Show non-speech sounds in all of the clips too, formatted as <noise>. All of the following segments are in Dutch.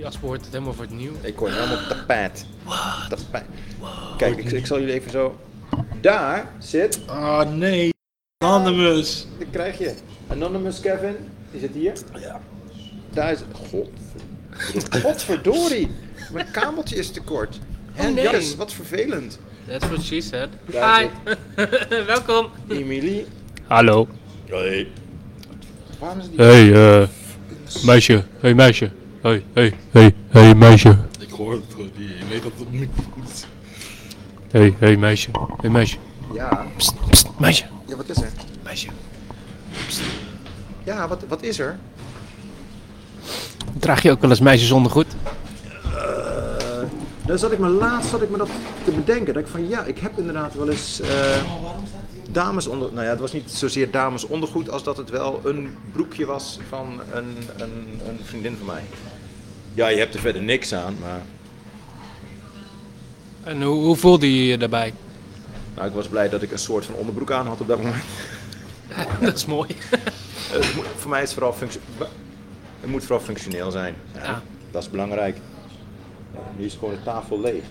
paspoort helemaal voor het nieuw. Ik hoor helemaal tapijt. Tapijt. Kijk, ik, ik zal jullie even zo... Daar zit... Ah, nee. Anonymous. Dat krijg je. Anonymous Kevin. Die zit hier. Ja. Daar is... God. Godverdorie. Mijn kabeltje is te kort. Oh, En nee. Jannes, wat vervelend. That's what she said. Daar Hi. <laughs> Welkom. Emily. Hallo. Hey. Waarom is die... Hey, eh. meisje. Hey, meisje. Hey, hey, hey, hey, meisje. Ik hoor het gewoon niet. Ik weet dat het niet goed is. Hey, hey, meisje. Hey, meisje. Ja. Psst, psst, meisje. ja, wat is er? Meisje. Ja, wat, wat is er? Draag je ook wel eens meisjes ondergoed? Eh, Dan zat ik me laatst zat ik me dat te bedenken. Dat ik van ja, ik heb inderdaad wel eens eh, dames onder. Nou ja, het was niet zozeer dames ondergoed als dat het wel een broekje was van een, een, een vriendin van mij. Ja, je hebt er verder niks aan, maar En hoe, hoe voelde je je daarbij? nou, ik was blij dat ik een soort van onderbroek aan had op dat moment. Dat is mooi. Eh, het moet- voor mij is het vooral functio- ba- Het moet vooral functioneel zijn. Ja, Ja. Dat is belangrijk. Ja, nu is gewoon de tafel leeg.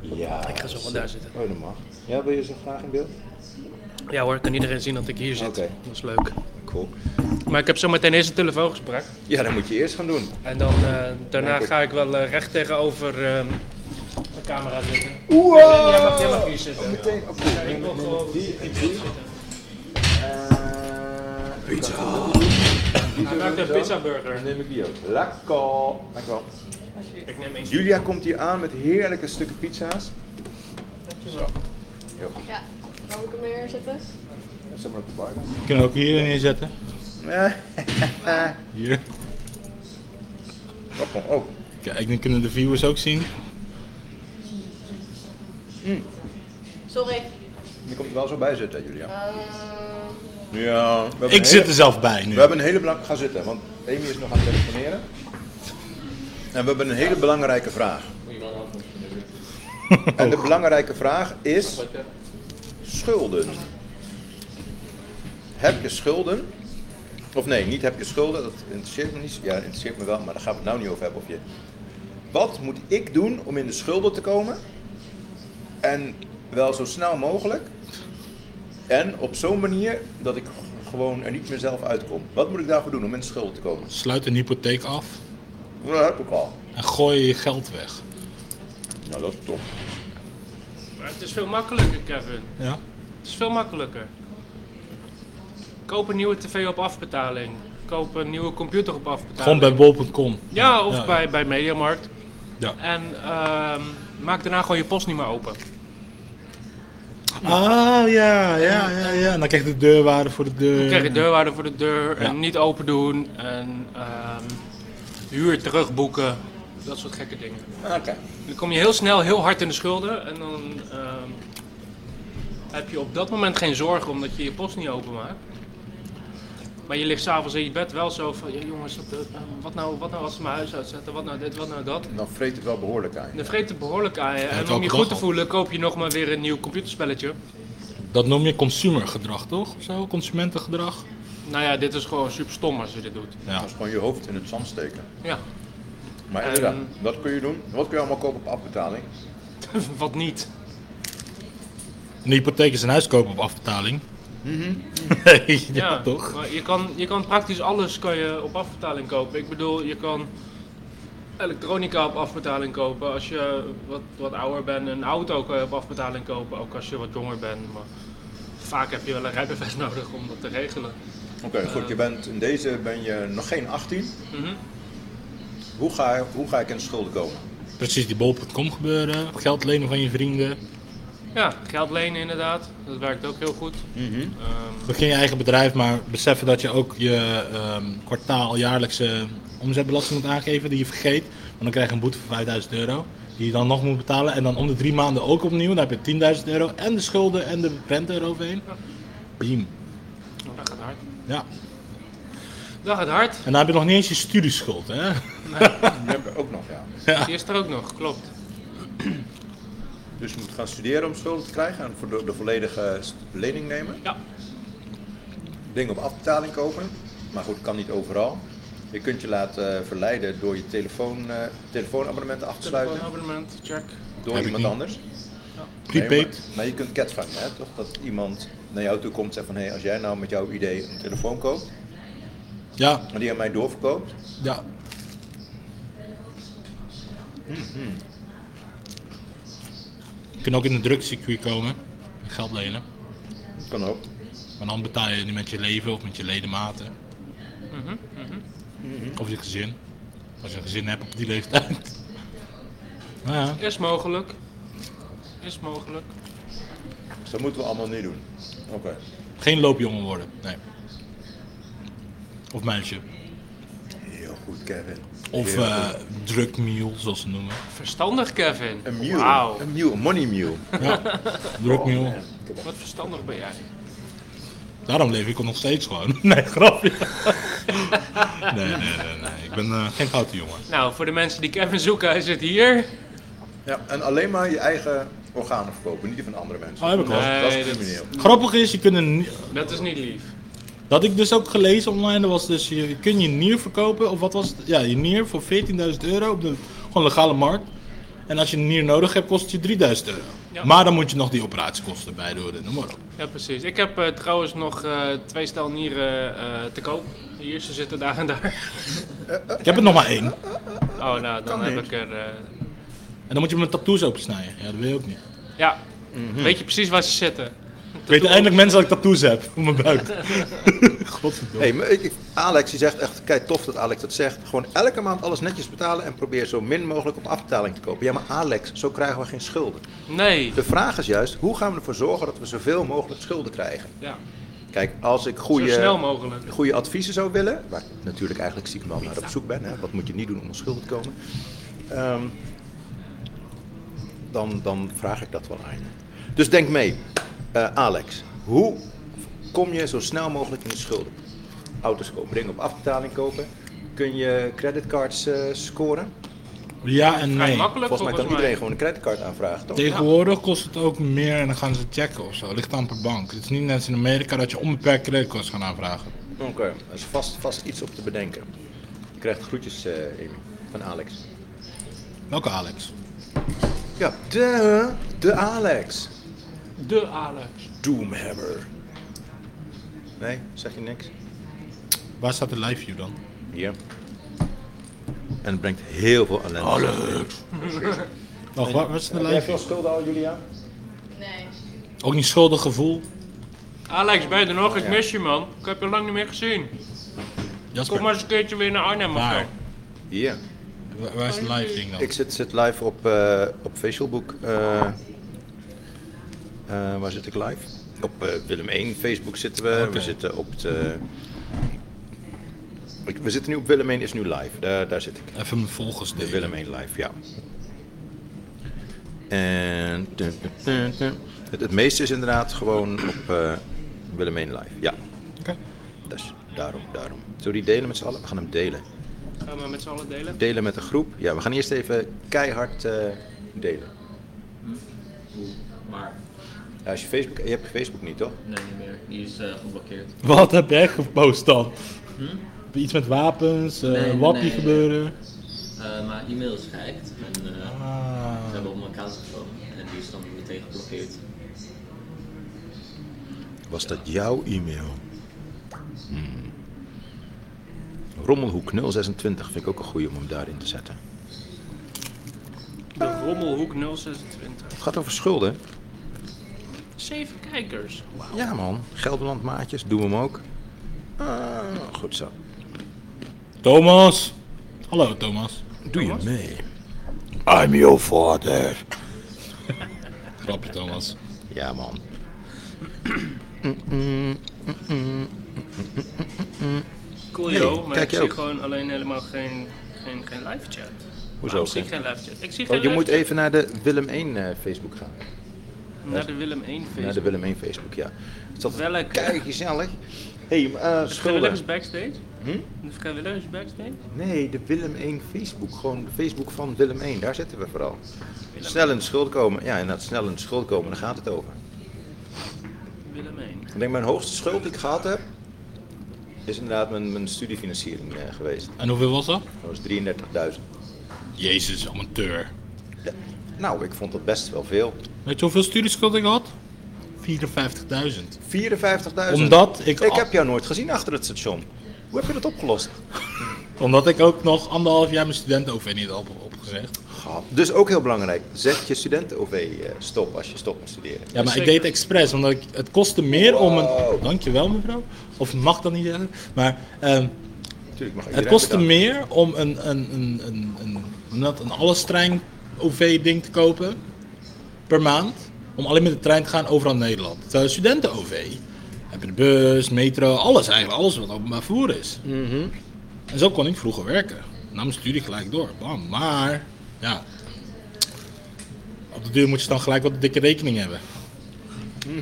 Ja. Ik ga zo wel daar zitten. Oh, dat mag. Ja, wil je zo graag in beeld? Ja hoor, kan iedereen zien dat ik hier zit. Oké. Dat is leuk. Cool. Maar ik heb zometeen eerst een telefoongesprek. Ja, dat moet je eerst gaan doen. En dan, eh, daarna ga ik wel eh, recht tegenover ehm, de camera zitten. Wow! Jij mag, jij mag hier zitten. Meteen op Ja, ik wil gewoon hier zitten. Pizza. Hij maakt een pizza burger. Dan neem ik die ook. Lekker. Dankjewel. Ik neem eentje. Julia komt hier aan met heerlijke stukken pizza's. Ja, waar moet ik hem neerzetten? Zet maar op de bar. Je kan ook hier neerzetten. Hier. Oh, oh. Kijk, dan kunnen de viewers ook zien. Sorry. Je komt er wel zo bij zitten, Julia. Eh, Ja. we hebben Ik een zit hele- er zelf bij nu. We hebben een hele belangrijke... Ga zitten, want Amy is nog aan het telefoneren. En we hebben een hele belangrijke vraag. En de belangrijke vraag is... Schulden. Heb je schulden? Of nee, niet heb je schulden. Dat interesseert me niet. Ja, dat interesseert me wel, maar daar gaan we het nou niet over hebben. Of je... Wat moet ik doen om in de schulden te komen? En wel zo snel mogelijk. En op zo'n manier dat ik gewoon er niet meer zelf uitkom. Wat moet ik daarvoor doen om in de schulden te komen? Sluit een hypotheek af Dat heb ik al. en gooi je geld weg. Nou, dat is top. Maar het is veel makkelijker, Kevin. Ja? Het is veel makkelijker. Koop een nieuwe tv op afbetaling. Koop een nieuwe computer op afbetaling. Gewoon bij bol.com. Ja, of Ja. bij, bij Mediamarkt. Ja. En ehm, maak daarna gewoon je post niet meer open. Ah, ja, ja, ja, ja. En dan krijg je de deurwaarde voor de deur. Dan krijg je deurwaarde voor de deur en Ja. niet open doen en ehm, huur terugboeken. Dat soort gekke dingen. Oké. Dan kom je heel snel heel hard in de schulden en dan ehm, heb je op dat moment geen zorgen omdat je je post niet openmaakt. Maar je ligt s'avonds in je bed wel zo van, ja, jongens, dat, eh, wat, nou, wat nou als ze mijn huis uitzetten, wat nou dit, wat nou dat. Dan vreet het wel behoorlijk aan. je. Dan vreet het behoorlijk aan je. En om elke je dag goed te al. voelen koop je nog maar weer een nieuw computerspelletje. Dat noem je consumergedrag, toch? Of Zo, consumentengedrag. Nou ja, dit is gewoon super stom als je dit doet. Ja. Dat is gewoon je hoofd in het zand steken. Ja, <laughs> Maar inderdaad, dat kun je doen. Wat kun je allemaal kopen op afbetaling? wat niet. Een hypotheek is een huis kopen op afbetaling. Mhm. <laughs> ja, toch? maar je kan, je kan praktisch alles kan je op afbetaling kopen. Ik bedoel, je kan elektronica op afbetaling kopen. Als je wat, wat ouder bent, een auto kan je op afbetaling kopen. Ook als je wat jonger bent. Maar vaak heb je wel een rijbewijs <laughs> nodig om dat te regelen. Oké, goed. Je bent, in deze ben je nog geen 18. Mhm. Hoe ga, hoe ga ik in de schulden komen? Precies die bol.com gebeuren. Geld lenen van je vrienden. Ja, geld lenen inderdaad. Dat werkt ook heel goed. Ehm, Begin je eigen bedrijf, maar beseffen dat je ook je ehm, kwartaal, jaarlijkse omzetbelasting moet aangeven die je vergeet. Want dan krijg je een boete van 5000 euro. Die je dan nog moet betalen. En dan om de drie maanden ook opnieuw. Dan heb je 10.000 euro en de schulden en de rente eroverheen. Beam. nou, dat gaat hard. Ja. Dat gaat hard. En dan heb je nog niet eens je studieschuld, hè? Die heb ik ook nog, ja. Die is er ook nog, klopt. Dus je moet gaan studeren om schulden te krijgen en voor de, de volledige st- lening nemen. Ja. Dingen op afbetaling kopen. Maar goed, kan niet overal. Je kunt je laten eh, verleiden door je telefoon, eh, telefoonabonnementen af te sluiten. Telefoonabonnement, check. Door Heb ik iemand niet. anders. Prepaid. Nee, maar, maar je kunt catvangen, hè? toch? Dat iemand naar jou toe komt en zegt van... hé, als jij nou met jouw idee een telefoon koopt... Ja, en die aan mij doorverkoopt... ja. Je kunt ook in een drugscircuit komen. Geld lenen. kan ook. Maar dan betaal je niet met je leven of met je ledematen. Of je gezin. Als je een gezin hebt op die leeftijd. <laughs> Nou ja, Is mogelijk. Is mogelijk. Dus dat moeten we allemaal niet doen. Oké. geen loopjongen worden. Nee. Of meisje. Heel goed, Kevin. Of Heel eh goed. drugmule, zoals ze noemen. Verstandig, Kevin. Een mule. Wauw. Een mule, een money mule. Drugmule. Wat verstandig ben jij. Daarom leef ik er nog steeds gewoon. <laughs> Nee, grapje. nee, nee, nee, nee. Ik ben eh, geen foute jongen. Nou, voor de mensen die Kevin zoeken, hij zit hier. Ja, en alleen maar je eigen organen verkopen, niet die van andere mensen. Oh, heb ik al. Dat is Nee, dat- crimineel. Grappig is, je kunt een... Dat is niet lief. Dat ik dus ook gelezen online, dat was dus, je kun je nier verkopen, of wat was het? Ja, je nier voor 14.000 euro op de gewoon legale markt. En als je een nier nodig hebt, kost het je 3000 euro. Ja. Maar dan moet je nog die operatiekosten bij doen, noem maar op. Ja, precies. Ik heb eh, trouwens nog eh, twee stel nieren eh, te koop. Hier, ze zitten daar en daar. Ik heb er nog maar één. En Oh, nou, dan heb niet. ik er... eh, dan moet je mijn tattoos opensnijden. Ja, dat wil je ook niet. ja, Mhm. weet je precies waar ze zitten. Ik weet eindelijk mensen dat ik tattoos heb op mijn <laughs> buik. Godverdomme. Hey, maar ik- ik- Alex die zegt echt, kijk tof dat Alex dat zegt. Gewoon elke maand alles netjes betalen en probeer zo min mogelijk op afbetaling te kopen. Ja, maar Alex, zo krijgen we geen schulden. Nee. De vraag is juist, hoe gaan we ervoor zorgen dat we zoveel mogelijk schulden krijgen? Ja, Kijk, als ik zo snel goede, mogelijk. goede adviezen zou willen, waar ik natuurlijk eigenlijk ziek man naar op zoek ben, hè, wat moet je niet doen om aan schulden te komen, ehm, dan, dan vraag ik dat wel aan je. Dus denk mee, Eh, Alex, hoe kom je zo snel mogelijk in de schulden? Auto's kopen, dingen op afbetaling kopen, kun je creditcards eh, scoren? Ja en Vrij nee. makkelijk Volgens mij kan iedereen gewoon een creditcard aanvragen, toch? Tegenwoordig kost het ook meer en dan gaan ze checken of zo. Ligt aan per bank. Het is niet net als in Amerika dat je onbeperkt creditcards gaat aanvragen. Oké, er is vast, vast iets op te bedenken. Je krijgt groetjes, eh Amy, van Alex. Welke Alex? Ja, de, de Alex. De Alex. Doomhammer. Nee, zeg je niks? Waar staat de live view dan? Ja. En het brengt heel veel ellende. Alex. Wacht, waar, waar is de Heb jij live veel view? schulden al, Julia? Nee. Ook niet schuldig gevoel. Alex, ben je er nog? Ik mis je, man. Ik heb je lang niet meer gezien. Kom maar Jasper, eens een keertje weer naar Arnhem of Waar? zo. Ja. waar, waar is de live ding dan? Ik zit, zit live op, eh op Facebookboek. eh, eh, waar zit ik live? Op eh, Willem 1 Facebook zitten we. Oké. We zitten op het... eh, ik- we zitten nu op Willem 1 is nu live. Daar, daar zit ik. Even mijn volgers De delen. Willem 1 live, ja. En dun, dun, dun, dun. Het, het meeste is inderdaad gewoon op eh, Willem 1 live, ja. Oké. Dus daarom, daarom. Zullen we die delen met z'n allen? We gaan hem delen. Gaan we met z'n allen delen? Delen met de groep. Ja, we gaan eerst even keihard eh, delen. Maar, Ja, als je, Facebook, je hebt Facebook niet, toch? nee, niet meer. Die is eh, geblokkeerd. Wat heb jij gepost dan? Hm? Iets met wapens, eh Nee, nee, wappie nee. gebeuren. Eh, maar e-mail is gehackt en eh, ze Ah. hebben op mijn account gekomen. En die is dan meteen geblokkeerd. Was dat jouw e-mail? Hmm. Rommelhoek 026 vind ik ook een goeie om hem daarin te zetten. De Rommelhoek 026. Het gaat over schulden. Zeven kijkers. Wauw. Ja man, Gelderland maatjes, doen we hem ook. Ah, goed zo. Thomas. Hallo Thomas. Doe je mee? I'm your father. Grapje Thomas. Ja man. Cool joh, maar kijk ik je zie ook. gewoon alleen helemaal geen, geen, geen live chat. Hoezo? Waarom zie ik geen? geen live chat? Ik zie geen Oh, je live moet chat. even naar de Willem 1 eh, Facebook gaan. Naar de Willem 1 feest. Naar de Willem 1 Facebook, ja. Is dat Welke? Kijk, gezellig. Hé, hey, eh schulden. Vrijwilligers backstage? Hm? Dus De vrijwilligers backstage? Nee, de Willem 1 Facebook. Gewoon de Facebook van Willem 1. Daar zitten we vooral. Snel in de schuld komen. Ja, inderdaad, snel in de schuld komen. Daar gaat het over. Willem 1. Ik denk mijn hoogste schuld die ik gehad heb. is inderdaad mijn, mijn studiefinanciering eh, geweest. En hoeveel was dat? Dat was 33.000. Jezus, amateur. Ja. Nou, ik vond dat best wel veel. Weet je hoeveel studieschuld ik had? 54.000. 54.000. Omdat ik Ik al- heb jou nooit gezien achter het station. Hoe heb je dat opgelost? Omdat ik ook nog anderhalf jaar mijn studenten niet had op, opgezegd. Gehad. Dus ook heel belangrijk, zet je studenten-OV eh, stop als je stopt met studeren. Ja, maar Zeker. ik deed expres, omdat ik, het kostte meer om een... Wow. Dankjewel mevrouw. Of mag dat niet zeggen. Maar ehm, Natuurlijk mag het iedereen kostte bedanken. meer om een, een, een, een, een, hoe noem je dat? een allestrein OV-ding te kopen per maand. Om alleen met de trein te gaan overal in Nederland. Terwijl studenten-OV heb je de bus, metro, alles eigenlijk. Alles wat openbaar vervoer is. En zo kon ik vroeger werken. Na mijn studie gelijk door. Bam. Maar, ja. Op de duur moet je dan gelijk wat dikke rekening hebben.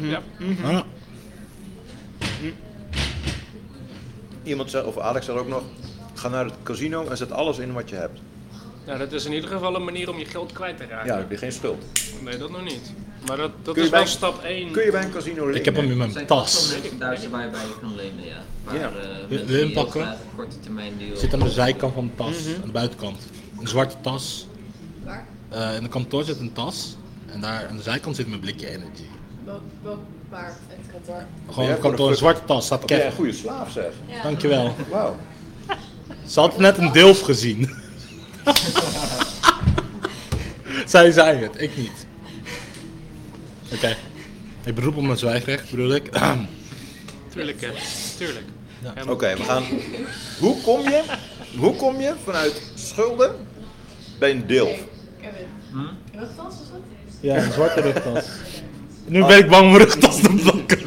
Ja. Ah. Iemand zei, of Alex zei ook nog, ga naar het casino en zet alles in wat je hebt. Nou, dat is in ieder geval een manier om je geld kwijt te raken. Ja, dan heb je geen schuld. Nee, dat nog niet. Maar dat, dat Kun je is wel bij- stap 1. Kun je bij een casino lenen? Ik heb hem in Er mijn zijn tas. vast wel mensen Daar bij je kan lenen, ja. Waar, Ja. ja. Wil- mensen wil je hem die heel pakken? graag een korte termijn deal. Zit aan de zijkant van de tas, aan de buitenkant. Een zwarte tas. Waar? Eh, in de kantoor zit een tas. En daar aan de zijkant zit mijn blikje energy. Welk, welk, waar? Het kantoor. Gewoon jij op kantoor, een voor de- zwarte tas, staat Ben jij een Kevin. goede slaaf zeg. Ja. Dankjewel. Wauw. Ze had net een dilf <laughs> gezien. Zij zei het, ik niet. Oké. Ik beroep op mijn zwijgrecht, bedoel ik. Tuurlijk, hè. Tuurlijk. Oké, we gaan. Hoe kom, je, hoe kom je vanuit schulden bij een deel? Hey, Kevin. Hmm? Rugtas is dat? ja, een zwarte rugtas. Ah. Nu ben ik bang om mijn rugtas te <laughs> pakken.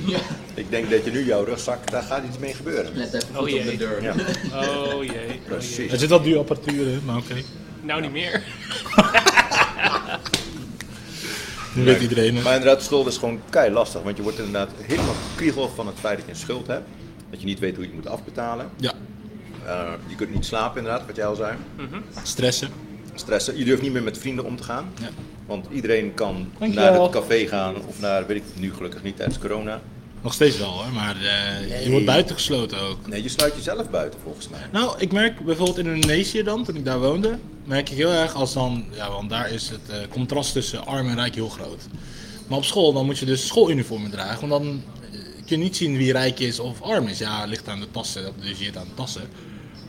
Ik denk dat je nu jouw rugzak, daar gaat iets mee gebeuren. Let even Oh, goed op jee. de deur. Ja. Oh jee. oh jee. Precies. Er zit al duur apparatuur in, maar oké. Nou, niet meer. Nu weet iedereen het. Maar inderdaad, schuld is gewoon kei lastig. Want je wordt inderdaad helemaal kriegel van het feit dat je een schuld hebt. Dat je niet weet hoe je het moet afbetalen. Ja, Eh, je kunt niet slapen, inderdaad, wat jij al zei. stressen. Stressen. Je durft niet meer met vrienden om te gaan. Ja. Want iedereen kan Dankjewel. naar het café gaan of naar, weet ik nu gelukkig niet, tijdens corona. Nog steeds wel hoor, maar eh, je wordt buitengesloten ook. Nee, je sluit jezelf buiten volgens mij. Nou, ik merk bijvoorbeeld in Indonesië dan, toen ik daar woonde, merk ik heel erg als dan, ja, want daar is het eh, contrast tussen arm en rijk heel groot. Maar op school, dan moet je dus schooluniformen dragen, want dan eh, kun je niet zien wie rijk is of arm is. Ja, het ligt aan de tassen, dat dus je het aan de tassen.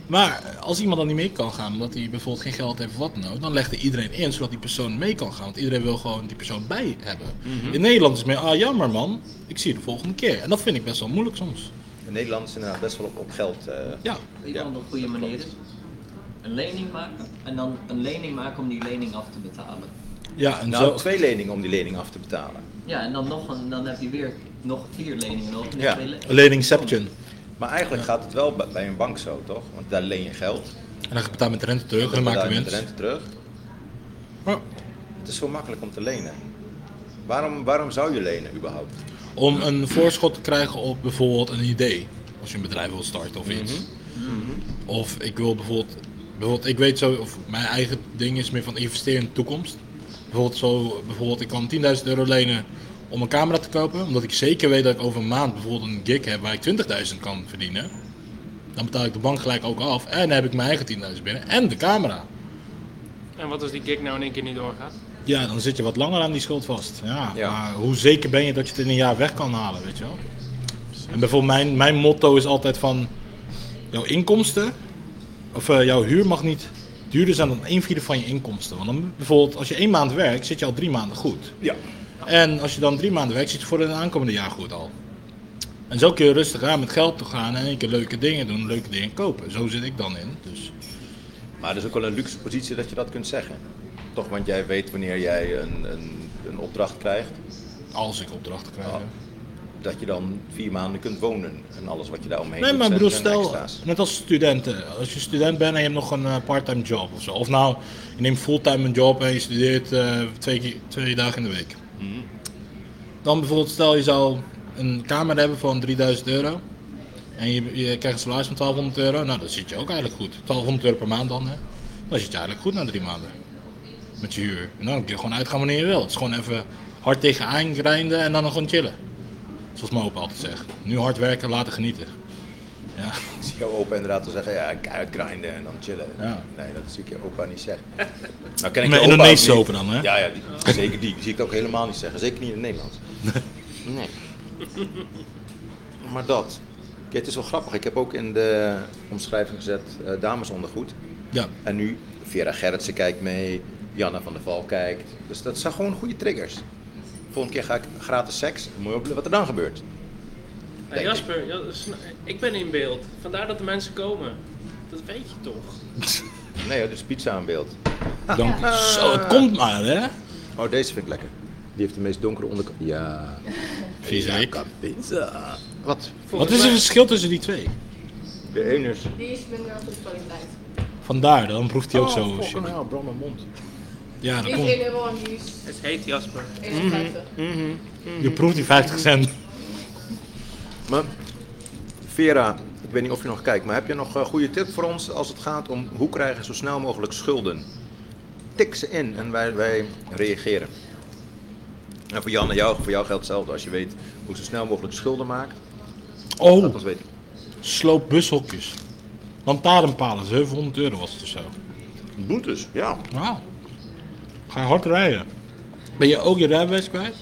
Maar eh, als iemand dan niet mee kan gaan, omdat hij bijvoorbeeld geen geld heeft of wat nou, dan legt er iedereen in zodat die persoon mee kan gaan. Want iedereen wil gewoon die persoon bij hebben. Mhm. In Nederland is het meer, ah jammer man, ik zie je de volgende keer. En dat vind ik best wel moeilijk soms. In Nederland is inderdaad best wel op, op geld. eh, Ja, Weet je wat een goede manier is? Een lening maken en dan een lening maken om die lening af te betalen. ja en Nou, zo. twee leningen om die lening af te betalen. Ja, en dan nog een, dan heb je weer nog vier leningen nodig. en Ja. twee leningen. Leningception. Maar eigenlijk gaat het wel bij- bij een bank zo, toch? Want daar leen je geld. En dan betaal je met rente terug en Dan dan maak betaal je je met winst. rente terug. Ja. Het is zo makkelijk om te lenen. Waarom, waarom zou je lenen überhaupt? Om een voorschot te krijgen op bijvoorbeeld een idee. Als je een bedrijf wil starten of iets. Mhm. Of ik wil bijvoorbeeld, bijvoorbeeld, ik weet zo, of mijn eigen ding is meer van investeren in de toekomst. Bijvoorbeeld, zo, bijvoorbeeld ik kan 10.000 euro lenen om een camera te kopen. Omdat ik zeker weet dat ik over een maand bijvoorbeeld een gig heb waar ik 20.000 kan verdienen. Dan betaal ik de bank gelijk ook af. En dan heb ik mijn eigen 10.000 binnen. En de camera. En wat als die gig nou in één keer niet doorgaat? Ja, dan zit je wat langer aan die schuld vast. Ja, Ja. Maar hoe zeker ben je dat je het in een jaar weg kan halen, weet je wel? En bijvoorbeeld mijn, mijn motto is altijd van... Jouw inkomsten... Of eh, jouw huur mag niet duurder zijn dan een vierde van je inkomsten. Want dan bijvoorbeeld, als je één maand werkt, zit je al drie maanden goed. Ja. En als je dan drie maanden werkt, zit je voor het aankomende jaar goed al. En zo kun je rustig aan met geld te gaan en een keer leuke dingen doen, leuke dingen kopen. Zo zit ik dan in. Dus Maar het is ook wel een luxe positie dat je dat kunt zeggen. Toch, want jij weet wanneer jij een, een, een opdracht krijgt, als ik opdrachten krijg. Ja. hè. dat je dan vier maanden kunt wonen. En alles wat je daar omheen Nee, doet maar ik zijn- bedoel, zijn stel, extra's. net als studenten. Als je student bent en je hebt nog een eh, parttime job of zo. Of nou, je neemt fulltime een job en je studeert eh, twee, keer- twee dagen in de week. Mhm. Dan bijvoorbeeld, stel je zou een kamer hebben van 3000 euro. En je, je krijgt een salaris van 1200 euro. Nou, dan zit je ook eigenlijk goed. 1200 euro per maand dan, hè. Dan zit je eigenlijk goed na drie maanden. Met je huur. En dan kun je gewoon uitgaan wanneer je wilt. Het is gewoon even hard tegenaan grinden en dan gewoon chillen. Zoals mijn opa altijd zegt. Nu hard werken, later genieten. Ja. is jouw opa inderdaad te zeggen, ja, ik uitgrinden en dan chillen. Ja. Nee, dat zie ik je opa niet zeggen. Nou, ken ik Maar je opa ook Indonesische niet. opa dan, hè? Ja, ja die, zeker die. Die zie ik ook helemaal niet zeggen. Zeker niet in het <laughs> Nederlands. Nee. Maar dat. Kijk, het is wel grappig. Ik heb ook in de omschrijving gezet eh damesondergoed. Ja. En nu Vera Gerritsen kijkt mee, Janna van der Val kijkt. Dus dat zijn gewoon goede triggers. Volgende keer ga ik gratis seks. Dan Moet je opletten wat er dan gebeurt. Hey, Jasper, ja, sna- ik ben in beeld. Vandaar dat de mensen komen. Dat weet je toch? Nee, hoor, dus pizza aan beeld. Dank je. Zo, het komt maar, hè? Oh, deze vind ik lekker. Die heeft de meest donkere onderkant. Ja. Viezerik. Pizza. Wat? Wat Volgens is het mij- verschil tussen die twee? De ene is... Die is minder goede kwaliteit. Vandaar, dan proeft hij ook Oh, zo. fucking shit. hell, brand mijn mond. Die Ja, dan is komt. 1 euro en die is Het heet Jasper. 51. Je proeft die 50 cent. Maar Vera, ik weet niet of je nog kijkt, maar heb je nog een goede tip voor ons als het gaat om hoe krijgen we zo snel mogelijk schulden? Tik ze in en wij, wij reageren. En voor Jan en jou, voor jou geldt hetzelfde. Als je weet hoe zo snel mogelijk schulden maakt, laat Oh, ons weten. sloop bushokjes. Lantaarnpalen, 700 euro was het of zo. Boetes, ja. Wauw. Ga je hard rijden. Ben je ook je rijbewijs kwijt?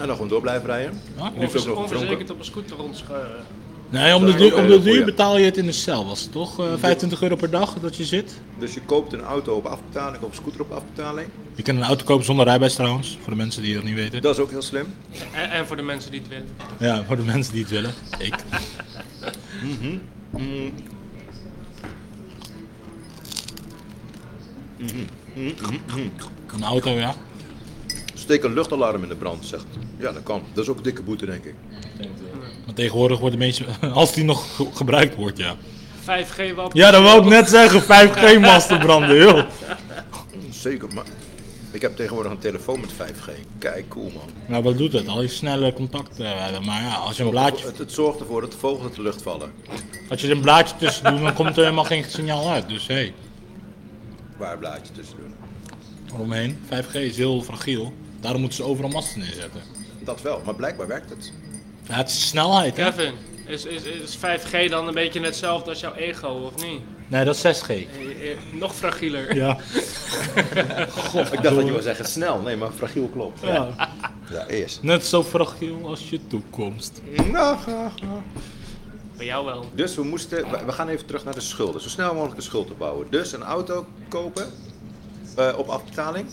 En dan gewoon door blijven rijden. Ja. Nu is het ook nog Onverzekerd gedronken. op een scooter rondscheuren. Nee, om de, Dat is ook duur, om de een goeie. duur betaal je het in de cel, was het toch? Eh, 25 euro per dag dat je zit. Dus je koopt een auto op afbetaling of een scooter op afbetaling. Je kan een auto kopen zonder rijbewijs trouwens, voor de mensen die dat niet weten. Dat is ook heel slim. En, en voor de mensen die het willen. Ja, voor de mensen die het willen. Ik. Een auto, ja. Steek een luchtalarm in de brand, zegt. Ja, dat kan. Dat is ook een dikke boete, denk ik. Maar tegenwoordig worden mensen, <laughs> als die nog ge- gebruikt wordt, ja. 5G wat? Ja, dat wou ik net zeggen, 5G-masten branden, joh. Zeker, maar ik heb tegenwoordig een telefoon met 5G. Kijk, cool man. Nou, wat doet het? Al je snelle contact eh, hebben. Maar ja, als je een blaadje, Het, het zorgt ervoor dat de vogels uit de lucht vallen. als je er een blaadje tussen doet, dan komt er helemaal geen signaal uit. Dus hé, hey, Waar blaadjes tussen doen. eromheen. 5G is heel fragiel. Daarom moeten ze overal masten neerzetten. Dat wel, maar blijkbaar werkt het. Ja, het is snelheid, hè? Kevin, is, is, is 5G dan een beetje hetzelfde als jouw ego, of niet? Nee, dat is 6G. Eh, eh, Nog fragieler. Ja. Ik dacht dat je wil zeggen snel, nee, maar fragiel klopt. ja. Ja, eerst. Nou, Net zo fragiel als je toekomst. Bij jou wel. Dus we moesten, we- we gaan even terug naar de schulden. Zo snel mogelijk een schuld opbouwen. Dus een auto kopen eh, op afbetaling.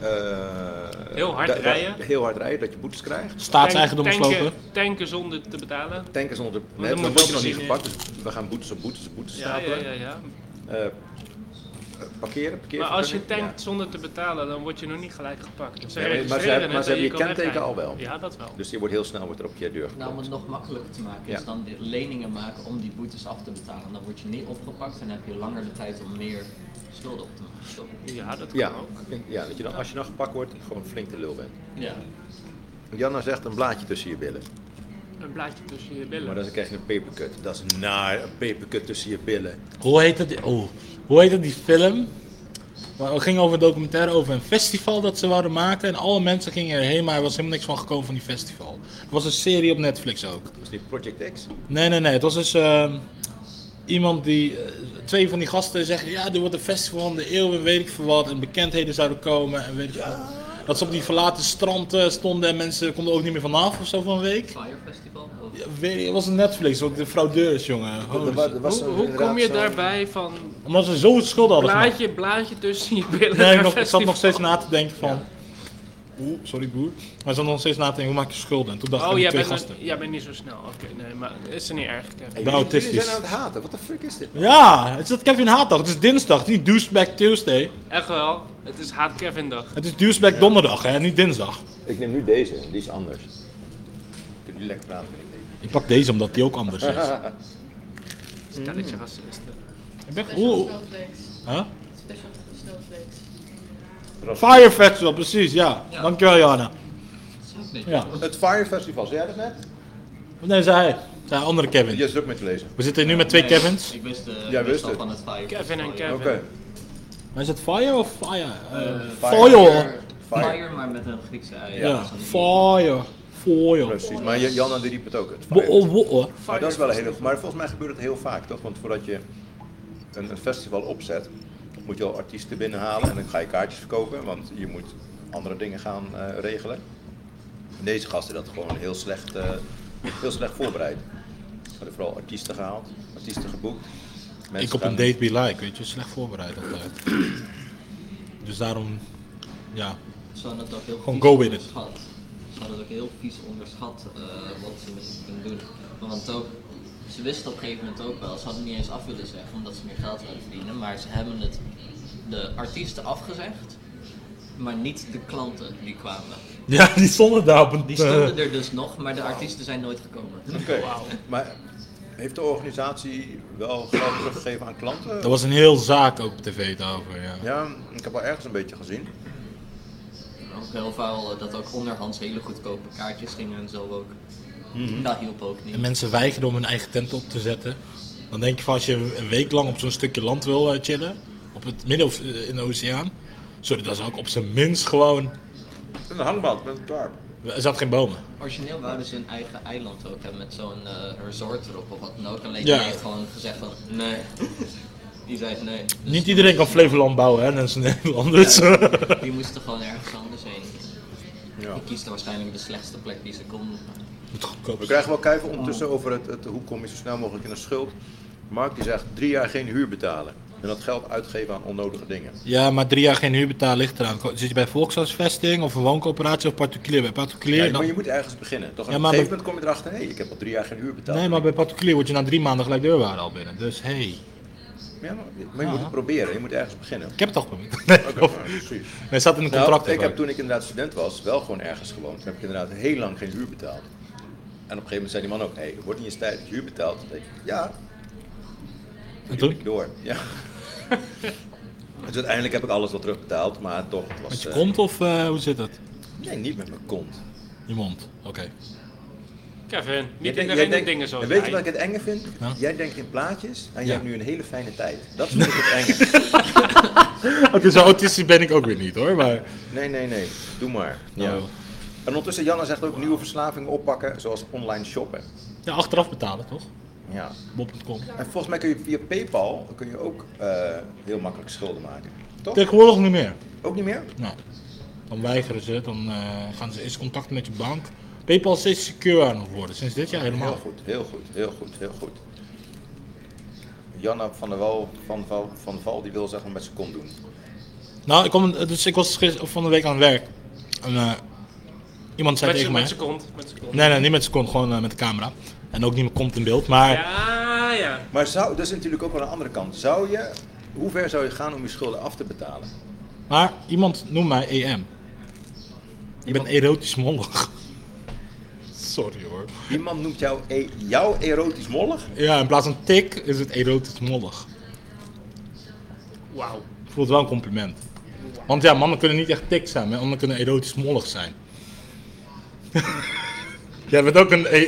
Eh, Mhm, Heel hard da- da- rijden. heel hard rijden, dat je boetes krijgt. Staatseigendom Tank- tanken- slopen. Tanken zonder te betalen. Tanken zonder, dan nee, dan moet word je je nog niet zien, eh. gepakt. Dus we gaan boetes op boetes op boetes Ja, ja, stapelen. ja, ja. Eh, parkeren, parkeren. Maar als je tankt zonder te betalen, dan word je nog niet gelijk gepakt. Dus ze Ja, maar- maar ze registreren hebben- het maar ze en hebben je kan kenteken wegrijden. al wel. Ja, dat wel. Dus je wordt heel snel wordt er op je deur Nou, om geklopt. het nog makkelijker te maken, Ja. is dan de leningen maken om die boetes af te betalen. Dan word je niet opgepakt en heb je langer de tijd om meer schulden op te maken. toch? Ja, dat kan Ja, ook. ja dat je dan, als je dan gepakt wordt, gewoon flink de lul bent. Ja. Janna zegt een blaadje tussen je billen. Een blaadje tussen je Maar billen. dan krijg je een papercut. Dat is naar een papercut tussen je billen. Hoe heet het? Oh, hoe heet het die film? Maar het ging over een documentaire over een festival dat ze wouden maken. En alle mensen gingen erheen, maar er was helemaal niks van gekomen van die festival. Het was een serie op Netflix ook. Dat is niet Project X. Nee, nee, nee. Het was dus ehm, iemand die. eh, twee van die gasten zeggen: ja, er wordt een festival van de eeuw en weet ik veel wat. En bekendheden zouden komen en weet ik veel. Dat ze op die verlaten strand eh, stonden en mensen konden ook niet meer vanaf of zo van een week. Fire Festival? Of- Ja, weet ik, het was een Netflix, want de fraudeurs, jongen. Holy shit. Hoe, hoe kom je daarbij van Omdat ze zo het schuld hadden gemaakt. blaadje, blaadje tussen je billen? Nee, naar ik, nog, ik zat nog festival? steeds na te denken van. Oeh, sorry boer. Maar ik zat nog steeds na te denken, hoe maak je schulden? En toen dacht Oh, ik aan die jij twee bent, gasten. een- jij bent niet zo snel. Oké, nee, maar is er niet erg, Kevin. Hey, ben jullie- autistisch. Jullie zijn aan Nou, het haten. Wat de fuck is dit? Ja, het is dat Kevin Haatdag. Het is dinsdag, niet Douchebag Tuesday. Echt wel, het is Haat Kevin dag. Het is Douchebag donderdag, hè, niet dinsdag. Ik neem nu deze. Die is anders. Kunnen jullie lekker praten? vind ik. Ik pak deze omdat die ook anders is. Stelletje racisten. Ik ben Special oeh. snowflakes. Huh? Special snowflakes. Fire Festival, precies, ja. Ja. Dankjewel, Jana. Ja. Het Fire Festival, zei jij dat net? Nee, zij. Zij andere Kevin. Je is het ook mee te lezen. We zitten nu met twee Nee, Kevins. Ik wist, eh, Jij ik wist wist al het. van het Fire Kevin Festival, en ja. Kevin. Oké. Maar is het fire of fire? Eh, fire. Foil. Fire, maar met een Griekse ei. Ja, Dus dan- fire. foil. Precies, maar J- Janna die riep het ook. Het Wo- feit. oh, wo- oh. Maar dat is wel een hele. Maar volgens mij gebeurt het heel vaak, toch? Want voordat je een, een festival opzet, moet je al artiesten binnenhalen en dan ga je kaartjes verkopen, want je moet andere dingen gaan eh, regelen. En deze gasten dat gewoon heel slecht, eh, heel slecht voorbereid. Ze hadden vooral artiesten gehaald, artiesten geboekt. Mensen Ik op een gaan- date be like, weet je, slecht voorbereid altijd. <clears throat> Dus daarom, ja. <laughs> Ze hadden het ook heel Gewoon vies go with it. onderschat. Ze hadden het ook heel vies onderschat eh, wat ze met het kunnen doen. Want ook, ze wisten op een gegeven moment ook wel, ze hadden niet eens af willen zeggen omdat ze meer geld wilden verdienen, maar ze hebben het de artiesten afgezegd, maar niet de klanten die kwamen. Ja, die stonden daar op een... Die <laughs> eh, stonden er dus nog, maar de artiesten zijn nooit gekomen. Oké, maar heeft de organisatie wel geld teruggegeven aan klanten? Er was een heel zaak ook op tv daarover, ja. Ja, ik heb wel ergens een beetje gezien. Ook heel veel eh, dat ook onderhands hele goedkope kaartjes gingen en zo ook. Mhm. Dat hielp ook niet. En mensen weigerden om hun eigen tent op te zetten. Dan denk je van als je een week lang op zo'n stukje land wil eh, chillen, op het midden of eh, in de oceaan, sorry, dat is ook op zijn minst gewoon. Een hangbad met een tarp. Er zaten geen bomen. Origineel wouden ze een eigen eiland ook hebben met zo'n eh, resort erop of wat dan ook. Alleen Ja. die heeft gewoon gezegd van nee. Die zei nee. Dus Niet iedereen kan Flevoland bouwen, hè, <laughs> net als Nederlanders. <laughs> Die moesten gewoon ergens anders heen. Ja. Die kiest waarschijnlijk de slechtste plek die ze kon. Het We goedkoopste. krijgen wel kijven Oh. ondertussen over het, het, hoe kom je zo snel mogelijk in de schuld. Mark die zegt drie jaar geen huur betalen. En dat geld uitgeven aan onnodige dingen. Ja, maar drie jaar geen huur betalen ligt eraan. Ko- Zit je bij volkshuisvesting of een wooncoöperatie of particulier? Bij particulier? Ja, dan- maar je moet ergens beginnen. Toch? Ja, op maar een we- gegeven moment kom je erachter, hé, ik heb al drie jaar geen huur betaald. Nee, maar bij particulier word je na drie maanden gelijk deurwaarde al binnen. Dus hey, Ja, maar, maar je moet het proberen, je moet ergens beginnen. Ah. ik heb het al geprobeerd. Nee, <laughs> Oké, <laughs> ja, precies. het staat in een Nou, contract. ik heb ervan. toen ik inderdaad student was, wel gewoon ergens gewoond. Toen heb ik inderdaad heel lang geen huur betaald. En op een gegeven moment zei die man ook, hé, het wordt niet eens tijd dat je huur betaalt. Dan denk ik, ja, En toen? ik door. <laughs> Ja. dus uiteindelijk heb ik alles wel terugbetaald, maar toch, het was... Met je eh, kont of eh, hoe zit dat? Nee, niet met mijn kont. Je mond, oké. Kevin, Jij niet denkt- iedereen jij doet denkt- dingen zo. en Weet je wat ik het enge vind? Ja. Jij denkt in plaatjes en je Ja. hebt nu een hele fijne tijd. Dat vind ik het <laughs> enge. Oké, zo autistisch ben ik ook weer niet hoor, maar... Nee, nee, nee. Doe maar. Ja. Nou. En ondertussen, Janna zegt ook nieuwe verslavingen oppakken, zoals online shoppen. Ja, achteraf betalen toch? Ja. Bob.com. En volgens mij kun je via Paypal kun je ook eh, heel makkelijk schulden maken. Toch? Tegenwoordig niet meer. Ook niet meer? Nou, dan weigeren ze, dan eh, gaan ze eerst contact met je bank. Paypal is steeds secure aan het worden, sinds dit jaar Heel helemaal. goed, heel goed, heel goed, heel goed. Janna van der Wal, van, Val- van Val, die wil zeggen met zijn kont doen. Nou, ik, kom, dus ik was gister, of van de week aan het werk. En, eh, iemand zei Met z'n- tegen mij... met z'n kont. Met z'n kont. Nee, nee, niet met z'n kont, gewoon eh, met de camera. En ook niet met kont in beeld, maar... Ja, ja. Maar zou, dat is natuurlijk ook wel een andere kant. Zou je, hoe ver zou je gaan om je schulden af te betalen? Maar iemand noemt mij EM. Ik ben erotisch mollig. Sorry hoor. Iemand noemt jou, e- jou erotisch mollig? Ja, in plaats van tik is het erotisch mollig. Wauw. Voelt wel een compliment. Want ja, mannen kunnen niet echt tik zijn, maar mannen kunnen erotisch mollig zijn. Jij bent ook een. E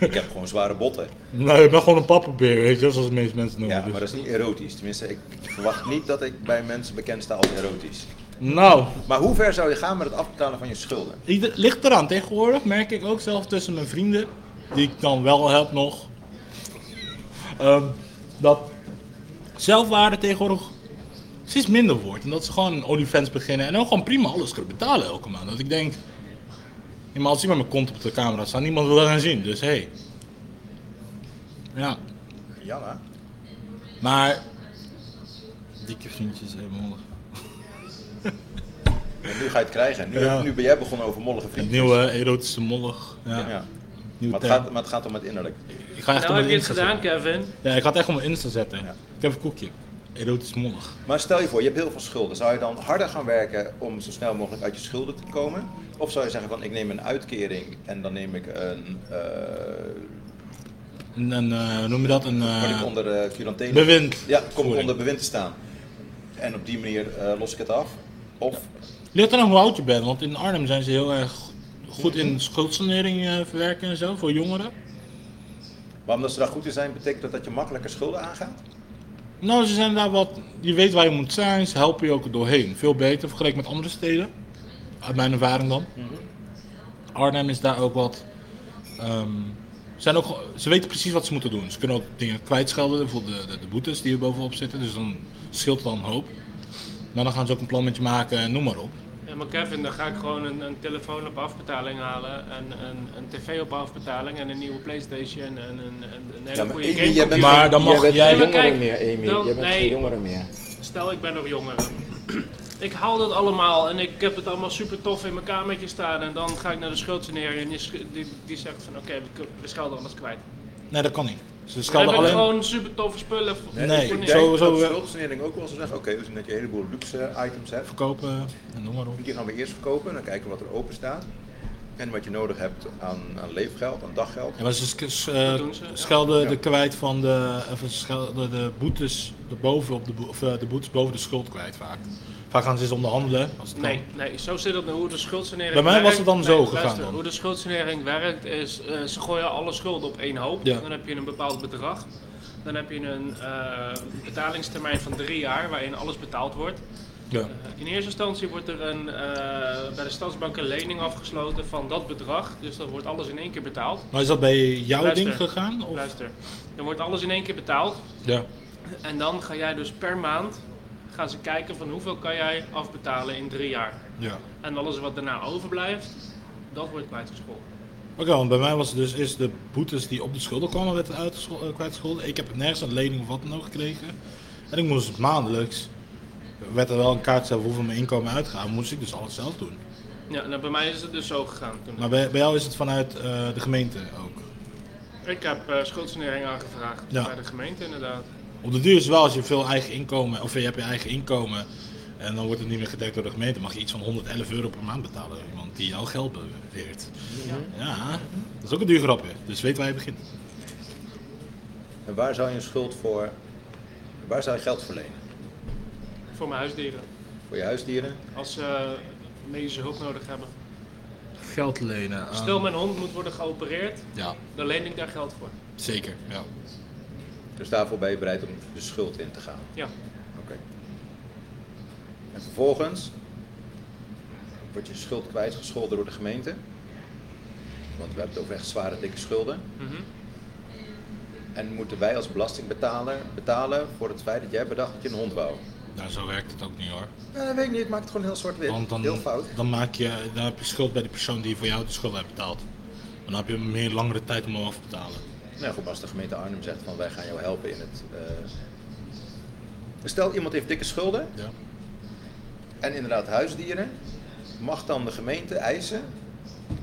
Ik heb gewoon zware botten. nou, je bent gewoon een pappenbeer, weet je, wel, zoals de meeste mensen noemen. Ja, maar Dus- dat is niet erotisch. Tenminste, ik verwacht niet dat ik bij mensen bekend sta als erotisch. Nou, Maar hoe ver zou je gaan met het afbetalen van je schulden? ieder- ligt eraan. Tegenwoordig merk ik ook zelf tussen mijn vrienden, die ik dan wel heb nog, ehm, dat zelfwaarde tegenwoordig steeds minder wordt. En dat ze gewoon een OnlyFans beginnen en dan gewoon prima alles kunnen betalen elke maand. Dat ik denk, ja, maar als iemand mijn kont op de camera staat, niemand wil dat gaan zien. Dus hé. Hey. Ja, Janna? maar... Dikke vriendjes, helemaal. En nu ga je het krijgen. Nu, Ja. nu ben jij begonnen over mollige Het vrienden. nieuwe erotische mollig. Ja, Ja. nieuwe Maar, het term. gaat, maar het gaat om het innerlijk. Ik ga echt Nou op heb mijn je het Insta gedaan, zetten. Kevin. Ja, ik ga het echt op mijn Insta zetten. Ja. Ik heb een koekje. Erotisch mollig. Maar stel je voor, je hebt heel veel schulden. Zou je dan harder gaan werken om zo snel mogelijk uit je schulden te komen? Of zou je zeggen van ik neem een uitkering en dan neem ik een, eh, En, en eh, hoe noem je dat? Een word ik eh onder eh, quarantaine? bewind. Ja, kom ik Voering. onder bewind te staan. En op die manier eh, los ik het af. Of Ligt er aan hoe oud je bent, want in Arnhem zijn ze heel erg goed in schuldsanering eh, verwerken en zo voor jongeren. Maar omdat ze daar goed in zijn, betekent dat dat je makkelijker schulden aangaat? Nou, ze zijn daar wat. Je weet waar je moet zijn, ze helpen je ook er doorheen. Veel beter vergeleken met andere steden. Uit mijn ervaring dan. Arnhem is daar ook wat. ehm, zijn ook, ge- ze weten precies wat ze moeten doen. Ze kunnen ook dingen kwijtschelden, bijvoorbeeld de, de, de boetes die er bovenop zitten. Dus dan scheelt het dan een hoop. Maar dan gaan ze ook een plannetje maken, en noem maar op. Ja, maar Kevin, dan ga ik gewoon een, een telefoon op afbetaling halen, en een, een tv op afbetaling en een nieuwe Playstation en een, een, een hele Ja, maar goede Amy, gamecomputer. jij bent- Maar dan mag Jij bent jij. geen jongere Kijk, meer, Amy. dan- Jij bent nee. geen jongere meer. Stel, ik ben nog jonger. <clears throat> Ik haal dat allemaal en ik heb het allemaal super tof in mijn kamertje staan. En dan ga ik naar de schuldsanering en die, sch- die, die zegt van oké, we kun- we schelden alles kwijt. Nee, dat kan niet. Ze Dan heb schelden ik alleen. gewoon super toffe spullen. voor- Nee, voor niks. Ik denk Sowieso, dat eh, schuldsanering ook wel zo zeggen, oké, dus dat je een heleboel luxe items hebt. verkopen en noem maar op. Die gaan we nou eerst verkopen en dan kijken wat er open staat. En wat je nodig hebt aan, aan leefgeld, aan daggeld. Ja, maar ze sk- s- eh, Dat doen ze, ja. schelden de kwijt van de, of ze schelden de boetes de boven op de, bo- of, eh, de boetes boven de schuld kwijt vaak. Vaak gaan ze eens onderhandelen. Als het Nee, kan. nee, zo zit het nou. Hoe de schuldsanering Bij mij was werkt- het dan nee, zo gegaan luister, dan. Hoe de schuldsanering werkt is, eh, ze gooien alle schulden op één hoop. Ja. Dan heb je een bepaald bedrag. Dan heb je een eh, betalingstermijn van drie jaar waarin alles betaald wordt. Ja. Nou, In eerste instantie wordt er een, eh, bij de Stadsbank een lening afgesloten van dat bedrag. Dus dan wordt alles in één keer betaald. Maar is dat bij jouw Luister. ding gegaan? Of? Luister, dan wordt alles in één keer betaald. Ja. En dan ga jij dus per maand gaan ze kijken van hoeveel kan jij afbetalen in drie jaar. ja. En alles wat daarna overblijft, dat wordt kwijtgescholden. Oké, want bij mij was het dus eerst de boetes die op de schulden kwamen werd uitgeschol- eh, kwijtgescholden. Ik heb nergens een lening of wat dan ook gekregen. En ik moest maandelijks, werd er wel een kaart zelf hoeveel mijn inkomen uitgaat, moest ik dus alles zelf doen. Ja, nou, bij mij is het dus zo gegaan. Toen. Maar bij, bij jou is het vanuit eh, de gemeente ook. Ik heb eh schuldsanering aangevraagd Ja. bij de gemeente inderdaad. Op de duur is wel als je veel eigen inkomen, of je hebt je eigen inkomen en dan wordt het niet meer gedekt door de gemeente, mag je iets van 111 euro per maand betalen. Iemand die jouw geld beweert. Ja. dat is ook een duur grapje. Dus weet waar je begint. En waar zou je een schuld voor, waar zou je geld voor lenen? Voor mijn huisdieren. Voor je huisdieren? Als ze medische hulp nodig hebben. Geld lenen. aan- Stel mijn hond moet worden geopereerd, Ah. Ja, dan leen ik daar geld voor. zeker. Ja. Dus daarvoor ben je bereid om de schuld in te gaan. Ja. Oké. En vervolgens wordt je schuld kwijtgescholden door de gemeente. Want we hebben het over echt zware, dikke schulden. Mhm. En moeten wij als belastingbetaler betalen voor het feit dat jij bedacht dat je een hond wou? Nou, zo werkt het ook niet hoor. Ja, dat weet ik niet, ik maak het gewoon heel zwart-wit. Want dan, Heel fout. dan, maak je, dan heb je schuld bij de persoon die voor jou de schulden heeft betaald. Maar Dan heb je meer langere tijd om hem af te betalen. Nou goed, maar als de gemeente Arnhem zegt van wij gaan jou helpen in het... eh, Stel iemand heeft dikke schulden Ja. en inderdaad huisdieren. Mag dan de gemeente eisen,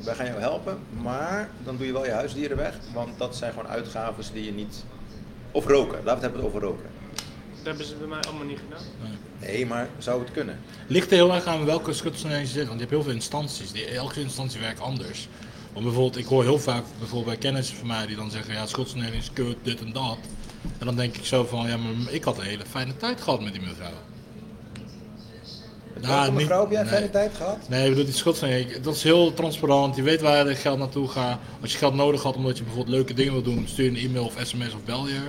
wij gaan jou helpen, maar dan doe je wel je huisdieren weg. Want dat zijn gewoon uitgaven die je niet... Of roken, laten we het hebben over roken. Dat hebben ze bij mij allemaal niet gedaan. Nee, maar zou het kunnen? Ligt er heel erg aan welke schutsvereniging je zit, want je hebt heel veel instanties. Die, elke instantie werkt anders. Want bijvoorbeeld, ik hoor heel vaak bijvoorbeeld bij kennissen van mij die dan zeggen, ja, schutsvereniging is kut, dit en dat. En dan denk ik zo van, ja, maar ik had een hele fijne tijd gehad met die mevrouw. Met Nou, welke niet- mevrouw heb jij nee. fijne tijd gehad? Nee, ik bedoel, die schutsvereniging, dat is heel transparant. Je weet waar je geld naartoe gaat. Als je geld nodig had omdat je bijvoorbeeld leuke dingen wil doen, stuur een e-mail of sms of bel je.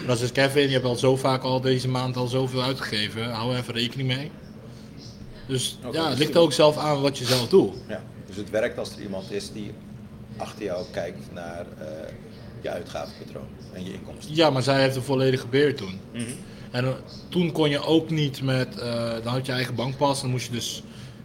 Maar als het Kevin, je hebt al zo vaak al deze maand al zoveel uitgegeven, hou er even rekening mee. Dus Oké, ja, het dus ligt die- ook zelf aan wat je zelf doet. Ja. Dus het werkt als er iemand is die achter jou kijkt naar eh, je uitgavenpatroon en je inkomsten. Ja, maar zij heeft een volledige beheer toen. En eh, toen kon je ook niet met, eh, dan had je eigen bankpas, dan moest je dus,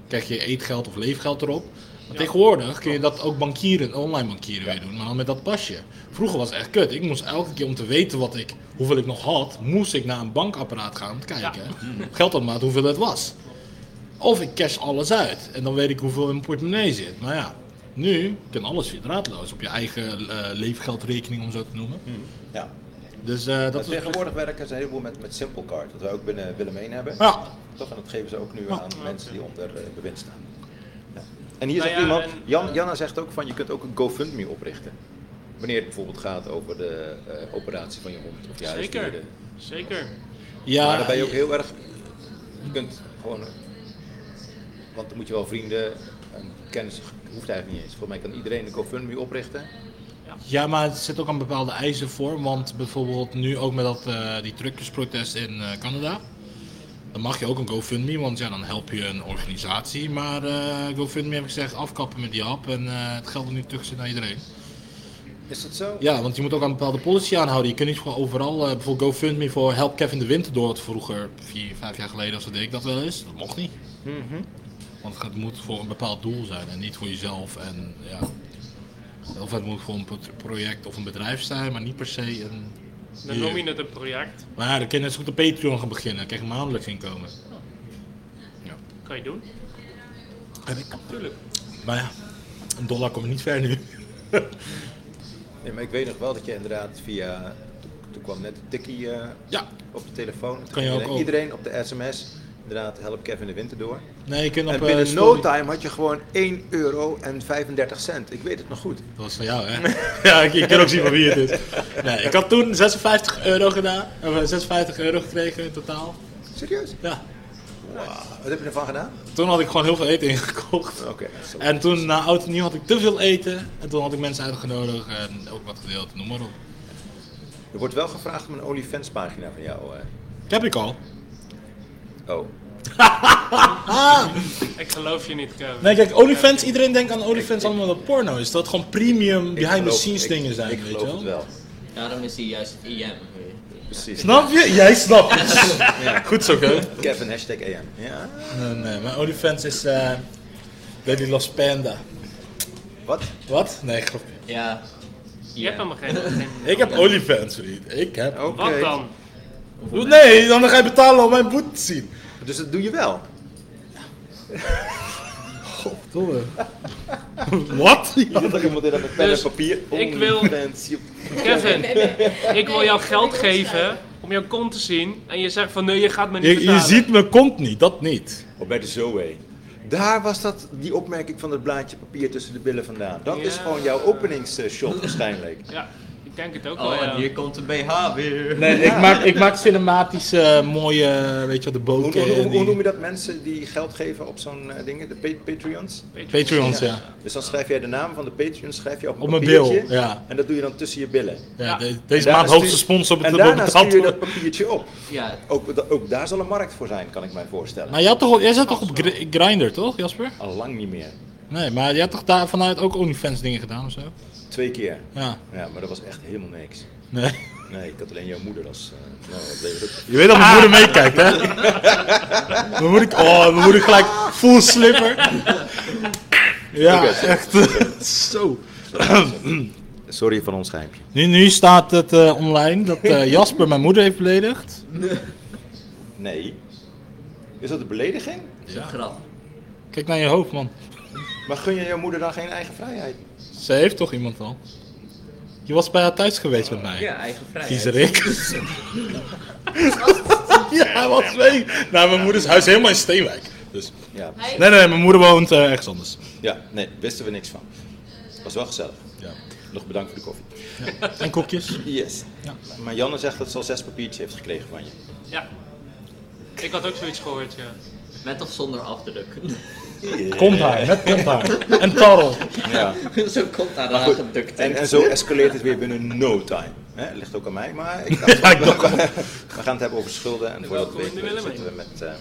krijg je eetgeld of leefgeld erop. Maar tegenwoordig kun je dat ook bankieren, online bankieren weer doen, maar dan met dat pasje. Vroeger was het echt kut. Ik moest elke keer om te weten wat ik, hoeveel ik nog had, moest ik naar een bankapparaat gaan om te kijken. Geldautomaat, hoeveel het was. Of ik cash alles uit en dan weet ik hoeveel in mijn portemonnee zit. Maar ja, nu kan alles weer draadloos op je eigen eh, leefgeldrekening, om zo te noemen. Ja. Dus eh, dat Maar is tegenwoordig werken ze een heleboel met, met Simplecard, dat we ook binnen Willem heen hebben. Ja, Toch, en dat geven ze ook nu aan mensen die onder eh, bewind staan. Ja. En hier Nou zegt ja, iemand, en- Jan, Janna zegt ook van je kunt ook een GoFundMe oprichten. Wanneer het bijvoorbeeld gaat over de eh, operatie van je hond of je Zeker, huisdieren. zeker. ja Maar dan ben je ook heel erg, je kunt gewoon, eh, want dan moet je wel vrienden, en kennis hoeft eigenlijk niet eens. Volgens mij kan iedereen een GoFundMe oprichten. ja, maar het zit ook aan bepaalde eisen voor. Want bijvoorbeeld nu ook met dat, eh, die truckersprotest in eh, Canada. Dan mag je ook een GoFundMe, want ja, dan help je een organisatie. Maar eh, GoFundMe heb ik gezegd, afkappen met die hap. En eh, het geld er nu tussen naar iedereen. Is dat zo? Ja, want je moet ook aan een bepaalde policy aanhouden. Je kunt niet gewoon overal, eh, bijvoorbeeld GoFundMe voor Help Kevin de Winter door. Wat vroeger, vier, vijf jaar geleden of zo deed ik dat wel eens. Dat mocht niet. Want het moet voor een bepaald doel zijn en niet voor jezelf. En, ja. Of het moet voor een pro- project of een bedrijf zijn, maar niet per se een... Dan noem je het een project. Maar ja, dan kun je net zo goed op Patreon gaan beginnen. Dan krijg je maandelijks inkomen. Kan je doen? Heb ik. Tuurlijk. Maar ja, een dollar komt niet ver nu. Nee, maar ik weet nog wel dat je inderdaad via. Toen kwam net een tikkie eh, Ja. op de telefoon. Toen Kan je ging ook oh. iedereen, iedereen op de sms. Inderdaad, help Kevin de Winter door. Nee, je kunt op... en eh, binnen no story- time had je gewoon 1 euro en 35 cent. Ik weet het nog goed. Dat was van jou, hè? <laughs> ja, ik, ik kan ook zien van wie het is. Nee, ik had toen 56 euro gedaan, of eh, 56 euro gekregen in totaal. Serieus? Ja. Wat heb je ervan gedaan? Toen had ik gewoon heel veel eten <laughs> ingekocht. Oké. En toen na oud en nieuw had ik te veel eten. En toen had ik mensen uitgenodigd en ook wat gedeeld, noem maar op. Er wordt wel gevraagd om een OnlyFans pagina van jou. eh. Dat heb ik al. Oh. Ik geloof je niet, Kevin. Nee, kijk, OnlyFans, iedereen denkt aan OnlyFans allemaal dat porno is. Dat gewoon premium, behind the geloof- scenes ik- dingen zijn, Ik weet geloof je het wel. wel. Daarom is hij juist IM. Precies. Snap je? Jij snapt het. Goed zo, Kevin. Kevin, hashtag AM. Ja. Nee, nee, mijn OnlyFans is eh Daddy Lost Panda. Wat? Wat? Nee, grapje. Ja. Je hebt helemaal geen... <laughs> geen- Ik heb OnlyFans, vriend. Ik heb... Oké. Wat dan? Doe- Nee, dan ga je betalen om mijn boete te zien. Dus dat doe je <laughs> wel. Goddomme. <laughs> Wat? Dat er iemand in dat met pen Dus en papier. ik wil- OnlyFans, joep. Kevin, ik wil Nee, jou dat geld wil ik ook geven om jouw kont te zien. En je zegt van nee, je gaat me niet Je, betalen. je ziet mijn kont niet, dat niet. Oh, bij de Zoe. Daar was dat, die opmerking van het blaadje papier tussen de billen vandaan. Dat is Ja. gewoon jouw <laughs> openingsshot waarschijnlijk. Ja, ik denk het ook wel. Oh, en ja. hier komt de BH weer. Nee, ik maak, ik maak cinematische, eh, mooie, weet je wat, de Hoe, boken. hoe, hoe, hoe die- noem je dat mensen die geld geven op zo'n eh, dingen? De pa- Patreons? Patreons, ja. Dus dan schrijf jij de naam van de Patreon schrijf je op een Op mijn papiertje. bil, ja. En dat doe je dan tussen je billen. ja de- En deze daarna maand hoogste stuur- sponsor op En het daarna stuur je dat betaald. papiertje op. Ja, Ook, da- ook daar zal een markt voor zijn, kan ik mij voorstellen. Maar jij, had toch, jij zat toch op Gr- Grindr, toch, Jasper? Al lang niet meer. Nee, maar jij had toch daar vanuit ook OnlyFans dingen gedaan of zo? Twee keer. Ja. Ja, maar dat was echt helemaal niks. Nee. Nee, ik had alleen jouw moeder als... eh, nou, dat weet ik. Je weet dat mijn moeder meekijkt, hè? <laughs> Mijn moeder, oh, mijn moeder gelijk full slipper. Ja, echt. <laughs> Zo. <clears throat> Sorry van ons geheimje. Nu, nu staat het eh, online dat eh, Jasper mijn moeder heeft beledigd. Nee. Is dat een belediging? dat is een grap. Kijk naar je hoofd, man. Maar gun je jouw moeder dan geen eigen vrijheid? Ze heeft toch iemand al? Je was bij haar thuis geweest met mij. Ja, eigen vrijheid. Kiezerik. <laughs> ja, hij was mee. Nou, mijn moeders huis is helemaal in Steenwijk. Dus. Ja. Hij Nee, nee, mijn moeder woont eh, ergens anders. Ja, nee, wisten we niks van. Was wel gezellig. Ja. Nog bedankt voor de koffie. En koekjes. Yes. Ja. Maar Janne zegt dat ze al zes papiertjes heeft gekregen van je. Ja. Ik had ook zoiets gehoord, ja. Met of zonder afdruk. Komt haar, met komt haar. En tarrel. Ja. <laughs> Zo komt daar aangedukt. En, en zo escaleert het weer binnen no time. Hè, ligt ook aan mij, maar <laughs> ik ga Ja, ik dacht al. <laughs> we gaan het hebben over schulden. En voordat we Welkom in het de weten Willemijn. zitten we met, eh,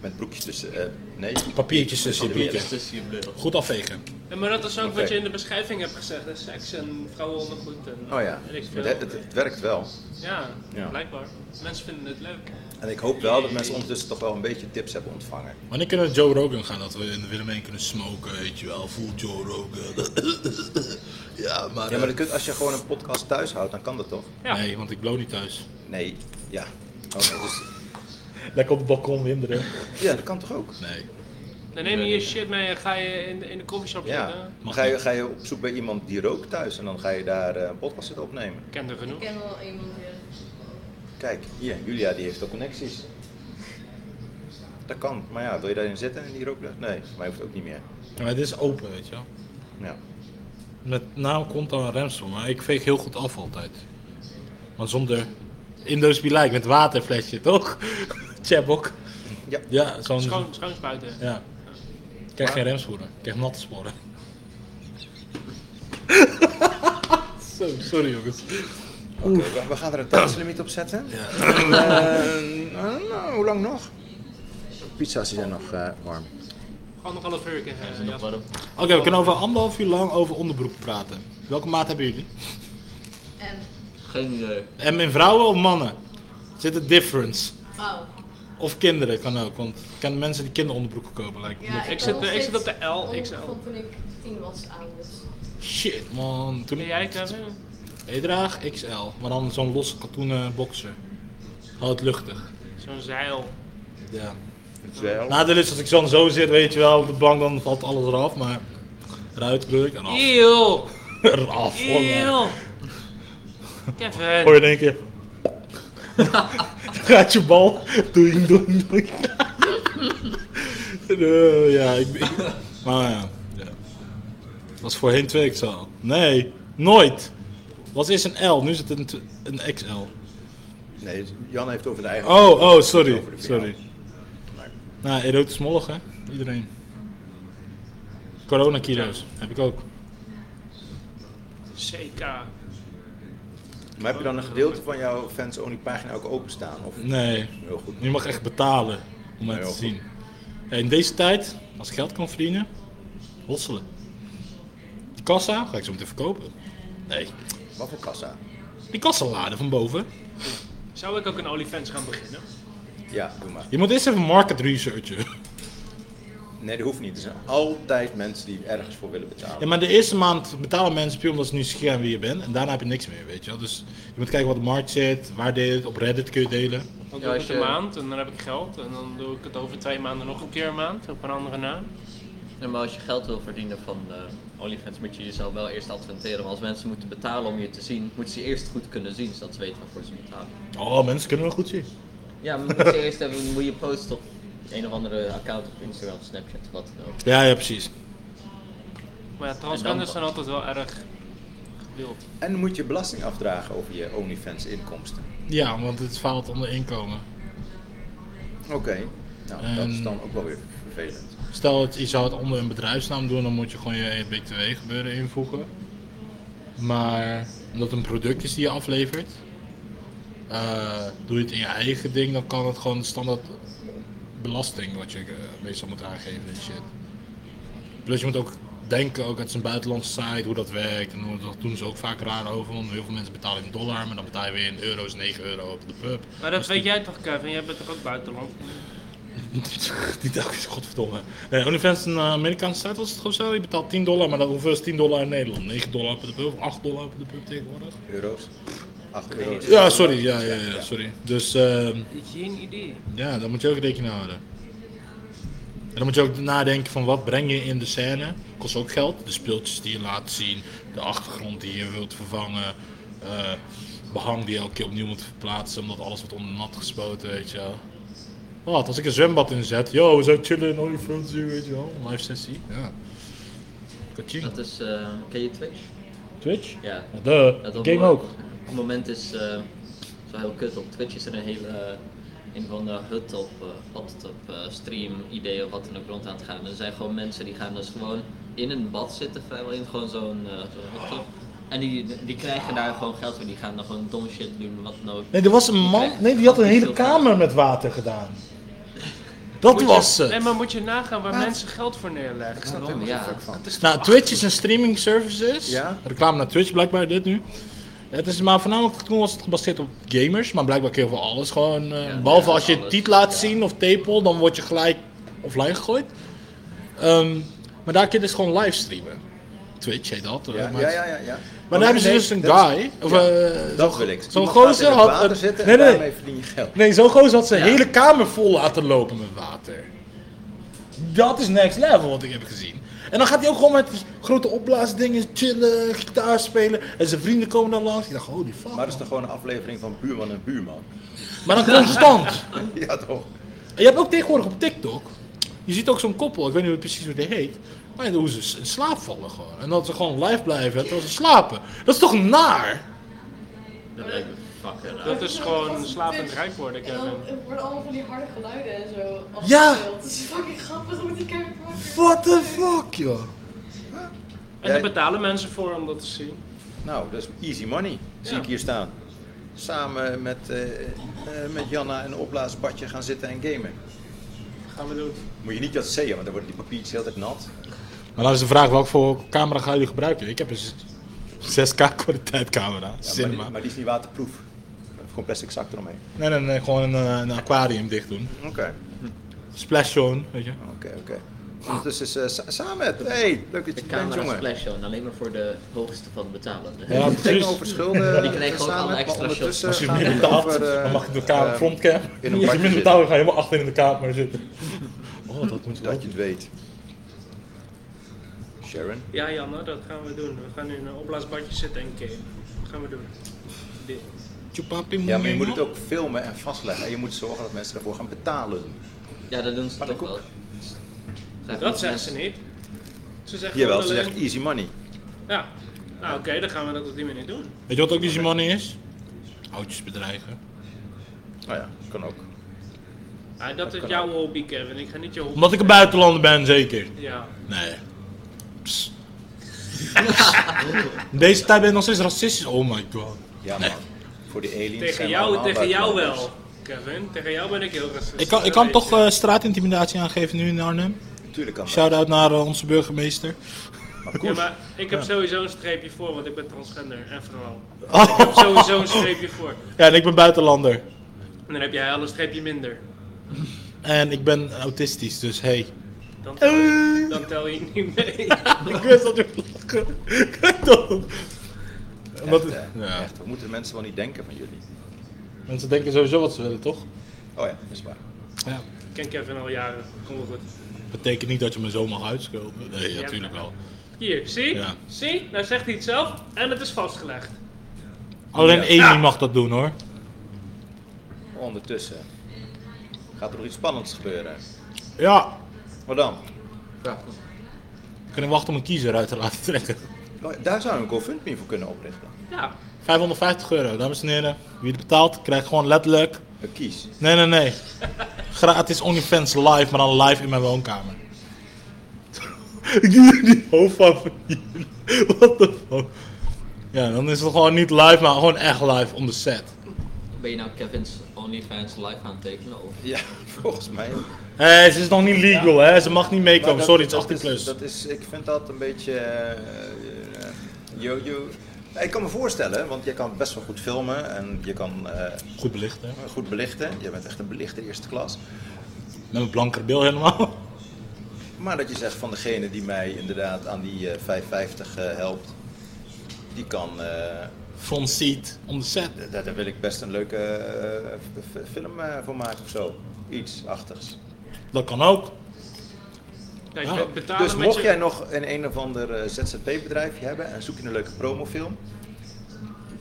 met broekjes tussen... eh, nee, Papiertjes tussen je Papiertjes. broekjes. tussen je bril. Goed afvegen. Ja, maar dat is ook Oké. wat je in de beschrijving hebt gezegd. Hè? Seks en vrouwenondergoed. En, Oh ja, En ik maar veel. het, het, het werkt wel. Ja, Ja. blijkbaar. Mensen vinden het leuk. En ik hoop wel dat mensen ondertussen toch wel een beetje tips hebben ontvangen. Wanneer kunnen we Joe Rogan gaan? Dat we in de Willemijn kunnen smoken, weet je wel. Voel Joe Rogan. <laughs> ja, maar... Ja, maar eh, dat kunt, als je gewoon een podcast thuis houdt, dan kan dat toch? Ja. Nee, want ik blow niet thuis. Nee, ja. Oh, dus- Lekker op het balkon winderen. ja, dat kan toch ook? Nee. Dan neem je je shit mee en ga je in de, in de coffeeshop Ja. zitten. Dan Ga je, ga je op zoek bij iemand die rookt thuis en dan ga je daar eh, een podcast zitten opnemen. Ik ken er genoeg. ken wel iemand hier. Kijk, hier, Julia die heeft ook connecties. Dat kan, maar ja, wil je daarin zitten en die rooklucht? Nee, maar hoeft ook niet meer. Ja, maar dit is open, weet je wel. Ja. Met naam komt dan een remsel, maar ik veeg heel goed af altijd. Maar zonder... Indo's be like, met waterflesje, toch? <laughs> Chabok. Ja. Ja, zo'n... Schoon, schoon spuiten. Ja. Ik krijg geen remsporen. Ik krijg natte sporen. <laughs> Zo, sorry jongens. Oké, we, we gaan er een tijdslimiet op zetten. Eh, nou, hoe nou, lang nog? pizza's die zijn nog eh, warm. Anderhalf uur. eh, Er zijn nog Jasper. wat op. Oké, we kunnen over anderhalf uur lang over onderbroek praten. Welke maat hebben jullie? En, Geen idee. En in vrouwen of mannen? Zit het difference? oh. Of kinderen kan ook, want ik ken mensen die kinderonderbroeken kopen lijkt me. Ja, Ik ben zit- nog ik steeds zit op de L, onder- XL. van toen ik tien was aan, dus. Shit man, toen Ben ik... jij het hebben? Ik draag XL, maar dan zo'n losse katoenen boxer. Houd luchtig. Zo'n zeil. Oh. Ja. Wel. Nadeel is als ik dan zo zit, weet je wel, op de bank dan valt alles eraf, maar... Eruit kleur ik en af. Eeuw! Eraf, <laughs> hoor. Eeuw! Kevin! Hoor je in één keer... <laughs> Gaat je bal. Doei, doei, doei. <laughs> En, eh, ja, ik ben... Maar ja, ja. Was voorheen 2 XL. Nee, nooit. Was eerst een L, nu is het een, tw- een XL. Nee, Jan heeft over de eigen. Oh, oh, sorry. Over de verjaardag. Sorry. Nou, erotisch mollig, hè? Iedereen. Corona-kilo's. Heb ik ook. CK. Maar heb je dan een gedeelte van jouw fans only pagina ook openstaan? Of Nee. heel goed. Mm. Je mag echt betalen om het Ja, te heel zien. Ja, in deze tijd, als ik geld kan verdienen, hosselen. Die kassa ga ik zo meteen verkopen. Nee. Wat voor kassa? Die kassalade van boven. Zou ik ook een OnlyFans gaan beginnen? Ja, doe maar. Je moet eerst even market researchen. Nee, dat hoeft niet. Er zijn altijd mensen die ergens voor willen betalen. Ja, maar de eerste maand betalen mensen puur omdat ze nieuwsgierig zijn wie je bent. En daarna heb je niks meer, weet je wel. Dus je moet kijken wat de markt zit, waar deel je het, op Reddit kun je delen. Dan Ja, doe ik als het een je- maand en dan heb ik geld. En dan doe ik het over twee maanden nog een keer een maand. Op een andere naam. Ja, maar als je geld wil verdienen van eh OnlyFans, moet je jezelf wel eerst adventeren. Want als mensen moeten betalen om je te zien, moeten ze je eerst goed kunnen zien, zodat ze weten waarvoor ze betalen. Oh, mensen kunnen wel goed zien. Ja, maar moet je eerst even, moet je posten op een of andere account op Instagram, Snapchat, wat dan ook. Ja, ja, precies. Maar ja, En dan transgenders wat? zijn altijd wel erg gewild. En moet je belasting afdragen over je OnlyFans inkomsten. Ja, want het valt onder inkomen. Oké. Nou, dat is Ehm. dan ook wel weer vervelend. Stel, dat je zou het onder een bedrijfsnaam doen, dan moet je E gewoon je BTW gebeuren invoegen. Maar omdat het een product is die je aflevert, eh, doe je het in je eigen ding, dan kan het gewoon standaard belasting wat je eh, meestal moet aangeven en shit. Plus je moet ook denken, ook het is een buitenlandse site, hoe dat werkt en hoe, dat doen ze ook vaak raar over, want heel veel mensen betalen in dollar, maar dan betaal je weer in euro's 9 euro op de pub. Maar dat weet jij toch, Kevin? Jij bent toch ook buitenland? <laughs> Die dag is godverdomme. Nee, OnlyFans is een eh, Amerikaanse site was het gewoon zo. Je betaalt 10 dollar, maar dat hoeveel is 10 dollar in Nederland? 9 dollar op de pub, of 8 dollar op de pub tegenwoordig? Euro's? 8 euro's. dus- Ja, sorry. Ja, ja, ja, sorry. Dus ehm, Geen idee. ja, daar moet je ook rekening mee houden. En dan moet je ook nadenken van wat breng je in de scène. Kost ook geld. De speeltjes die je laat zien, de achtergrond die je wilt vervangen, eh, behang die je elke keer opnieuw moet verplaatsen omdat alles wordt onder nat gespoten, weet je wel. Wat, als ik een zwembad inzet, yo, we zijn chillen in OnlyFans hier, weet je wel. Een live sessie, ja. Kaching. Dat is, eh, ken je Twitch? Twitch? Ja. De Dat op- game ook. Op het moment is eh zo heel kut. Op Twitch is er een hele eh, een van de hut op, eh, altijd op eh, stream, ideeën of wat in de grond aan het gaan. Er zijn gewoon mensen die gaan dus gewoon in een bad zitten, vrijwel in gewoon zo'n eh, zo'n hutje. En die, die krijgen daar gewoon geld voor. Die gaan dan gewoon dom shit doen, wat dan ook. Nee, er was een man, nee, die had een hele kamer met water <laughs> gedaan. Dat was je, het. Nee, maar moet je nagaan waar mensen geld voor neerleggen. Ik snap er helemaal Ja. geen fuck van. Nou, Twitch is een streaming services. Ja. Reclame naar Twitch blijkbaar, dit nu. Het is maar voornamelijk toen was het gebaseerd op gamers, maar blijkbaar kun je voor alles gewoon. eh, Ja, behalve ja, als je alles. titel laat zien of tepel, dan word je gelijk offline gegooid. Ehm, maar daar kun je dus gewoon livestreamen. Twitch heet dat. eh, Ja, maar ja, ja, ja. ja. Maar daar hebben ze nee, dus een dat is- guy. Of, ja, eh, dat zo'n- wil ik. Zo'n Iemand gaat gozer in het had. water een- zitten nee, en nee, daarmee verdien je geld. nee, zo'n gozer had zijn Ja. hele kamer vol laten lopen met water. Dat is next level wat ik heb gezien. En dan gaat hij ook gewoon met die grote opblaasdingen chillen, gitaar spelen. En zijn vrienden komen dan langs. Ik dacht, holy fuck. Maar man. dat is toch gewoon een aflevering van buurman en buurman? <laughs> Maar dan constant. Ja, toch? En je hebt ook tegenwoordig op TikTok, je ziet ook zo'n koppel, ik weet niet precies hoe die heet, maar hoe ze in slaap vallen gewoon. En dat ze gewoon live blijven terwijl ze slapen. Dat is toch naar? Dat lijkt me fucking raar. Dat is gewoon slapend rijk worden, Dus- En dan Kevin. eh, worden allemaal van die harde geluiden en zo Ja. afgespeeld. Het is fucking grappig, moet ik even What the fuck, joh. En daar betalen mensen voor om dat te zien. Nou, dat is easy money. Zie ik hier staan. Samen met, eh, eh, met Janna in een opblaasbadje gaan zitten en gamen. Gaan we doen. Moet je niet dat zeeën, want dan worden die papiertjes heel tijd nat. Maar dan is de vraag, welke voor camera ga je gebruiken? Ik heb een 6K kwaliteit camera, Ja, maar, die, cinema. maar die is niet waterproof. Gewoon plastic zak eromheen. Nee, nee, nee, gewoon een, eh, een aquarium dicht doen. Oké. Splash zone, weet je. Oké, oké. Ondertussen is eh, Sa- Samet. Hey, leuk dat je Ah. De er bent, camera jongen. splash zone, alleen maar voor de hoogste van de betalende. Ja, precies. Tegenover schulden. Die kreeg eh, ook alle Samet, maar extra shots. ondertussen Als je gaan we minder het betaalt, over, eh, dan mag je de eh, kamer frontcam. in een <laughs> Als je bakje minder zitten. betaalt, dan ga je helemaal achterin in de kamer zitten. Oh, dat moet Dat je het weet. Sharon. Ja, Janne, dat gaan we doen. We gaan nu in een opblaasbadje zitten en gamen. Dat gaan we doen. Deal. Ja, maar je moet het ook filmen en vastleggen. En je moet zorgen dat mensen ervoor gaan betalen. Ja, dat doen ze Maar toch dat wel. Schrijf Dat op, zegt mensen. ze niet. Ze zegt Jawel, ze gewoon zegt alleen- easy money. Ja. Nou, oké, dan gaan we dat op die manier doen. Weet je wat ook die money is? Oudjes bedreigen. Nou ja, kan ook. Ah, dat is kan jouw hobby, Kevin. Ik ga niet je hobby. Omdat ik een buitenlander ben, zeker. Ja. Nee. Psst. <laughs> In Deze tijd ben je nog steeds racistisch. Oh my god. Ja, man. Voor die aliens. Tegen zijn we jou, allemaal tegen jou buitenlanders. wel, Kevin. Tegen jou ben ik heel racistisch. Ik kan, ik dat kan weet toch je. eh, straatintimidatie aangeven nu in Arnhem. Tuurlijk kan dat. Shout-out naar eh, onze burgemeester. Ja, maar ik heb sowieso een streepje voor, want ik ben transgender en vooral. Ik heb Oh. sowieso een streepje voor. Ja, en ik ben buitenlander. En dan heb jij al een streepje minder. En ik ben autistisch, dus hey. Dan tel je, Eh. dan tel je niet mee. Ik wist dat je lachen. Kijk dan. Omdat Echt, het- hè? ja. Echt, we moeten de mensen wel niet denken van jullie. Mensen denken sowieso wat ze willen, toch? Oh ja, dat is waar. Ja. Ik ken Kevin al jaren. Kom wel goed. Betekent niet dat je me zo mag uitskopen. Nee, Ja, natuurlijk wel. Hier, zie? Ja. Zie? Nou zegt hij het zelf en het is vastgelegd. Alleen Ja. Amy mag dat doen hoor. Ondertussen gaat er nog iets spannends gebeuren. Ja. Wat dan? Kunnen wachten om een kiezer uit te laten trekken. Nou, Daar zou je een GoFundMe voor kunnen oprichten. Ja. 550 euro, dames en heren. Wie het betaalt, krijgt gewoon letterlijk. Een kies. Nee, nee, nee. Gratis OnlyFans live, maar dan live in mijn woonkamer. <laughs> Ik doe die hoofd van <laughs> van jullie. What the fuck. Ja, dan is het gewoon niet live, maar gewoon echt live on the set. Ben je nou Kevin's OnlyFans live aan het tekenen? Of? Ja, <laughs> volgens mij. ook. Hé, ze is nog niet legal, hè? Ze mag niet Maar meekomen. dat- Sorry, het is dat 18 plus. Dat is, ik vind dat een beetje. eh, eh, Yo, yo. Ik kan me voorstellen, want je kan best wel goed filmen en je kan eh, Goed belicht, hè? goed belichten. Je bent echt een belichter eerste klas. Met mijn blankere bil helemaal. <laughs> Maar dat je zegt van degene die mij inderdaad aan die eh, 550 eh, helpt, die kan. eh, Front seat on the set. d- daar wil ik best een leuke eh, f- f- film eh, voor maken of zo. Iets achtigs. Dat kan ook. Kijk, Ja. be- betalen Dus met mocht Nou, je... jij nog een een of ander eh, ZZP-bedrijfje hebben en zoek je een leuke promofilm,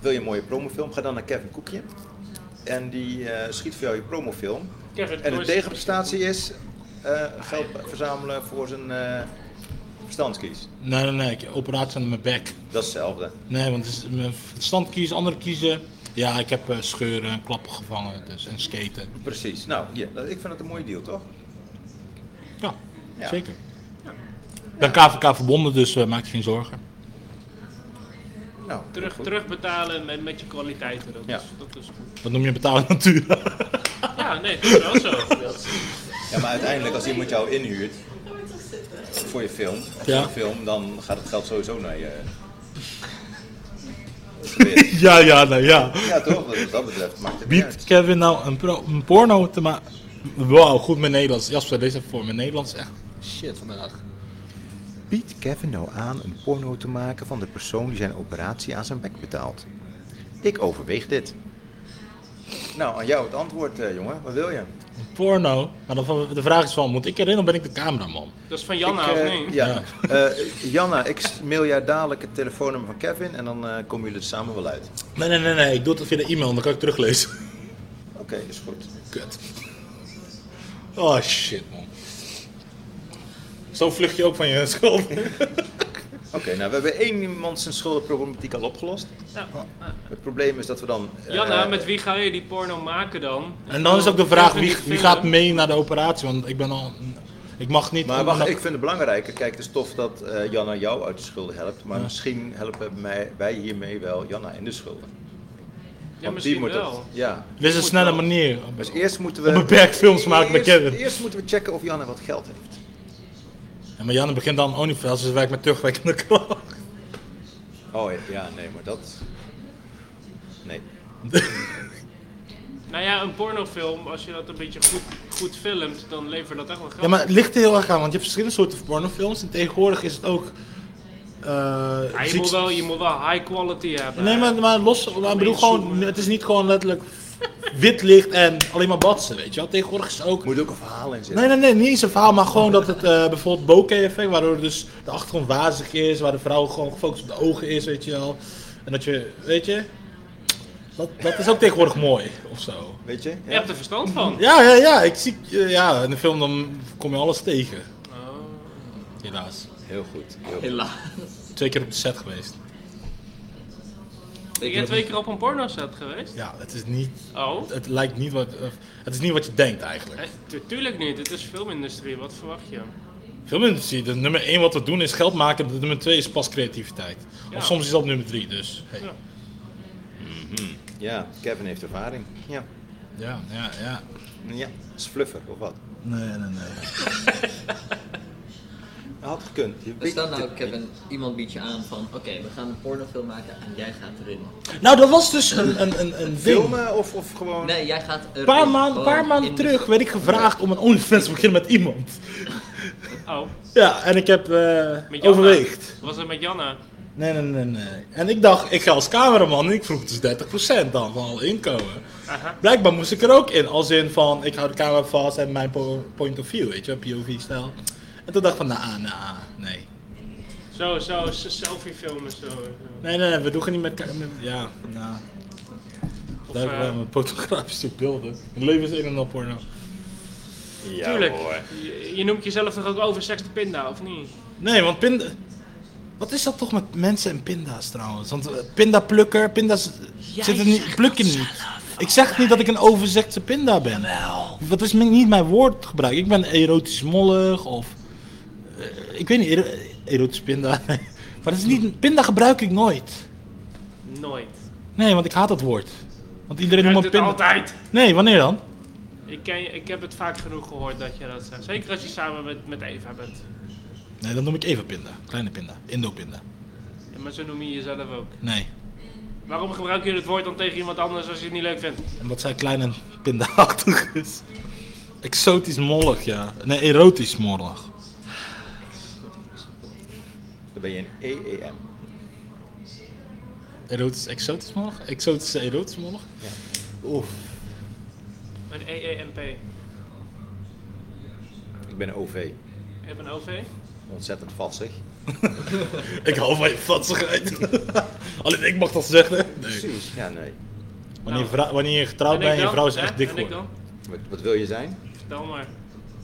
wil je een mooie promofilm, ga dan naar Kevin Koekje. En die eh, schiet voor jou je promofilm. Kevin, En de doe tegenprestatie is eh, geld verzamelen voor zijn eh verstandskies. Nee, nee, nee. ik- Operatie aan mijn bek. Dat is hetzelfde. Nee, want het is mijn verstand kiezen, anderen kiezen. Ja, ik heb eh, scheuren en klappen gevangen dus, en skaten. Precies. Nou, ja, dat- ik vind het een mooie deal, toch? Ja, Ja. zeker. Ik ben KVK verbonden, dus eh, maak je geen zorgen. Nou, Terug, goed. terugbetalen met, met je kwaliteiten. Dat, Ja. is, dat is goed. Wat noem je betalen <laughs> natuur? Ja, nee, dat is wel zo. Ja, maar uiteindelijk als iemand jou inhuurt Ga maar toch zitten. voor je film, of Ja. voor een film, dan gaat het geld sowieso naar je. Dat is weer- ja, ja, nee, ja. Ja, toch? Wat dat betreft maakt het niet Biedt uit. Kevin nou een, pro- een porno te maken? Wauw, goed met Nederlands. Jasper, deze voor mijn Nederlands is echt shit vandaag. Biedt Kevin nou aan een porno te maken van de persoon die zijn operatie aan zijn bek betaalt? Ik overweeg dit. Nou, aan jou het antwoord, eh, jongen. Wat wil je? Een porno? Maar dan, van- de vraag is van, moet ik erin of ben ik de cameraman? Dat is van Janna, Ik, of eh, niet? Ja. Eh, Janna, ik mail jou dadelijk het telefoonnummer van Kevin en dan eh, komen jullie er samen wel uit. Nee, nee, nee, nee. Ik doe het via de e-mail, dan kan ik teruglezen. <laughs> Oké, is goed. Kut. Oh shit, man. Zo vlucht je ook van je <laughs> schuld. Oké, nou we hebben één iemand zijn schuldenproblematiek al opgelost. Ja. Oh. Het probleem is dat we dan... eh, Janna, met wie ga je die porno maken dan? En dan is ook de vraag, Kevin wie, niet wie vinden. gaat mee naar de operatie? Want ik ben al... Ik mag niet... Maar wacht, ik vind het belangrijker. Kijk, het is tof dat eh, Janna jou uit de schulden helpt. Maar misschien helpen mij, wij hiermee wel Janna in de schulden. Want misschien moet wel. dat- ja. Dit is een snelle wel. manier. Dus eerst moeten we... Onbeperkt films maken met eerst, kinderen. Eerst moeten we checken of Janne wat geld heeft. Ja, maar Janne begint dan OnlyFans, dus werkt met terugwerkende kracht. Oh ja, ja, nee, maar dat... Nee. Nou ja, een pornofilm, als je dat een beetje goed, goed filmt, dan levert dat echt wel geld. Ja, maar het ligt er heel erg aan, want je hebt verschillende soorten pornofilms. En tegenwoordig is het ook... eh, Ja, Ah, je, ziek- moet wel, je moet wel high quality hebben. Nee, maar, maar los... Maar ik bedoel gewoon, het is niet gewoon letterlijk wit licht en alleen maar batsen, weet je wel. Tegenwoordig is het ook... Moet ook een verhaal in zitten. Nee, nee, nee, niet eens een verhaal, maar gewoon dat het eh, bijvoorbeeld bokeh-effect, waardoor dus de achtergrond wazig is, waar de vrouw gewoon gefocust op de ogen is, weet je wel. En dat je, weet je, dat, dat is ook tegenwoordig mooi, of zo. Weet je? Je hebt er verstand van. Ja, ja, ja, ik zie, eh, ja, in de film dan kom je alles tegen. Oh. Helaas. Heel goed. Heel goed. Helaas. Twee keer op de set geweest. Ben jij twee keer op een pornoset geweest? Ja, het is niet, Oh, het lijkt niet wat, eh, het is niet wat je denkt eigenlijk. Eh, tu- tuurlijk niet. Het is filmindustrie, wat verwacht je? Filmindustrie, de nummer één wat we doen is geld maken, de nummer twee is pas creativiteit. Ja. Of soms is dat nummer drie, dus. hey. Ja. Ja, Kevin heeft ervaring. Ja. Ja, ja, ja. Ja, is fluffer of wat? Nee, nee, nee. Had gekund. Je Dus weet dan het nou, niet. Kevin, iemand biedt je aan van, oké, we gaan een pornofilm maken en jij gaat erin. Nou, dat was dus een, een, een, een ding. Filmen of, of gewoon... Nee, jij gaat erin. Een paar, maanden, Gewoon paar maanden in- terug werd ik gevraagd om een OnlyFans te beginnen met iemand. Oh, Ja, en ik heb eh, met Janna. overweegd. Was het met Janna? Nee, nee, nee, nee. En ik dacht, ik ga als cameraman en ik vroeg dus 30% dan van al inkomen. Aha. Blijkbaar moest ik er ook in, als in van, ik hou de camera vast en mijn po- point of view, weet je, POV-stijl. En toen dacht ik van, nou, nah, nah, nee. Zo, zo, s- selfie filmen zo. Nee, nee, nee, we doen het niet met camera. Ja, nou. Of, Daar eh, hebben we fotografische beelden. Mijn leven is in en op nou. porno. Ja, tuurlijk. hoor. Je, je noemt jezelf toch ook oversexte pinda, of niet? Nee, want pinda... Wat is dat toch met mensen en pinda's trouwens? Want eh, pindaplukker, pinda's zitten niet, pluk je niet. Ik zeg niet dat ik een overzekte pinda ben. Dat is mi- niet mijn woordgebruik. Ik ben erotisch mollig of... eh, ik weet niet, ero- erotisch pinda. <laughs> maar dat is niet... Pinda gebruik ik nooit. Nooit. Nee, want ik haat dat woord. Want iedereen Ik noemt me het pinda. altijd. Nee, wanneer dan? Ik, ken, je- ik heb het vaak genoeg gehoord dat je dat zegt. Zeker als je samen met, met Eva bent. Nee, dan noem ik even pinda. Kleine pinda. Indo-pinda. Ja, maar zo noem je jezelf ook. Nee. Waarom gebruik je het woord dan tegen iemand anders als je het niet leuk vindt? En wat zij klein en pindaachtig is. Exotisch mollig, ja. Nee, erotisch mollig. Dan ben je een E EEM. Erotisch, exotisch mollig? Exotisch, erotisch mollig? Oef. Een EEMP. Ik ben een OV. Ik heb een OV. Ontzettend vastig. Ik hou van je vatsigheid. <laughs> Alleen ik mag dat zeggen. Nee. Precies. Ja, nee. Wanneer, je vrou- wanneer je getrouwd En bent en ik je dan? vrouw is Hè? echt dik En ik geworden. dan? Wat, wat wil je zijn? Vertel maar.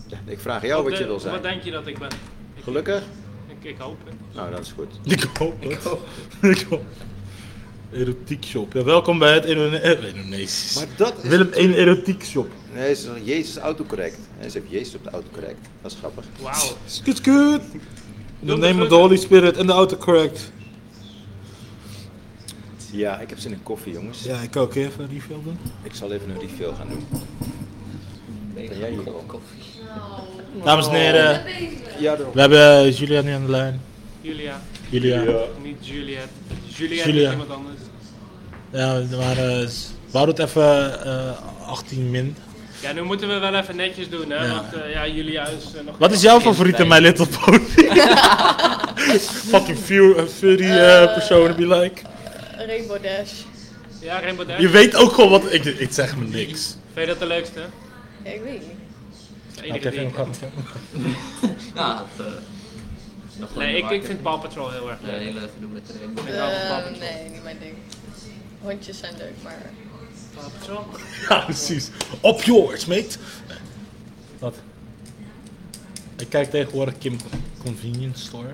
Ja, ik vraag jou wat, de- je wil zijn. Wat denk je dat ik ben? Ik, Gelukkig? Ik, ik hoop het. Nou, dat is goed. Ik hoop het. <laughs> Ik hoop het. Erotiek shop. Ja, welkom bij het Indone- eh, Indonesisch. Maar dat is... Willem 1 erotiek shop. Nee, ze zeggen Jezus autocorrect. Nee, ze hebben Jezus op de autocorrect. Dat is grappig. Wauw. Skut, skut. In de name Doe of the begroeten. Holy Spirit en de autocorrect. Ja, ik heb zin in koffie, jongens. Ja, ik ook. Even een refill doen. Ik zal even een refill gaan doen. Nee, Ben jij hier kop ook? koffie. Dames en Oh. heren, Ja, daarom. we hebben Julia nu aan de lijn. Julia. Julia. Ja, Niet Juliet. Juliet Julia. is iemand anders. maar eh, we houden het even eh, 18 min. Ja, nu moeten we wel even netjes doen, hè? Ja. Want eh, ja, Julia is eh, nog... Wat is jouw favoriete My Little Pony? Fucking few, eh, furry eh, persoon be like. Rainbow Dash. Ja, Rainbow Dash. Je weet ook gewoon wat... Ik, ik zeg me niks. <laughs> Vind je dat de leukste? hè? Ja, ik weet niet. De enige die ik- Ja, dat... eh, is nog lang Nee, ik, te ik maken. vind Paw Patrol heel erg Ja, leuk. heel even doen met de rainbow. Ik hou van Paw Patrol. Eh, nee, niet mijn ding. Hondjes zijn leuk, maar... Paw Patrol? Ja, precies. Op yours, mate. Wat? Ik kijk tegenwoordig Kim Convenience Store.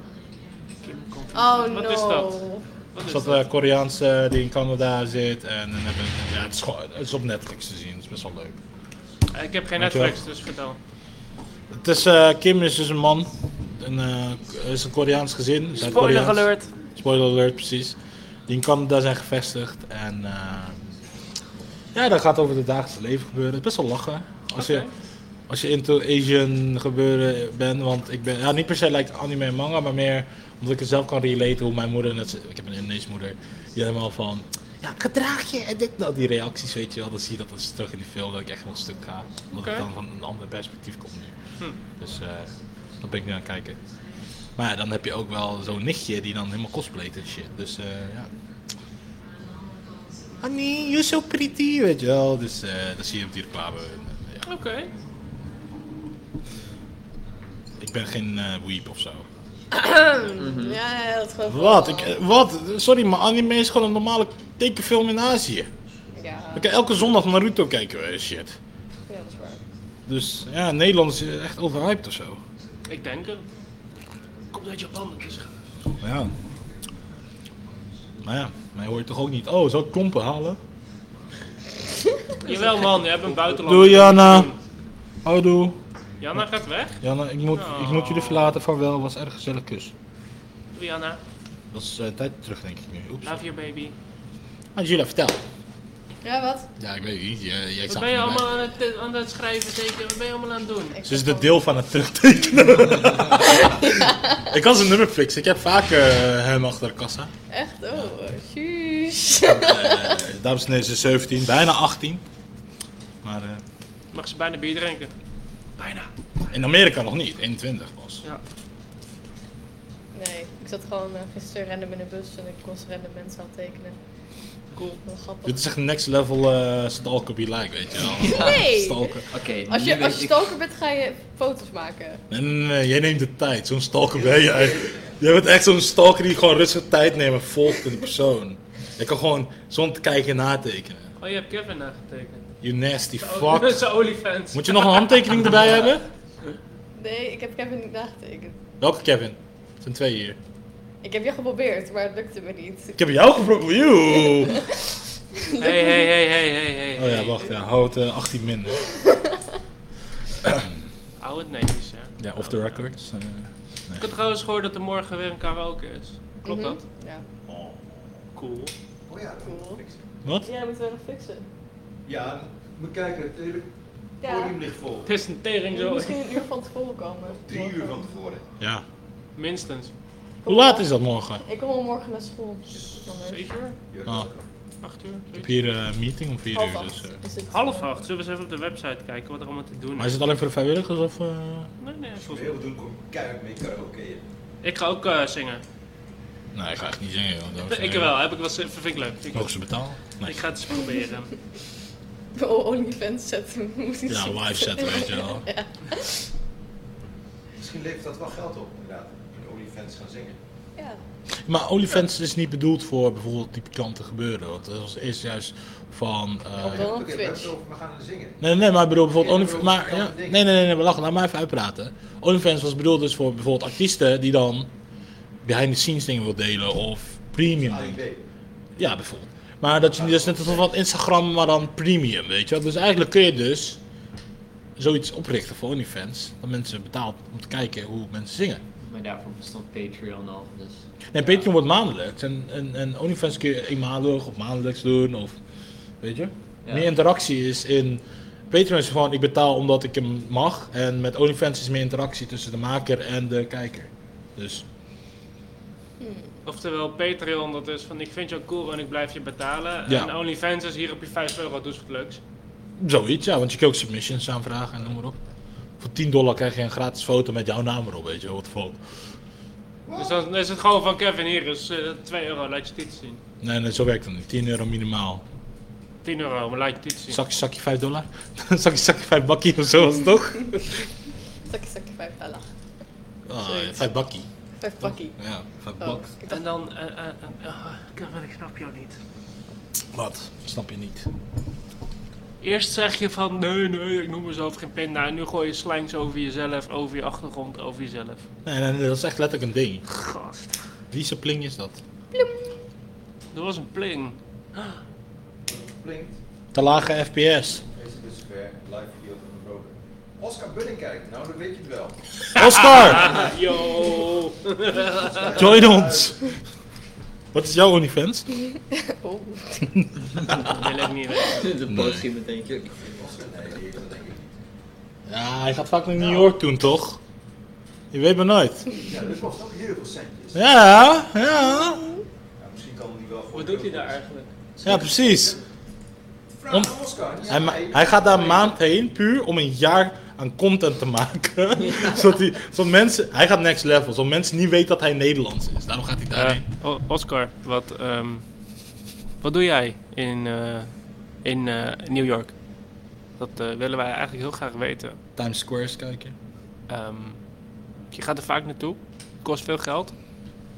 Kim komt- Oh no. Wat is dat? Wat Er is zat dat? een Koreaanse die in Canada zit. En dan hebben we- ja, het, is gewoon- het is op Netflix te zien, het is best wel leuk. Eh, Ik heb geen Dankjewel. Netflix, dus vertel. Het is, eh, Kim is dus een man. Een, eh, is een Koreaans gezin. Spoiler Zuid-Koreaans. alert. Spoiler alert, precies. Die in Canada zijn gevestigd. En eh, Ja, dat gaat over het dagelijks leven gebeuren. Het is best wel lachen. Als je, Oké. als je into Asian gebeuren bent, want ik ben ja, niet per se lijkt anime en manga, maar meer omdat ik het zelf kan relaten hoe mijn moeder, net, ik heb een Indonesische moeder, die helemaal van ja, gedraag je en dit, nou, die reacties, weet je wel, dan zie je dat dus terug in die film dat ik echt wel stuk ga, omdat Oké. Hm. ik dan van een ander perspectief kom nu. Dus eh dat ben ik nu aan het kijken. Maar ja, dan heb je ook wel zo'n nichtje die dan helemaal cosplayt en shit. Dus eh ja. Honey, you're so pretty, weet je wel. Dus eh dan zie je hem die reclame. En, eh, ja. Oké. Ik ben geen eh weep of zo. Ja, ja, dat gewoon. Wat? Ik, eh, wat? Sorry, maar anime is gewoon een normale tekenfilm in Azië. Ja, Ik kan elke zondag Naruto kijken, eh, shit. ja, dat is waar. Dus ja, Nederland is eh, echt overhyped of zo. Ik denk het. Komt uit Japan, dat is gaaf. Ja. Maar ja, mij hoor je toch ook niet. Oh, zal ik klompen halen? Jawel man, je hebt een buitenland. Doei Jana. Oh, doe. Jana gaat weg. Jana, ik moet, ik moet jullie verlaten. Vaarwel, was erg gezellig kus. Doei Jana. Dat is eh, tijd terug, denk ik nu. Oeps. Love your baby. Ah, Julia, vertel. Ja, wat? Ja, ik weet niet. Jij, jij Wat ben je allemaal aan het, eh, aan het schrijven zeker? Wat ben je allemaal aan het doen? Ik Ze is ben de deel van het terugtekenen. <laughs> ik kan zijn nummer fixen. Ik heb vaak eh, hem achter de kassa. gewoon- Echt? Oh, jeez. Eh, dames en heren, ze is 17, bijna 18. Maar eh, Mag ze bijna bier drinken? Bijna. in Amerika nog niet, 21 pas. Ja. <laughs> Nee, ik zat gewoon eh, gisteren random in een bus en ik kon random mensen aan tekenen. Cool. Wel grappig. Dit is echt next level eh stalker be like, weet je wel. Nee! Stalker. Oké, Als nu je, weet als je ik- stalker bent, ga je foto's maken. Nee, nee, nee, jij neemt de tijd. Zo'n stalker ben jij. Jij bent echt zo'n stalker die gewoon rustig tijd neemt en volgt in de persoon. Je kan gewoon zonder kijken natekenen. Oh, je hebt Kevin nagetekend. You nasty Oh, fuck. <laughs> Zijn olifants. Moet je nog een handtekening erbij hebben? Nee, ik heb Kevin niet nagetekend. Welke Kevin? Er zijn twee hier. Ik heb je geprobeerd, maar het lukte me niet. Ik heb jou gebroken. Joe. Hey, hey, hey, hey, hey, hey. Oh ja, wacht. Ja, houd eh, 18 minder. Hou het netjes, hè. Ja, off the dus, eh, records. Ik heb trouwens gehoord dat er morgen weer een karaoke is. Klopt dat? Mhm. Ja, Cool. Oh ja, cool. Wat? Ja, moeten we nog fixen. ja, moet kijken, het hele Ja, podium ligt vol. Het is een tering moet zo. misschien een uur van tevoren komen. Drie uur van tevoren. Ja. Minstens. Hoe laat is dat morgen? Ik kom al morgen naar school. dus Anders. Zeven uur? Ja, Ah, Acht uur? ik heb Zoiets. hier eh, een meeting om 4 Half uur. Dus, acht eh. is het. Half acht. Zullen we eens even op de website kijken wat er allemaal te doen Maar is? is het alleen voor de vrijwilligers of... eh? Nee, nee. volgens mij. Heel doen kom keihard mee karaoke. Ik ga ook eh, Oh, zingen. Nee, ik ga echt niet zingen. joh. Dat is, Ik eh, wel. Heb ik wel zin- Vind ik leuk. Vind ik leuk. Hoogste betaal? Nee. Ik ga het eens proberen. Oh, OnlyFans zetten. Moet ik Ja, zien. live zetten, weet je <laughs> wel. Misschien levert dat wel geld op, inderdaad. En OnlyFans gaan zingen. Ja. Maar OnlyFans is niet bedoeld voor bijvoorbeeld die pikante gebeuren. Want dat was eerst juist van... eh, Op dan Oké, op we hebben het Twitch. over, we gaan zingen. Nee, nee, maar ik bedoel bijvoorbeeld Ja, ik OnlyFans... bedoel, Maar, dat ja, is nee, ding. nee, nee, nee, we lachen. Laat maar even uitpraten. OnlyFans was bedoeld dus voor bijvoorbeeld artiesten die dan behind the scenes dingen wil delen of premium dingen. AIB. Ja, bijvoorbeeld. Maar dat je dus net als wat Instagram, maar dan premium, weet je wel. Dus eigenlijk kun je dus zoiets oprichten voor OnlyFans. Dat mensen betaald om te kijken hoe mensen zingen. Maar daarvoor bestond Patreon al, dus... Nee, Patreon wordt maandelijks. En, en, en OnlyFans kun je eenmalig of maandelijks doen. Of, weet je? Ja. Meer interactie is in... Patreon is gewoon, ik betaal omdat ik hem mag. En met OnlyFans is meer interactie tussen de maker en de kijker. Dus, Oftewel Patreon, dat is van ik vind jou cool en ik blijf je betalen. Ja. En OnlyFans is hier op je 5 euro, doe eens wat leuks. zoiets, ja. Want je kunt ook submissions aanvragen en noem maar op. Voor 10 dollar krijg je een gratis foto met jouw naam erop, weet je. Wat voor... Dus dan is het gewoon van Kevin, hier is eh, 2 euro, laat je titel zien. Nee, nee, zo werkt dat niet. 10 euro minimaal. 10 euro, maar laat je titel zien. Zakje, zakje 5 dollar? <laughs> zakje, zakje 5 bakkie of zo was het toch? Zakje, zakje, vijf dollar. Ah, Zoiets. 5 bakkie. Vijf pakkie. Ja, 5 Oh, bak. ik dacht, En dan, eh, eh, eh, ah, Kevin, ik snap jou niet. Wat? Snap je niet. Eerst zeg je van nee, nee, ik noem mezelf geen pinda. En nu gooi je slangs over jezelf, over je achtergrond, over jezelf. Nee, nee, nee, dat is echt letterlijk een ding. Gast. Wie zijn pling is dat? Er was een pling. Blinkt. Te lage FPS. Deze dus weer live video van Robert. Oscar Budding kijkt, nou dan weet je het wel. <laughs> Oscar, Ah, yo. join ons! Wat is jouw OnlyFans? Oh. Dat wil ik niet weten. De poot ging meteen kuk. Ja, hij gaat vaak naar New York toen, toch? Je weet maar nooit. Ja, dat kost ook heel veel centjes. Ja, ja. Ja, misschien kan die wel Wat goed. doet hij daar eigenlijk? Ja, precies. Vraag aan Oscar. Ja, Hij, ma- hey. hij gaat daar een maand heen puur om een jaar aan content te <laughs> maken. zodat, hij, zodat mensen... Hij gaat next level, zodat mensen niet weten dat hij Nederlands is. Daarom gaat hij daarheen. Eh, O- Oscar, wat, ehm, wat doe jij in, eh, in eh, New York? Dat eh, willen wij eigenlijk heel graag weten. Times Squares kijken. Ehm, je gaat er vaak naartoe, kost veel geld.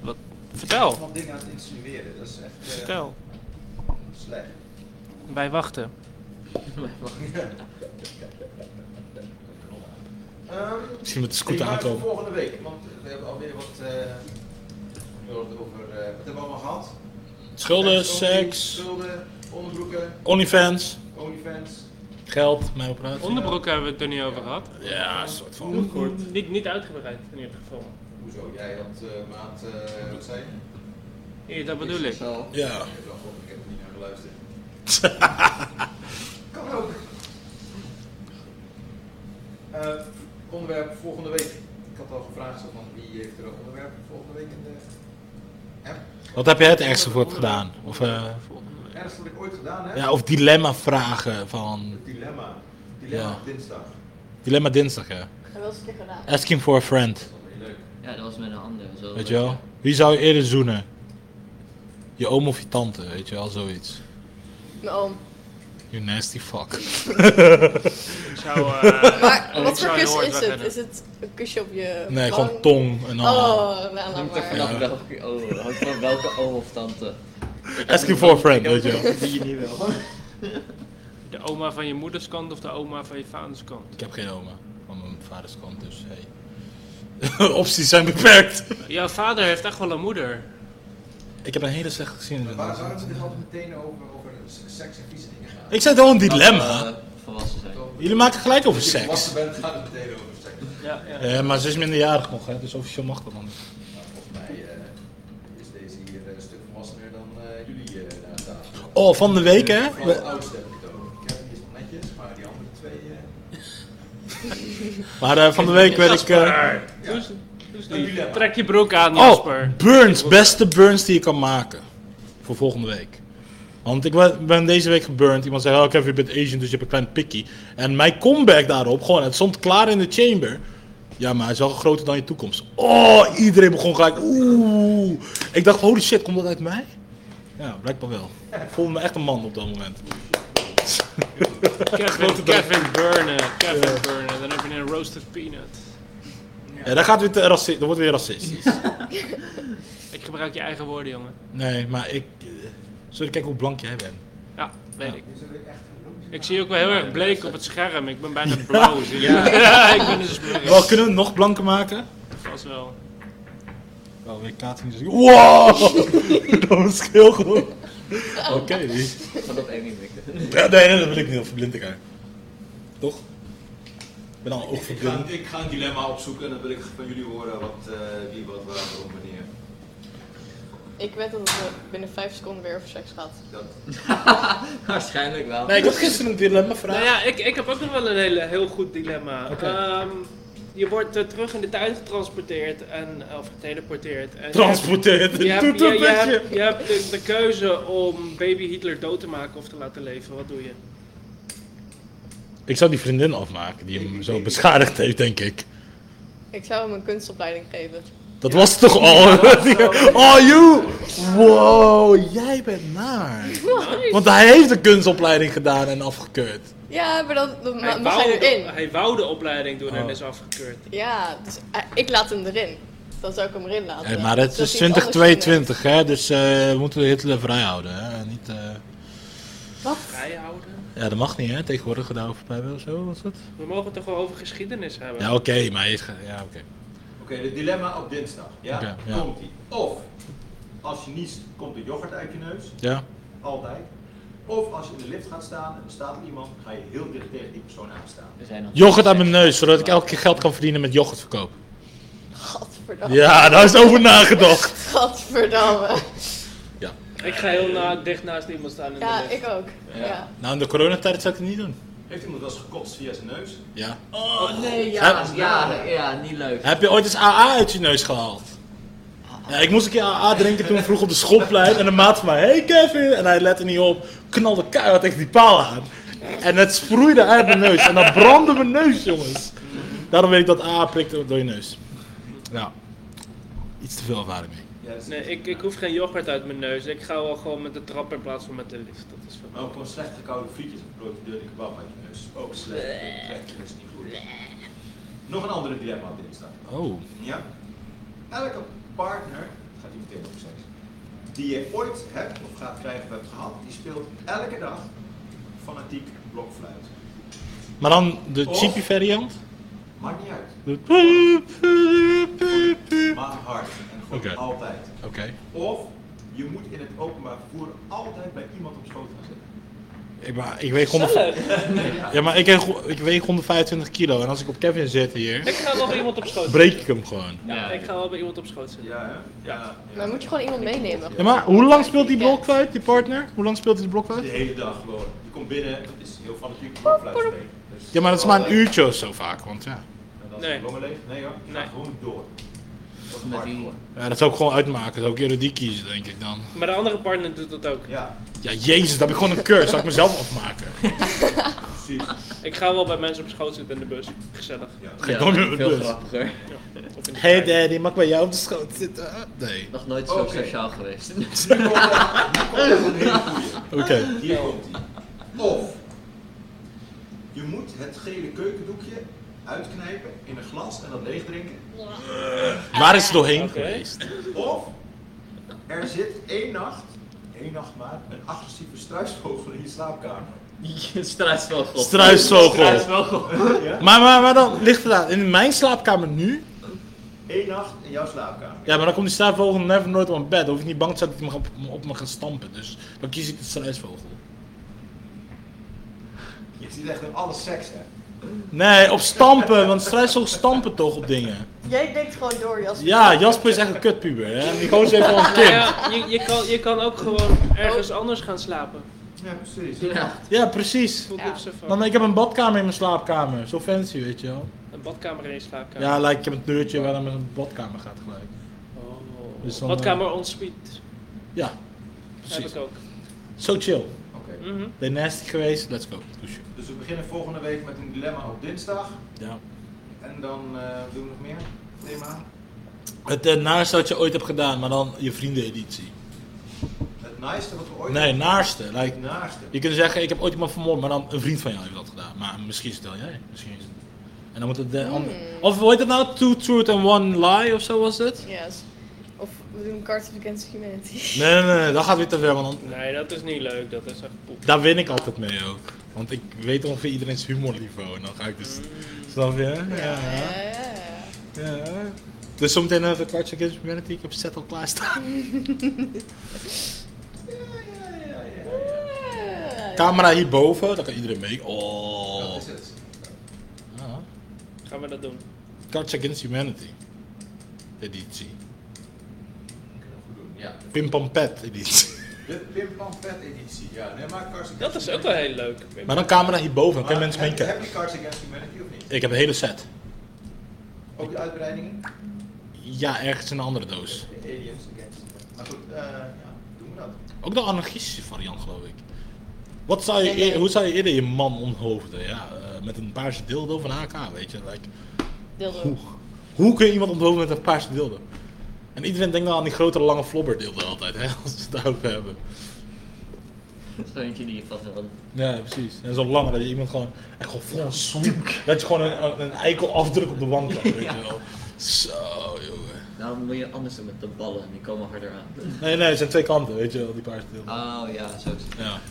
Wat, vertel, Allemaal dingen aan het insinueren, dat is echt eh, vertel. slecht. Wij wachten. Ehm, Misschien met de die scooter maken we aankomen. volgende week, want we hebben alweer wat. eh, we hadden het over, eh, wat hebben we allemaal gehad? Schulden, Seks, only- seks, Schulden, onderbroeken, OnlyFans, OnlyFans. geld, mijn operatie. Onderbroek hebben we het er niet over gehad. Ja, een soort van. Niet, niet uitgebreid in ieder geval. Hoezo? Jij had eh, maat, eh, wat zei je? Ja, dat bedoel ik. Zo. Ja. Ik heb wel gehoord, ik heb er niet naar geluisterd. <laughs> kan ook. Eh, onderwerp volgende week. Ik had al gevraagd zo van wie heeft er een onderwerp volgende week in de app. Wat heb jij het ergste voor het gedaan? Of, eh, Ergens wat ik ooit gedaan heb. ja, of dilemma vragen van... Het dilemma. Dilemma Ja. op dinsdag. Dilemma dinsdag, hè? Wat is er gedaan? Asking for a friend. Dat is wel heel leuk. Ja, dat was met een ander. Zo Weet je wel? Wie zou je eerder zoenen? Je oom of je tante, weet je wel, zoiets. Mijn <laughs> oom. You nasty fuck. Ik zou, <laughs> eh, Maar Oh, ik wat voor zou je kus oor is het? wegrennen. Is het een kusje op je Nee, wang? gewoon tong en al. Oh, nou, laat Hangt er maar. vanaf welke oom, hangt vanaf welke oom of tante. Asking for a friend, weet je wel. Die je niet wil. De oma van je moeders kant of de oma van je vaders kant? Ik heb geen oma. Van mijn vaders kant, dus hey. <laughs> Opties zijn beperkt. Jouw vader heeft echt wel een moeder. Ik heb een hele slechte gezin. Waar zouden ze dit altijd meteen over, over seks en vieze dingen gaan? Ik zei toch een dilemma? Eh, volwassen zijn. Jullie maken gelijk over Als je seks. volwassen bent, gaat het meteen over seks. Ja, ja. Ja, maar ze is minderjarig nog, hè, dus officieel mag dat dan niet. Nou, volgens mij eh, is deze hier eh, een stuk volwassener dan eh, jullie eh, daar aan tafel. Oh, van de week, hè? Vooral de oudste heb ik het over. Ik heb die is nog netjes, maar die andere twee. eh, Maar eh, van de week werd ik... eh, Doe eens- doe eens Een lief. dilemma. Trek je broek aan, Jasper. <laughs> Oh, burns. Beste burns die je kan maken. Voor volgende week. Want ik wa- ben deze week geburnt. Iemand zei, oh Kevin, je bent Asian, dus je hebt een klein pikkie. En mijn comeback daarop, gewoon, het stond klaar in de chamber. Ja, maar hij is wel groter dan je toekomst. Oh, iedereen begon gelijk, oeh. Ik dacht, holy shit, komt dat uit mij? Ja, blijkbaar wel. Ik voelde me echt een man op dat moment. Kevin, Kevin Burnen. Kevin Burnen. Dan heb je een roasted peanut. Ja, dat, gaat weer te raci- dat wordt weer racistisch. Ik gebruik je eigen woorden, jongen. Nee, maar ik... eh, Zullen we kijken hoe blank jij bent? Ja, weet ik. die zullen echt genoemd Ik zie ook wel heel erg bleek op het scherm. Ik ben bijna <laughs> blauw. zie je. Ja, ik ben dus blauw. Wel, kunnen we het nog blanker maken? Vast wel. Oh, ik kaat niet Wow! <laughs> dat was heel goed. Oké. Ik kan dat één niet mikken. <laughs> Ja, nee, nee, dat wil ik niet. Of verblind ik haar. Toch? Ik ben al worden. Ik ga, oogverblind. ik ga een dilemma opzoeken en dan wil ik van jullie horen wat, eh, wie, wat, waar, waarom, wanneer. Ik weet dat het binnen 5 seconden weer over seks gaat. Dat, Waarschijnlijk wel. Nee, ik had gisteren een dilemma Nou vraag. ja, ik, ik heb ook nog wel een hele, heel goed dilemma. Oké. Ehm, je wordt eh, terug in de tijd getransporteerd. En, of geteleporteerd. En Transporteert. Je hebt, Doet je, een je beetje. hebt, je hebt de, de keuze om baby Hitler dood te maken of te laten leven. Wat doe je? Ik zou die vriendin afmaken die hem zo beschadigd heeft, denk ik. Ik zou hem een kunstopleiding geven. Dat was toch al. <laughs> oh, you! Wow, jij bent naar. Want hij heeft een kunstopleiding gedaan en afgekeurd. <laughs> Ja, maar dan, dan ma- Hij mag hij wou, de, erin. hij wou de opleiding doen en Oh. is afgekeurd. Ja, dus eh, ik laat hem erin. Dan zou ik hem erin laten. Hey, maar het Zodat is hij iets anders 2022, hè? Dus eh, we moeten Hitler vrijhouden, hè? Niet, eh, vindt. Wat? Vrijhouden? Ja, dat mag niet, hè? Tegenwoordig gedaan over of zo, was dat? We mogen het toch wel over geschiedenis hebben? Ja, oké, maar je is ge- Ja, oké. Oké, het dilemma op dinsdag. Ja? Oké, ja. Komt ie. Of als je niest, komt de yoghurt uit je neus. Ja? Altijd. Of als je in de lift gaat staan en er staat iemand, ga je heel dicht tegen die persoon aanstaan. We zijn nog Yoghurt aan mijn neus, zodat ik elke keer geld kan verdienen met yoghurt verkopen. Gadverdamme. Ja, daar is over nagedacht. Gadverdamme. Ik ga heel na, dicht naast iemand staan in Ja, de lift. ik ook. Ja. Nou, in de coronatijd zou ik het niet doen. Heeft iemand wel eens gekotst via zijn neus? Ja. Oh nee, ja, Hè? ja, ja, niet leuk. Heb je ooit eens AA uit je neus gehaald? Ja, ik moest een keer AA drinken toen vroeg op de schoolplein en een maat van mij, hey Kevin, en hij lette niet op, knalde keihard tegen die paal aan. En het sproeide uit mijn neus en dat brandde mijn neus, jongens. Daarom weet ik dat AA prikt door je neus. Nou, iets te veel ervaring mee. Ja, dat is Nee, ik, ik hoef geen yoghurt uit mijn neus. Ik ga wel gewoon met de trap in plaats van met de lift. Dat is wel- Maar ook gewoon slecht gekoude frietjes of broodje deur in kebab uit je neus. Ook slecht. Dat trekt je dus niet goed. Nog een andere dilemma op dinsdag. Oh. Ja? Elke partner, gaat hier meteen over seks, die je ooit hebt of gaat krijgen of hebt gehad, die speelt elke dag fanatiek blokfluit. Maar dan de Of- cheapy variant? Maakt niet uit. De puup, puup, puup, puup. Maar hard en gewoon Oké. altijd. Oké. Of je moet in het openbaar vervoer altijd bij iemand op schoot gaan zitten. Ik, maar, ik weeg 100 <laughs> ja, maar ik, weeg- ik weeg 125 kilo en als ik op Kevin zit hier, Ik ga wel bij iemand op schoot. breek ik hem gewoon. Ja, ik ga wel bij iemand op schoot zitten. Ja, hè? Ja. Maar moet je gewoon iemand meenemen. Ja, maar hoe lang speelt die blok uit, die partner? Hoe lang speelt hij de blok De uit? hele dag gewoon. Je komt binnen, dat is heel fanatiek blokfluit spelen. Dus Ja, maar dat is maar een altijd. uurtje of zo vaak, want ja. En dan Nee. nee. longen leeg. Nee hoor, je gaat Nee. gewoon door. Of met die ja dat zou ik gewoon uitmaken, zou ik eerder die kiezen, denk ik dan. Maar de andere partner doet dat ook. Ja, Ja, jezus, dan heb ik gewoon een cursus, zou ik mezelf <laughs> afmaken. precies. Ik ga wel bij mensen op schoot zitten in de bus. Gezellig. ik nooit meer met de veel bus. grappiger. Of in de Hey trein. daddy, mag ik bij jou op de schoot zitten? Nee. Nog nooit zo Oké. sociaal geweest. <laughs> Nu komt er een hele goeie. Oké. Hier komt ie. Of je moet het gele keukendoekje uitknijpen in een glas en dat leeg drinken. Waar is het doorheen Oké. geweest? Of er zit één nacht, één nacht maar, een agressieve struisvogel in je slaapkamer. Struisvogel. Struisvogel. Struisvogel. Maar, maar, maar dan ligt het aan. In mijn slaapkamer nu? Eén nacht in jouw slaapkamer. Ja, maar dan komt die struisvogel never nooit op mijn bed. Dan hoef ik niet bang te zijn dat hij me op, op me gaat stampen. Dus dan kies ik de struisvogel. Je ziet echt in alle seks hè. Nee, op stampen, want struisvogels stampen toch op dingen. Jij denkt gewoon door, Jasper. Ja, Jasper is echt een kutpuber. Hè? En die gozer heeft <laughs> gewoon een Nou kind. ja, je, je, kan, je kan ook gewoon ergens anders gaan slapen. Ja, precies. Ja. Ja, precies. Voelt Ja. niks ervan. Dan, ik heb een badkamer in mijn slaapkamer. Zo fancy, weet je wel. Een badkamer in je slaapkamer. Ja, like, ik heb een deurtje waar dan met een badkamer gaat gelijk. Oh. Dus dan, eh, badkamer on suite. Ja, Heb precies. ik ook. Zo chill. Oké, Mhm. Ben je nasty geweest? Let's go. Douchen. dus we beginnen volgende week met een dilemma op dinsdag. Ja. En dan eh, doen we nog meer thema. Het eh, naarste wat je ooit hebt gedaan, maar dan je vriendeneditie. Het naaiste wat we ooit Nee, naarste. Like, Het naaste. je kunt zeggen, ik heb ooit iemand vermoord, maar dan een vriend van jou heeft dat gedaan. Maar misschien stel jij. Misschien is het... En dan moet het de ander... Of hoe heet het nou? Two truth and one lie of zo was het? Yes. Of we doen Cards Against Humanity. Nee, nee, nee, dat gaat weer te ver, want dan Nee, dat is niet leuk. Dat is echt poep. Daar win ik altijd mee ook. Want ik weet ongeveer iedereen's humorniveau. En dan ga ik dus. Snap je? Ja. ja. Ja. Dus zometeen even Cards Against Humanity. Ik heb set al klaarstaan. Camera hierboven, daar kan iedereen mee. Oh. Dat is het. Ja. Gaan we dat doen? Cards Against Humanity. Editie. Dat kunnen we goed doen. Ja. Pim Pam Pet editie. De Pim Pam Pet editie. Ja, nee, maar Cards Against Dat is ook Humanity- wel heel leuk. Maar dan camera hierboven, dan Maar kunnen mensen heb- meekijken. Heb je Cards Against Humanity of niet? Ik heb een hele set. Ook de uitbreidingen? Ja, ergens in een andere doos. De aliens against. Humanity. Maar goed, eh, ja, doen we dat. Ook de anarchistische variant, geloof ik. Wat zou je, Nee, nee. eer- hoe zou je eerder je man onthoofden? Ja, eh, met een paarse dildo van AK, weet je. Like, Dildo. hoe, hoe kun je iemand onthoofden met een paarse dildo? En iedereen denkt dan aan die grote lange flobberdildo altijd, hè, <laughs> als we het daarover hebben. Zo eentje die je vast wel Ja, precies. En zo lang dat je iemand gewoon, echt gewoon vol een swoep, dat je gewoon een, een, een eikel afdruk op de wand krijgt, weet je wel. Zo, jongen. Daarom nou moet je anders doen met de ballen, die komen harder aan. Nee, nee, het zijn twee kanten, weet je wel, die paarse dildo. Oh ja, zo. Ja.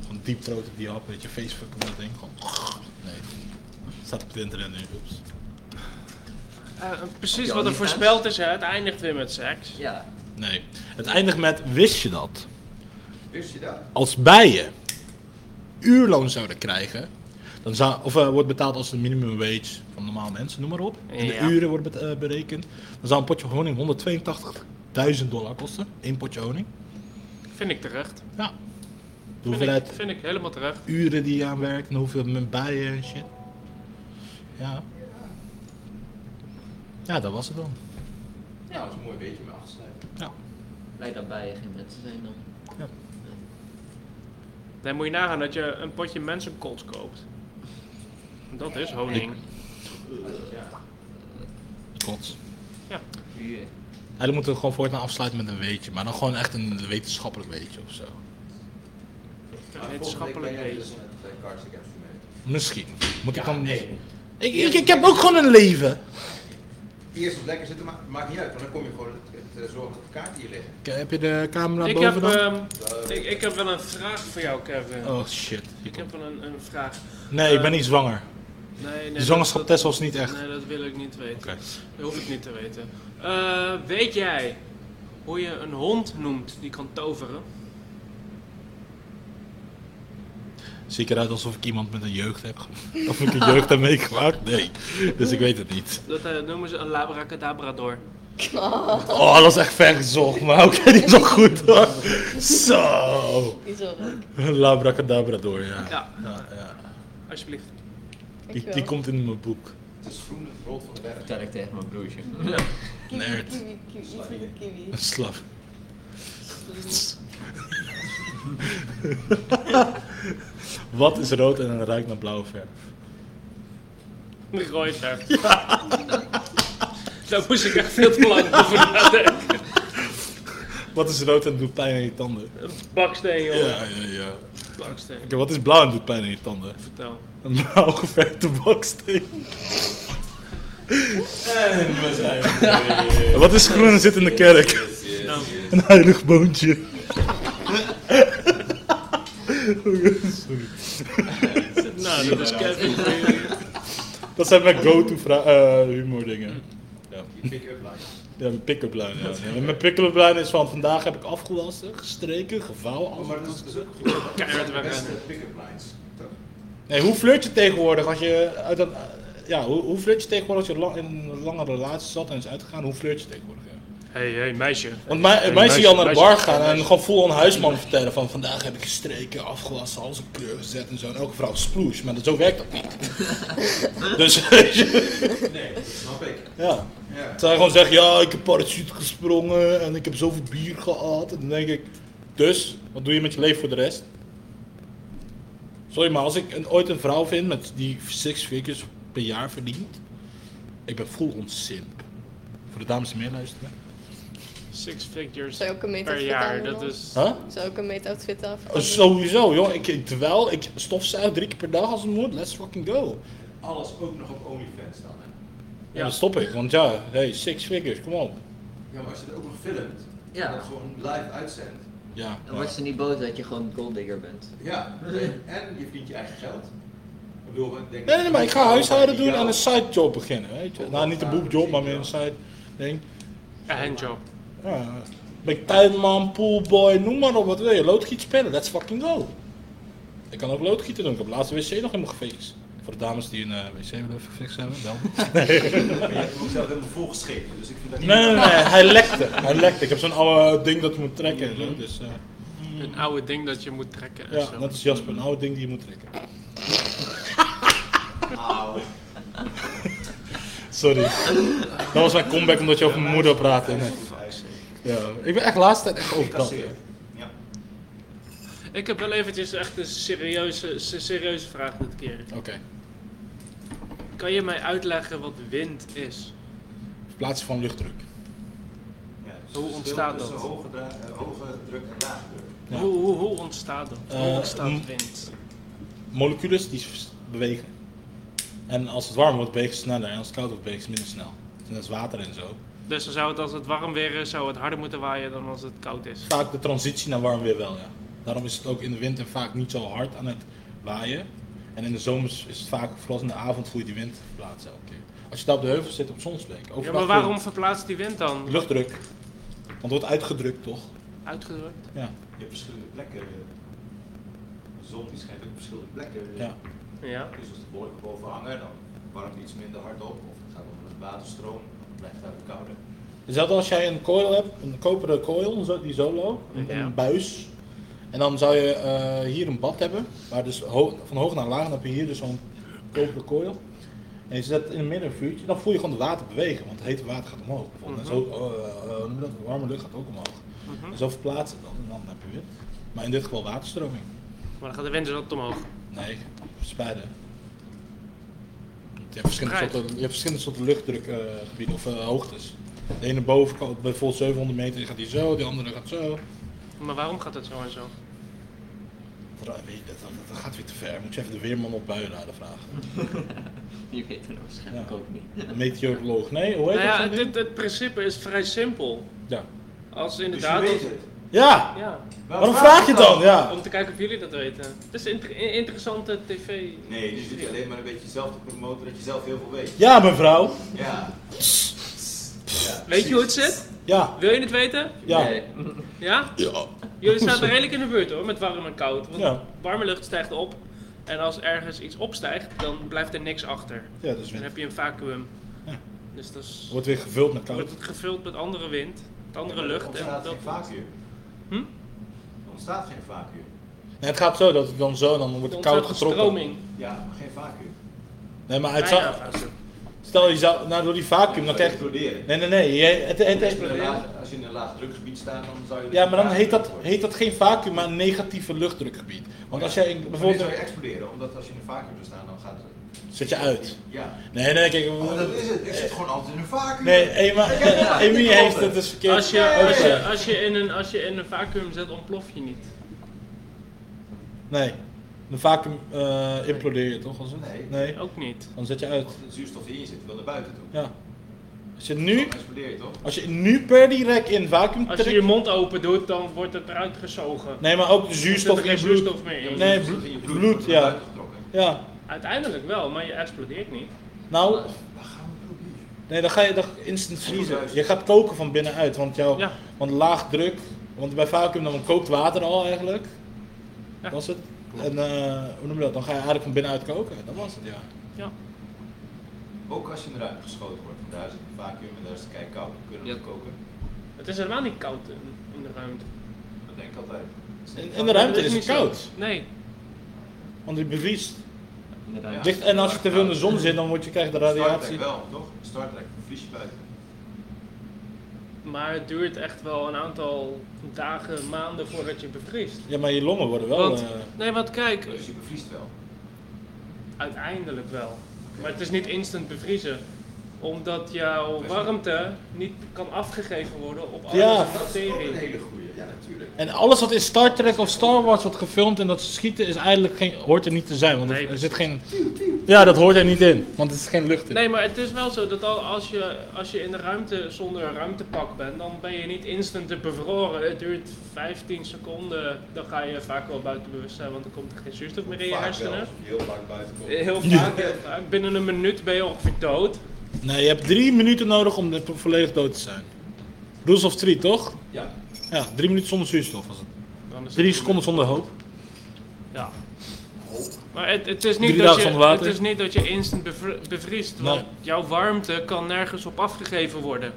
Gewoon diep throat op die hap, weet je, Facebook en dat ding. Gewoon. Nee. Staat op het internet nu. Oeps. Eh, precies Ja, wat er die voorspeld is, hè. Het eindigt weer met seks. Ja. Nee. Het eindigt met: wist je dat? Wist je dat? Als bijen uurloon zouden krijgen, dan zou, of eh, wordt betaald als de minimum wage van normaal mensen, noem maar op. En de Ja. uren wordt bet- eh, berekend. Dan zou een potje honing 182,83 1000 dollar kosten. Eén potje honing. Vind ik terecht. Ja. De Vind ik, hoeveelheid vind ik helemaal terecht. uren die je aan werkt en hoeveel met bijen en shit. Ja. Ja, dat was het dan. Ja, dat is een mooi beetje mee afsluiten. Ja. Blijkt dat bijen geen mensen zijn dan. Dan moet je nagaan dat je een potje mensenkots koopt. Dat is honing. Kots. Hier. Ja, dan moeten we gewoon voortaan afsluiten met een weetje. Maar dan gewoon echt een wetenschappelijk weetje of zo. Een Volgende wetenschappelijk week ben jij dus beetje. met, eh, Cards Against Humanity. Misschien. Moet ik dan... nee. Ik, ik, ik heb ook gewoon een leven. Eerst op lekker zitten, maar maakt niet uit, want dan kom je gewoon het, het, eh, zorgen dat de kaarten hier liggen. K- Heb je de camera Ik heb, boven dan? ehm, ik, ik heb wel een vraag voor jou, Kevin. Oh shit. Ik heb wel een, een vraag. Nee, ik ben niet zwanger. Nee, De nee, dat- zwangerschapstest was niet echt. Nee, dat wil ik niet weten. Oké. Dat hoef ik niet te weten. Eh, weet jij hoe je een hond noemt die kan toveren? Zie ik eruit alsof ik iemand met een jeugd heb. <laughs> ge- Of ik een jeugd heb meegemaakt? Nee. Dus ik weet het niet. Dat eh, noemen ze een labracadabrador. Oh, dat is echt ver gezocht. Maar <laughs> oké, die is al goed hoor. Zo. Die zorg. Labracadabra door, ja. Ja, ja, ja. alsjeblieft. Die, die komt in mijn boek. Het is groen, het rolt van de berg. Vertel ik tegen mijn broertje. Kiwi, Nerd. kiwi, kiwi, iets met een kiwi. Een slaaf. <laughs> Wat is rood en ruikt naar blauwe verf? Rooi verf. Daar moest ik echt veel te lang over nadenken. Wat is rood en doet pijn aan je tanden? Baksteen, joh. Ja, ja, ja. Baksteen, Oké, wat is blauw en doet pijn aan je tanden? vertel. Een blauw geverfde baksteen. En we zijn <laughs> Wat is groen en zit in de kerk? Nou, <laughs> Een heilig boontje. Sorry. nou, dat is Kevin voor jullie. <laughs> Dat zijn mijn go-to vra- eh, humor dingen. Ja. Pick-up lines. Ja, mijn pick-up line. Ja. Ja, Mijn pick-up line is van vandaag heb ik afgelassen, gestreken, gevouwen. Oh, af- maar dat is dus ook goed. Dat zijn Keihard de wegrennen. beste pick-up lines. toch? Nee, hoe flirt je tegenwoordig als je uit dat... Ja, hoe, hoe flirt je tegenwoordig als je lang, in een lange relatie zat en is uitgegaan? Hoe flirt je tegenwoordig? Ja? Hé, hé, meisje. Want mij, mij meisje, zie je al naar de meisje, bar gaan en gewoon vol aan huisman vertellen van vandaag heb ik gestreken, afgewassen, alles op kleur gezet en zo. En elke vrouw sploes, maar dat, zo werkt dat niet. <laughs> dus weet je, Nee, dat snap ik. ja. Ja. Zij gewoon zeggen, ja ik heb parachute gesprongen en ik heb zoveel bier gehad. En dan denk ik, dus, wat doe je met je leven voor de rest? Sorry, maar als ik een, ooit een vrouw vind met die six figures per jaar verdient, ik ben full on simp. Voor de dames die meeluisteren. Six figures Zou je ook een per meet-outfit jaar, aan dat doen? is... Huh? Zou ik een meet-outfit aan? Oh, Sowieso, joh. Ik, ik- terwijl ik stofzuig drie keer per dag als het moet, let's fucking go. Alles ook nog op OnlyFans dan. Hè? Ja. Ja. Dan stop ik, want ja, hey, six figures, kom op. Ja, maar als je het ook nog filmt Ja. en dat gewoon live uitzendt. Ja, Dan wordt ze niet boos dat je gewoon golddigger bent. Ja, en je verdient je eigen geld. Ik bedoel, ik denk Nee, nee, maar ik ga huishouden doen en Ja. een sidejob beginnen, weet je. Nou, niet een boekjob, maar meer een side ding. Een handjob. Ja. Ben ik tuinman, poolboy, noem maar op, wat wil je. Loodgiet spelen, let's fucking go. Ik kan ook loodgieten doen, ik heb laatste wc nog helemaal gefixt. Voor de dames die een eh, wc willen even gefixt hebben, <laughs> bel me. Maar je hebt hem ook zelf helemaal volgeschreven, dus ik vind dat niet... Nee, nee, nee, hij lekte. Hij lekte. Ik heb zo'n oude ding dat je moet trekken en zo, dus... eh, Een oude ding dat je moet trekken en Ja, zo. dat is Jasper, een oud ding die je moet trekken. Auw. <laughs> Sorry. Dat was mijn comeback omdat je over mijn moeder praatte. Nee. Ja, ik ben echt laatst tijd echt overkant. Kasseer. Ja. Ik heb wel eventjes echt een serieuze, se- serieuze vraag dit keer. Oké. Kan je mij uitleggen wat wind is? Plaatsen van luchtdruk. Ja, dus Hoe het ontstaat verschil dat? tussen Hoge, dra- eh, hoge druk en lage druk. Ja. Hoe, hoe, hoe ontstaat dat? hoe Eh, ontstaat m- wind? Molecules die s- bewegen. En als het warm wordt, bewegen ze sneller. En als het koud wordt, bewegen ze minder snel. Net als water en zo. Dus dan zou het als het warm weer is, zou het harder moeten waaien dan als het koud is. Vaak de transitie naar warm weer wel, ja. Daarom is het ook in de winter vaak niet zo hard aan het waaien. En in de zomers is het vaak, vooral in de avond, voel je die wind verplaatsen elke keer. Als je daar op de heuvel zit op Zonsbeek. Ja, overdag maar voel je- waarom verplaatst die wind dan? Luchtdruk. Want het wordt uitgedrukt, toch? Uitgedrukt? Ja. Je hebt verschillende plekken. De zon die schijnt ook op verschillende plekken. Ja. Ja. Dus als de wolken boven hangen, dan warmt het iets minder hard op. Of het gaat onder een waterstroom, dan blijft het uit kouder. Hetzelfde als jij een coil hebt, een koperen coil, zo- die zo loopt, een, Ja. een buis. En dan zou je eh, hier een bad hebben, waar dus ho- van hoog naar laag, dan heb je hier dus zo'n koperen coil. En je zet in het midden een vuurtje, dan voel je gewoon het water bewegen, want het hete water gaat omhoog. bijvoorbeeld. En zo, eh, eh, hoe noem je dat, de warme lucht gaat ook omhoog. En zo verplaatst het dan, en dan heb je weer. Maar in dit geval waterstroming. Maar dan gaat de wind dus altijd omhoog. Nee, verspreiden. Je hebt verschillende Verspreid. soorten, je hebt verschillende soorten luchtdrukgebieden of eh, hoogtes. De ene boven kan op bijvoorbeeld 700 meter gaat die zo, de andere gaat zo. Maar waarom gaat dat zo en zo? Dat, weet je, dat, dat- dat gaat weer te ver. Moet je even de weerman op buienaarden vragen. Je weet het waarschijnlijk Ja. ook niet. Een meteoroloog. Nee, hoe heet Nou ja, dat? zo'n ding? dit, het principe is vrij simpel. Ja. Als Dus je inderdaad... weet het. ja, Ja, waarom vraag je het dan? Ja. om te kijken of jullie dat weten. Het is een inter- interessante tv. Nee, dus je zit alleen maar een beetje zelf te promoten dat je zelf heel veel weet. ja, mevrouw. Ja. Ja, Weet je hoe het zit? Ja, Wil je het weten? ja. Nee. Ja? Ja. Jullie staan er redelijk in de buurt hoor, met warm en koud. Want Ja. warme lucht stijgt op. En als ergens iets opstijgt, dan blijft er niks achter. ja dus Dan weer- heb je een vacuüm. Ja. Dus dat is, wordt weer gevuld met wordt koud. het gevuld met andere wind, met andere Er lucht. En ontstaat dat, geen vacuüm. Hm? Er ontstaat geen vacuüm. Nee, het gaat zo dat het dan zo, dan wordt dan het ontstaat koud een getrokken. stroming. Ja, maar geen vacuüm. Nee, maar het Bijna zou, vacuüm. stel je zou, nou, door die vacuüm, dan Zou krijg je exploderen. Nee, nee, nee. jij- het, het, Als je in het- een laag- Als je in een laag drukgebied staat, dan zou je... dus ja, maar dan heet dat, heet dat geen vacuüm, maar een negatieve luchtdrukgebied. Want als jij een- Bijvoorbeeld... zou bijvoorbeeld... je exploderen, omdat als je in een vacuüm zou staan, dan gaat het... Zet je uit. Ja. Nee, nee, kijk. Oh, dat is het. Ik zit gewoon altijd in een vacuüm. Nee, Ema, <laughs> Ja, Emi ik heeft hoor het het. dus verkeerd. Als je, als, je, Nee. als, je in een, als je in een vacuüm zit, ontplof je niet. Nee. Een vacuüm eh, implodeer je toch? Als het? Nee. nee. Ook niet. Dan zet je uit. Want de zuurstof die in je zit, wil naar buiten toe. Ja. Als je nu, Dan explodeer je toch? als je nu per direct in vacuüm Als je je trekt... mond open doet, dan wordt het eruit gezogen. Nee, maar ook de Er zit zuurstof in geen je bloed. zuurstof meer in. Nee, Dus bloed- in je bloed, wordt naar ja. buiten getrokken. Ja. Uiteindelijk wel, maar je explodeert niet. Nou, Waar gaan we bloed hier? nee, dan ga je dan instant vriezen. Je gaat koken van binnenuit, want jouw... Ja. Want laag druk, want bij vacuüm dan kookt water al eigenlijk. Ja. Dat was het. En eh, hoe noem je dat? Dan ga je eigenlijk van binnenuit koken. Dat was het, ja. Ook als je eruit geschoten wordt, want daar is het een vacuüm en daar is het kijk koud. We kunnen Ja. het koken. Het is helemaal niet koud in, in de ruimte. Dat denk ik altijd. In, in de ruimte Dat is het niet zo. koud, Nee. want die bevriest. Inderdaad. Ligt- en als je te veel in de zon zit, dan word je, krijg je de Star Trek radiatie. wel, toch? Star Trek, vlies je buiten. Maar het duurt echt wel een aantal dagen, maanden voordat je bevriest. Ja, maar je longen worden wel... Want- eh, Nee, want kijk, Dus je bevriest wel. uiteindelijk wel. Maar het is niet instant bevriezen. Omdat jouw warmte niet kan afgegeven worden op alle Ja. Dat is ook een bacteriën. hele goeie. Ja, natuurlijk. en alles wat in Star Trek of Star Wars wordt gefilmd en dat ze schieten, is eigenlijk geen, hoort er niet te zijn. Want er- Nee. er zit geen... Ja, dat hoort er niet in, want er is geen lucht in. Nee, maar het is wel zo dat al als je, als je in de ruimte zonder een ruimtepak bent, dan ben je niet instant te bevroren. Het duurt 15 seconden, dan ga je vaak wel buiten bewustzijn, want dan komt er geen zuurstof meer in je Vaak wel, hersenen. als je Heel lang buiten komt. Heel vaak, heel vaak. binnen een minuut ben je ongeveer dood. Nee, je hebt drie minuten nodig om de- volledig dood te zijn. Rules of Three, toch? Ja. Ja, drie minuten zonder zuurstof was het. Dan is het- Drie seconden zonder hoop. Ja. Maar het, het, is niet Drie dat je, dagen zonder water. het is niet dat je instant bevr- bevriest, want Nee. jouw warmte kan nergens op afgegeven worden.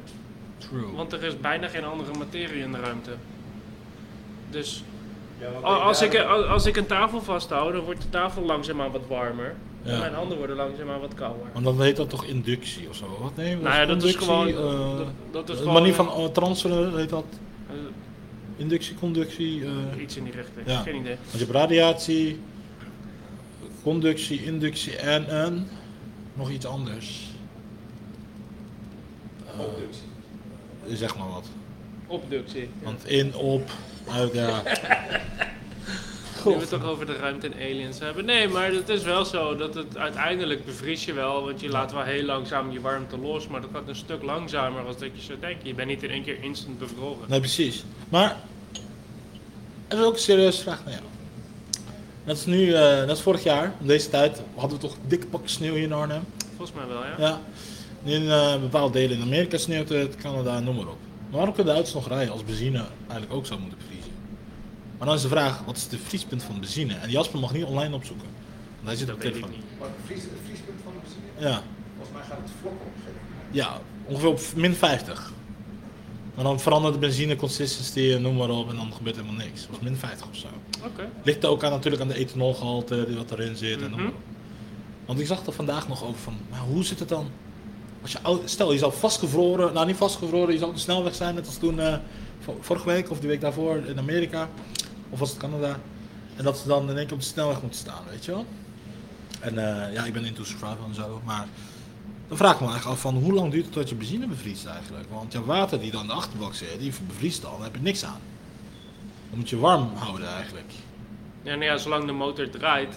True. Want er is bijna geen andere materie in de ruimte. Dus Ja, want Al- Als ik, daar- al- als ik een tafel vasthoud, dan wordt de tafel langzaamaan wat warmer. Ja. En mijn handen worden langzaamaan wat kouder. Want dan heet dat toch inductie of zo? Wat? Nee, Nou ja, dat is conductie, gewoon. eh, dat, dat is een gewoon manier van eh, transferen heet dat. eh, Inductie, conductie. eh, iets in die richting. Ja. Geen idee. want je hebt radiatie, conductie, inductie en, en nog iets anders. Eh, Opductie. Zeg maar wat. Opductie. Ja. Want in, op, uit, ja. Nu we het toch over de ruimte en aliens hebben. Nee, maar het is wel zo dat het uiteindelijk bevries je wel. Want je laat wel heel langzaam je warmte los. Maar dat gaat een stuk langzamer als dat je zou denken. Je bent niet in één keer instant bevroren. Nee, precies. Maar er is ook een serieuze vraag naar jou. Dat is nu, eh, dat is vorig jaar, om deze tijd, hadden we toch dikke pak sneeuw hier in Arnhem. Volgens mij wel, ja. Ja. In eh, bepaalde delen in Amerika sneeuwt het, Canada, noem maar op. Maar waarom kunnen de auto's nog rijden als benzine eigenlijk ook zou moeten bevriezen? Maar dan is de vraag, wat is de vriespunt van benzine? En Jasper mag niet online opzoeken. Want hij zit dat op weet ik telefoon. niet. Maar het vries- het vriespunt van de benzine, Ja. volgens mij gaat het vlokken op. ja, ongeveer op min 50. Maar dan verandert de benzine, consistency, en noem maar op. En dan gebeurt helemaal niks. Het was min 50 of zo. Oké. Ligt ook aan, natuurlijk aan de ethanolgehalte die wat erin zit. en noem maar Mhm. op. Want ik zag er vandaag nog over van, maar hoe zit het dan? Als je, oud- stel, je zou vastgevroren, nou niet vastgevroren, je zou op de snelweg zijn, net als toen eh, vo- vorige week of die week daarvoor in Amerika. Of was het Canada. En dat ze dan in één keer op de snelweg moeten staan, weet je wel? En eh, ja, ik ben into survival en zo, maar dan vraag ik me eigenlijk af van hoe lang duurt het tot je benzine bevriest eigenlijk? Want je water die dan in de achterbak zit, die bevriest al, daar heb je niks aan. Dan moet je warm houden eigenlijk. Ja, nou ja, zolang de motor draait,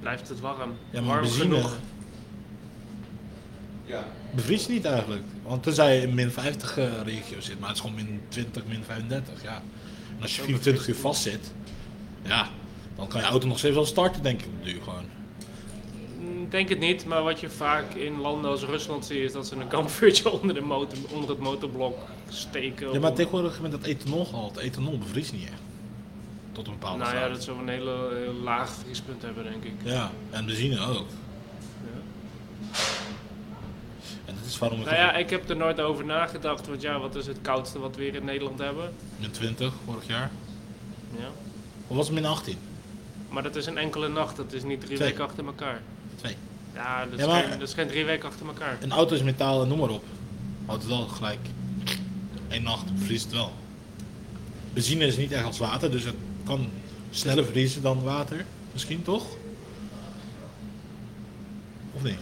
blijft het warm. Ja, maar warm benzine genoeg. Ja. bevriest niet eigenlijk. Want tenzij je in min 50 eh, regio zit, maar het is gewoon min 20, min 35, ja. En als je 24 uur vast zit, ja, dan kan je auto nog steeds wel starten denk ik op de duur gewoon. Mm, Denk het niet, maar wat je vaak in landen als Rusland ziet, is dat ze een kampvuurtje <laughs> onder, de motor, onder het motorblok steken. Ja, maar om- tegenwoordig met dat ethanolgehalte, ethanol bevriest niet echt. Tot een bepaalde Nou ja, graad. dat zou een hele, heel laag vriespunt hebben, denk ik. Ja, en benzine ook. Ja. En dat is waarom ik Nou ja, ik heb er nooit over nagedacht, want ja, wat is het koudste wat we hier in Nederland hebben? min 20 vorig jaar. Ja. Of was het min 18? Maar dat is een enkele nacht, dat is niet drie Twee. weken achter elkaar. Twee. Ja, dat is, Ja, maar- geen, dat is geen drie weken achter elkaar. Een auto is metaal en noem maar op. Houdt het wel gelijk. Eén nacht vriest het wel. Benzine is niet echt als water, dus het kan sneller vriezen dan water. Misschien toch? Of nee?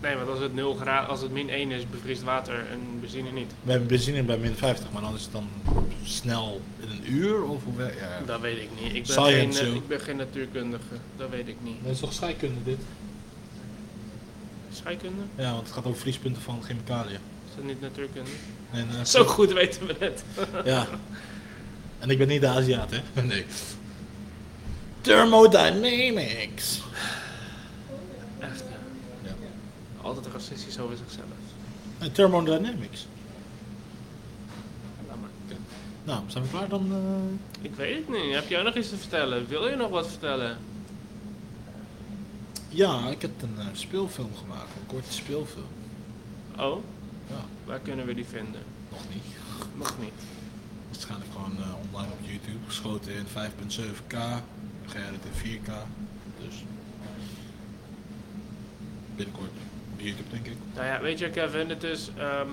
Nee, want als het 0 graden, als het min 1 is, bevriest water en benzine niet. We hebben benzine bij min 50, maar dan is het dan snel in een uur of hoe wer- ja. Dat weet ik niet. Ik ben, Science, geen, eh, joh. ik ben geen natuurkundige, dat weet ik niet. Dat is toch scheikunde dit? Scheikunde? Ja, want het gaat over vriespunten van chemicaliën. Is dat niet natuurkunde? En, eh, Zo goed weten we het. <laughs> Ja. En ik ben niet de Aziat, hè? <laughs> Nee. Thermodynamics. Echt, ja. Ja. Altijd racistisch over zichzelf. En Eh, thermodynamics. Laat maar. Nou, zijn we klaar dan? eh? Ik weet het niet. Heb jij nog iets te vertellen? Wil je nog wat vertellen? Ja, ik heb een eh, speelfilm gemaakt. Een korte speelfilm. Oh? Ja. Waar kunnen we die vinden? Nog niet. Nog niet. Waarschijnlijk gewoon eh, online op YouTube. Geschoten in 5.7K. Geëdit in 4K. Dus. Binnenkort op YouTube, denk ik. Nou ja, weet je Kevin, het is... ehm,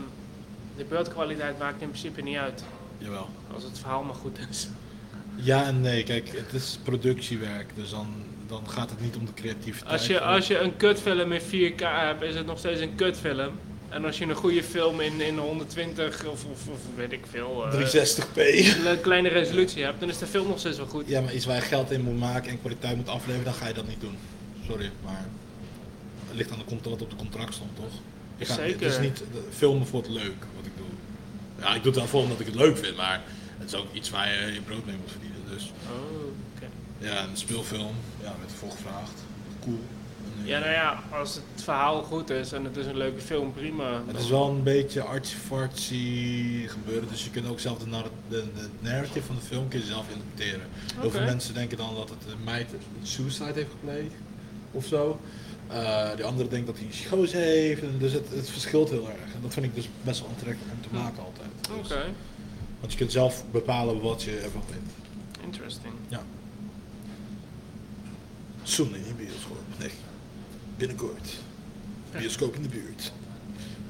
de beeldkwaliteit maakt in principe niet uit. Jawel. Als het verhaal maar goed is. Ja en nee, kijk, het is productiewerk. Dus dan, dan gaat het niet om de creativiteit. Als je, als je een kutfilm in 4K hebt, is het nog steeds een kutfilm. En als je een goede film in, in 120 of, of, of weet ik veel... eh, 360p. een kleine resolutie hebt, dan is de film nog steeds wel goed. Ja, maar iets waar je geld in moet maken en kwaliteit moet afleveren, dan ga je dat niet doen. Sorry, maar het ligt aan de cont- wat op de contract stond, toch? Ik ga, Zeker. Het is niet eh, filmen voor het leuk wat ik doe. Ja, ik doe het wel voor omdat ik het leuk vind, maar het is ook iets waar je je brood mee moet verdienen. Dus Oh, oké. ja, een speelfilm, ja, werd ervoor gevraagd. Cool. En, eh, Ja, nou ja, als het verhaal goed is en het is een leuke film, prima. Het is wel een beetje artsy-fartsy gebeuren, dus je kunt ook zelf de, narr- de, de narrative van de film kun je zelf interpreteren. Heel Oké. veel mensen denken dan dat het een meid suicide heeft gepleegd of zo. Eh, de andere denkt dat hij psychose heeft, en dus het, het verschilt heel erg. En dat vind ik dus best wel aantrekkelijk om te maken altijd. Hm. Oké, Dus- Want je kunt zelf bepalen wat je ervan vindt. interesting. Soon in de bioscoop, nee. Binnenkort. Bioscoop in de buurt.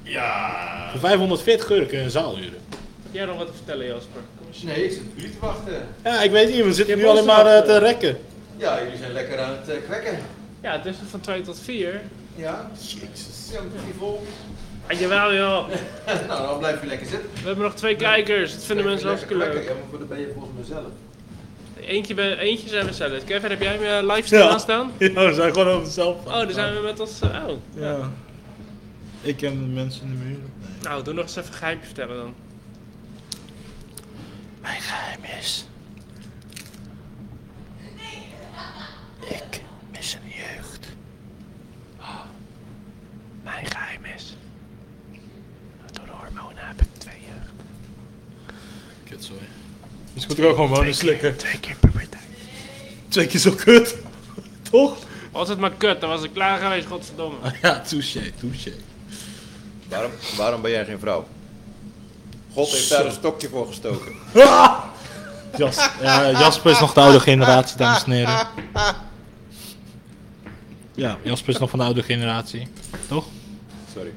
Ja! Voor 540 euro kun je een zaal huren. Heb jij nog wat te vertellen, Jasper? Kom eens. Nee, ik zit op jullie te wachten. Ja, ik weet niet, we zitten Je nu alleen was er maar eh, nog, te eh. rekken. Ja, jullie zijn lekker aan het eh, kwekken. <laughs> Ja, het is dus van 2 tot 4. Ja? Jezus. Ja, met die vol. Ah, jawel joh, Nou, dan blijf je lekker zitten. we hebben nog twee kijkers. Dat vinden mensen Lekker hartstikke kwekken. leuk. Ja, maar voor de ben je volgens mijzelf. Eentje, ben- eentje zijn we zelf. Kevin, heb jij hem eh, livestream Ja. aanstaan? <laughs> Ja, we zijn gewoon over zelf. Oh, daar zijn we met ons... eh, oh. Ja. Ik ken de mensen in de muur. Nou, doe nog eens even een geheimje vertellen dan. Mijn geheim is... Ik mis een jeugd. Mijn geheim is... Door de hormonen heb ik twee jeugd. Kut, sorry. Dus ik moet er ook gewoon wonen slikken. Twee keer puberteit. Twee keer zo kut. <laughs> Toch? Was het maar kut, dan was ik klaar geweest, godverdomme. Ah, ja, touché, touché. Waarom, waarom ben jij geen vrouw? God heeft daar een stokje voor gestoken. Jas, ja, Jasper is nog de oude generatie, dames en heren. Ja, Jasper is nog van de oude generatie. Toch? Sorry.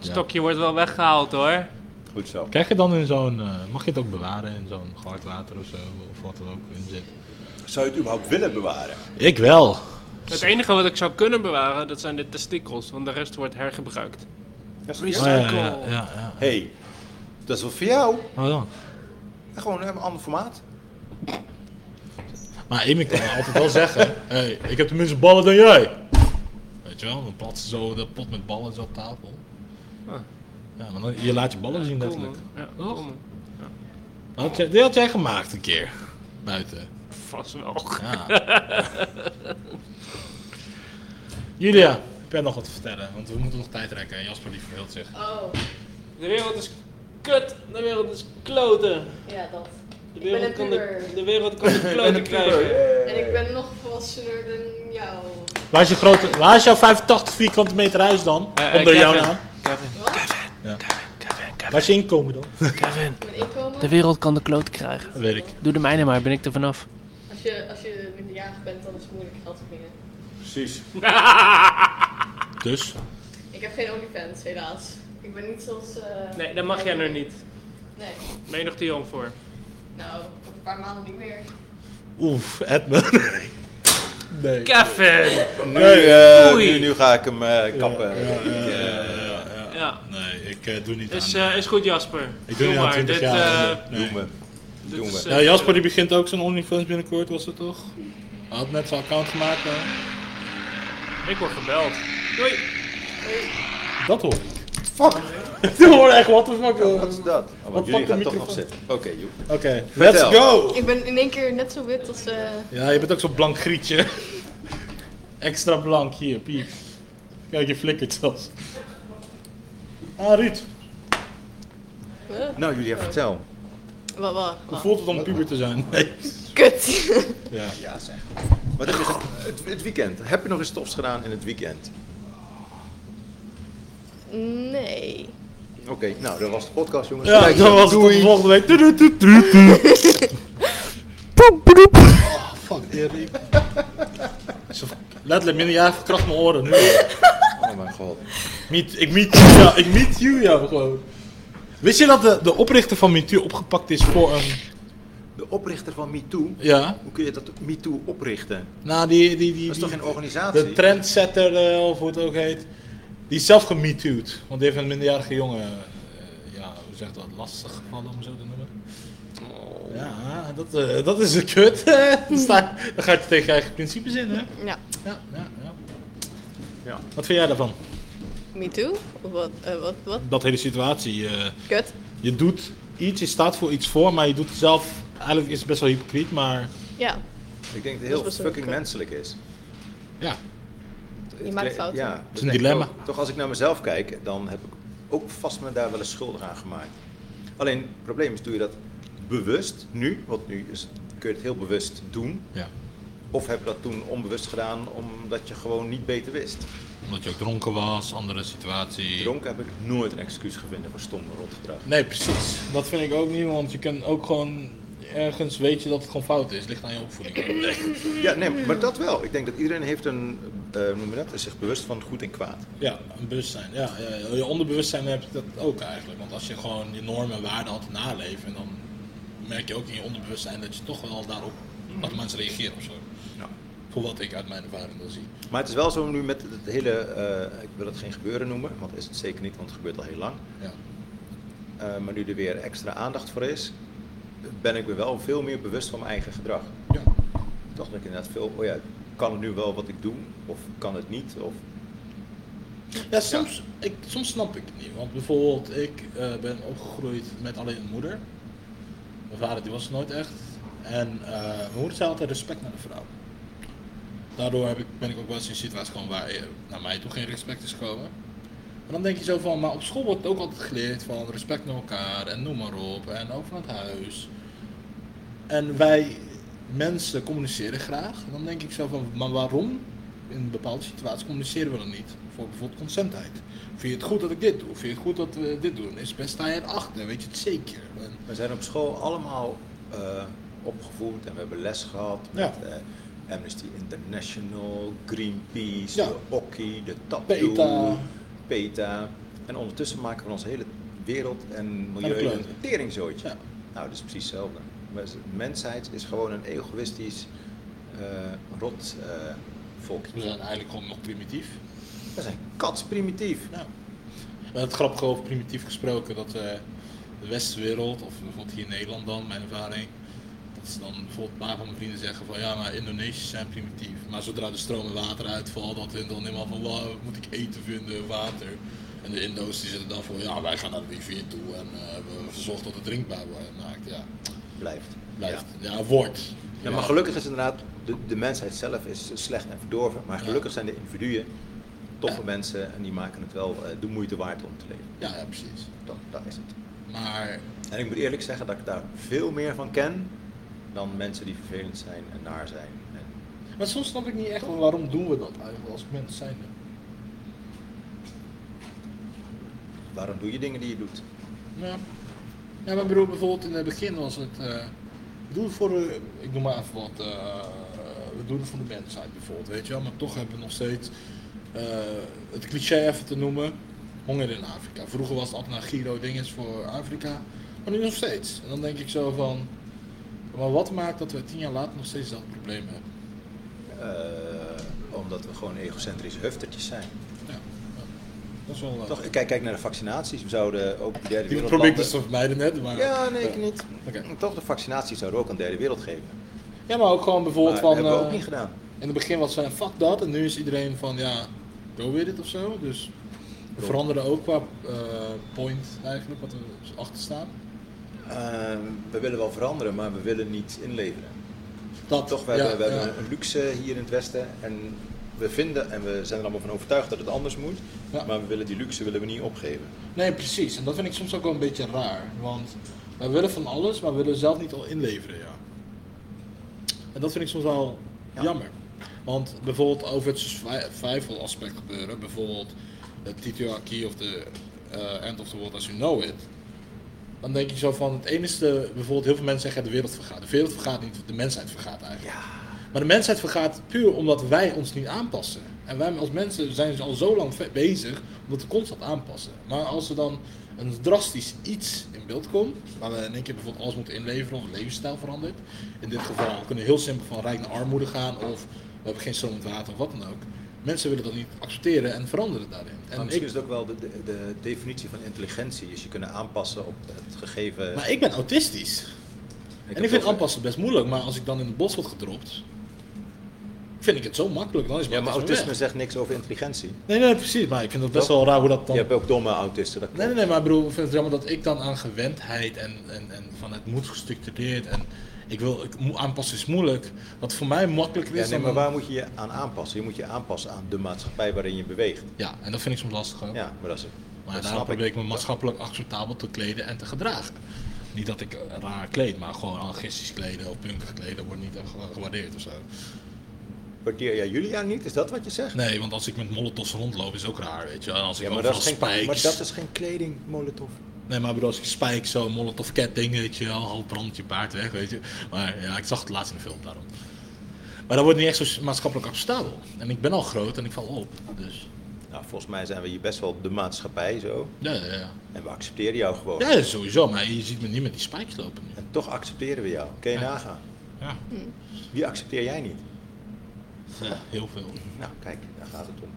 Stokje wordt wel weggehaald hoor. Goed zo. Krijg je dan in zo'n. eh, mag je het ook bewaren in zo'n gehard water of zo? Of wat er ook in zit? Zou je het überhaupt willen bewaren? Ik wel. Het enige wat ik zou kunnen bewaren, dat zijn de testikels, want de rest wordt hergebruikt. Oh, ja, ja, ja, ja, ja. hey, dat is wat voor jou. Oh, dan. Gewoon een ander formaat. Maar Amy kan me altijd wel zeggen: <laughs> hey, ik heb tenminste ballen dan jij. Weet je wel, dan plat ze zo de pot met ballen zo op tafel. Ja, maar dan, je laat je ballen zien, Cool, man. letterlijk. Ja, cool, man. Had jij, die had jij gemaakt een keer. Buiten. Vast wel. Ja. Julia, heb jij nog wat te vertellen? Want we moeten nog tijd rekken en Jasper die verveelt zich. Oh, De wereld is kut, de wereld is kloten. ja, dat. De Ik ben een wereld kan de, puber. de, wereld <laughs> kan de kloten krijgen. En ik ben nog volwassener dan jou. Waar is, je grote, waar is jouw 85 vierkante meter huis dan? Eh, eh, Onder jouw Kevin. naam. Kevin, Waar is je inkomen dan? Kevin. Mijn inkomen, De wereld kan de kloten krijgen. Dat weet ik. Doe de mijne maar, ben ik er vanaf. als je, als je minderjarig bent, dan is het moeilijk geld te verdienen. Precies. Dus? Ik heb geen OnlyFans, helaas. Ik ben niet zoals... eh, <laughs> Nee, dat mag jij nu niet. Nee. Ben je nog te jong voor. Nou, over een paar maanden niet meer. Oef, <laughs> Edmund. Nee. Kevin! Nu, eh, Oei. nu, nu ga ik hem eh, kappen. Ja, Eh, Nee, ik eh, doe niet is, aan. eh, is goed Jasper. ik doe niet aan 20 dit, jaar. Nou, eh, nee. Doen we. dit Doen is, we. eh, Ja, Jasper die begint ook zijn OnlyFans binnenkort, was het toch? Hij had net zijn account gemaakt. hè? Ik word gebeld. Doei! Dat hoor ik. Fuck. <laughs> Dat hoor echt, what the fuck. hoor. Wat is dat? Oh, want eh, jullie pak de gaan toch microfoon. nog zitten. Oké, joh. Oké, let's Vertel. go! Ik ben in één keer net zo wit als... eh, Ja, je bent ook zo'n blank grietje. <laughs> Extra blank, hier, piep. Kijk, je flikkert zelfs. Ah, Ruud, huh? Nou, jullie Oh. vertel. Wat, wat? hoe wat? voelt het om puber te zijn? Nee. Kut! <laughs> Ja. Ja, zeg. Maar dat is het, het, het weekend. Heb je nog eens tofs gedaan in het weekend? nee. Oké, nou, dat was de podcast, jongens. <laughs> Ja, Kijk, dan was het tot doei. de volgende week. Doei, doei, doei, doei, doei. <laughs> Oh, fuck, die riep. <laughs> Zo- Letterlijk, minderjarig verkracht mijn oren nu. Oh, mijn god. Meet, ik meet you, ja, ik meet you, ja, gewoon. Wist je dat de, de oprichter van MeToo opgepakt is voor een... De oprichter van MeToo. Ja, Hoe kun je dat MeToo oprichten? nou, die... die, die, Dat is toch die- geen organisatie? De trendsetter, eh, of hoe het ook heet, die is zelf gemetooed. Want die heeft een minderjarige jongen, eh, ja, hoe zegt dat, lastig gevallen om zo te noemen. Oh. Ja, dat, eh, dat is een kut. <laughs> hè. dan, sta, dan gaat je tegen je eigen principes in, hè? Ja. Ja, ja, ja. Ja. Wat vind jij daarvan? Me too? Of wat, eh, wat, wat? Dat hele situatie. eh, Kut. je doet iets, je staat voor iets voor, maar je doet het zelf. Eigenlijk is het best wel hypocriet, maar Ja. Ik denk dat Dat het heel was een fucking kut. menselijk is. ja. Je maakt fouten. Ja, is dat een denk ik dilemma. ook. Toch als ik naar mezelf kijk, dan heb ik ook vast me daar wel eens schuldig aan gemaakt. Alleen het probleem is, doe je dat bewust nu? Want nu is, kun je het heel bewust doen. ja. Of heb je dat toen onbewust gedaan omdat je gewoon niet beter wist? Omdat je ook dronken was, andere situatie. Dronken heb ik nooit een excuus gevonden voor stom rotgedrag. Nee, precies. Dat vind ik ook niet, want je kunt ook gewoon ergens weet je dat het gewoon fout is. Ligt aan je opvoeding. Ja, nee, maar dat wel. Ik denk dat iedereen heeft een, eh, hoe noem je dat, is zich bewust van goed en kwaad. Ja, een bewustzijn. Ja, ja, ja. je onderbewustzijn heb je dat ook eigenlijk. Want als je gewoon je normen en waarden altijd naleeft, en dan merk je ook in je onderbewustzijn dat je toch wel daarop dat mensen reageren of zo. Ja. Voor wat ik uit mijn ervaring wil zien. Maar het is wel zo nu met het hele, eh, ik wil het geen gebeuren noemen, want is het zeker niet, want het gebeurt al heel lang. Ja. Eh, maar nu er weer extra aandacht voor is, ben ik me wel veel meer bewust van mijn eigen gedrag. ja. Toch dat ik inderdaad veel, oh ja, kan het nu wel wat ik doe? Of kan het niet? Of, Ja, soms, Ik, soms snap ik het niet. Want bijvoorbeeld, ik eh, ben opgegroeid met alleen een moeder. Mijn vader die was er nooit echt. En eh, mijn moeder zei altijd respect naar de vrouw. Daardoor heb ik, ben ik ook wel eens in een situatie gekomen waar eh, naar mij toe geen respect is gekomen. Maar dan denk je zo van, maar op school wordt ook altijd geleerd van respect naar elkaar en noem maar op. En ook van het huis. En wij mensen communiceren graag. En dan denk ik zo van, maar waarom in bepaalde situaties communiceren we dan niet. Voor bijvoorbeeld consentheid. Vind je het goed dat ik dit doe? Vind je het goed dat we dit doen? Is best sta je erachter, weet je het zeker? En- We zijn op school allemaal eh, opgevoed en we hebben les gehad met Ja. eh, Amnesty International, Greenpeace, Ja. de Okki, de Tapdoe, PETA. PETA. En ondertussen maken we ons hele wereld en milieu een kleuter. teringzooitje. Ja. Nou, dat is precies hetzelfde. Maar de mensheid is gewoon een egoïstisch eh, rot eh, volkje. We zijn eigenlijk gewoon nog primitief. We zijn kats primitief. Ja. Maar het grappige over primitief gesproken, dat eh, de westenwereld, of bijvoorbeeld hier in Nederland dan, mijn ervaring, dat is dan bijvoorbeeld een paar van mijn vrienden zeggen van ja, maar Indonesiërs zijn primitief. Maar zodra de stromen water uitvallen, dat hun dan helemaal van wat moet ik eten vinden, water. En de Indo's die zitten dan van ja, wij gaan naar de rivier toe en eh, we verzorgen dat het drinkbaar wordt. Maakt, ja, Blijft. blijft. Ja, wordt. Ja, maar gelukkig is inderdaad, de, de mensheid zelf is slecht en verdorven, maar gelukkig Ja. zijn de individuen toffe Ja. mensen en die maken het wel eh, de moeite waard om te leven. Ja, ja, precies. Dat, dat is het. Maar En ik moet eerlijk zeggen dat ik daar veel meer van ken dan mensen die vervelend zijn en naar zijn. En Maar soms snap ik niet echt wel waarom doen we dat eigenlijk als mens zijn. waarom doe je dingen die je doet? Ja. ja, maar bedoel, bijvoorbeeld in het begin was het. eh, we doen het voor de. Ik noem maar even wat. eh, we doen het voor de mensheid bijvoorbeeld, weet je wel. Maar toch hebben we nog steeds. eh, het cliché even te noemen: honger in Afrika. Vroeger was het naar Giro dinges voor Afrika. Maar nu nog steeds. En dan denk ik zo van. Maar wat maakt dat we tien jaar later nog steeds dat probleem hebben? Eh, omdat we gewoon egocentrische huftertjes zijn. Ja, ja. dat is wel. eh, Toch, kijk, kijk naar de vaccinaties. We zouden ook de derde die wereld. probeer ik dus te vermijden net. Maar, eh, Ja, nee, ik niet. Oké. Toch, de vaccinatie zouden we ook aan de derde wereld geven. ja, maar ook gewoon Maar bijvoorbeeld dat van. hebben we ook eh, niet gedaan. In het begin was van fuck dat en nu is iedereen van ja, go with it of zo. Dus we veranderen ook qua eh, point eigenlijk, wat we achter staan. Ehm, we willen wel veranderen, maar we willen niet inleveren. Dat Toch, we, ja, hebben, we ja. hebben een luxe hier in het Westen en we vinden en we zijn er allemaal van overtuigd dat het anders moet, Ja. maar we willen die luxe willen we niet opgeven. Nee, precies. En dat vind ik soms ook wel een beetje raar. Want wij willen van alles, maar we willen zelf niet al inleveren, ja. En dat vind ik soms wel jammer. Want bijvoorbeeld over het survival aspect gebeuren, bijvoorbeeld het TTRK of de eh, End of the World as You Know It. Dan denk je zo van, het enige, bijvoorbeeld heel veel mensen zeggen de wereld vergaat. De wereld vergaat niet, de mensheid vergaat eigenlijk. Maar de mensheid vergaat puur omdat wij ons niet aanpassen. En wij als mensen zijn dus al zo lang ve- bezig om dat constant aanpassen. Maar als er dan een drastisch iets in beeld komt, waar we in één keer bijvoorbeeld alles moeten inleveren of levensstijl verandert. In dit geval we kunnen heel simpel van rijk naar armoede gaan of we hebben geen stromend water of wat dan ook. Mensen willen dat niet accepteren en veranderen daarin. maar En misschien ik, is het dus ook wel de, de, de definitie van intelligentie, is je kunnen aanpassen op het gegeven... Eh, maar ik ben autistisch. en heb ik vind wel- aanpassen best moeilijk, maar als ik dan in het bos word gedropt, vind ik het zo makkelijk. Dan is Ja, maar autisme autisme weg. zegt niks over intelligentie. Nee, nee, precies. Maar ik vind het best wel raar hoe dat Je dan hebt ook domme autisten. Dat Nee, nee, nee, maar ik bedoel, ik vind het jammer dat ik dan aan gewendheid en, en, en van het moet gestructureerd en ik wil, ik, mo- aanpassen is moeilijk, dat voor mij makkelijker ja, is nee, dan... maar waar moet je je aan aanpassen? Je moet je aanpassen aan de maatschappij waarin je beweegt. Ja, en dat vind ik soms lastig ook. Ja, maar dat is maar dat daarom snap probeer ik me maatschappelijk acceptabel te kleden en te gedragen. Niet dat ik eh, raar kleed, maar gewoon anarchistisch kleden of punkig kleden wordt niet echt gewa- gewaardeerd of zo. Waardeer jij Julia niet? Is dat wat je zegt? Nee, want als ik met molotovs rondloop is ook raar, weet je. wel. En als ik Ja, maar overal dat, is geen, spijks... maar dat is geen kleding, Molotov. Nee, maar ik bedoel, als ik spijk, zo molotov cat ding, weet je wel, half brandt je paard weg, weet je. Maar ja, ik zag het laatst in de film, daarom. Maar dat wordt niet echt zo maatschappelijk acceptabel. En ik ben al groot en ik val op, dus... Nou, volgens mij zijn we hier best wel de maatschappij zo. Ja, ja, ja. En we accepteren jou gewoon. Ja, sowieso, maar je ziet me niet met die spikes lopen nu. En toch accepteren we jou. Kun je Ja. nagaan. Ja. Wie accepteer jij niet? Ja, heel veel. Nou, kijk, daar gaat het om.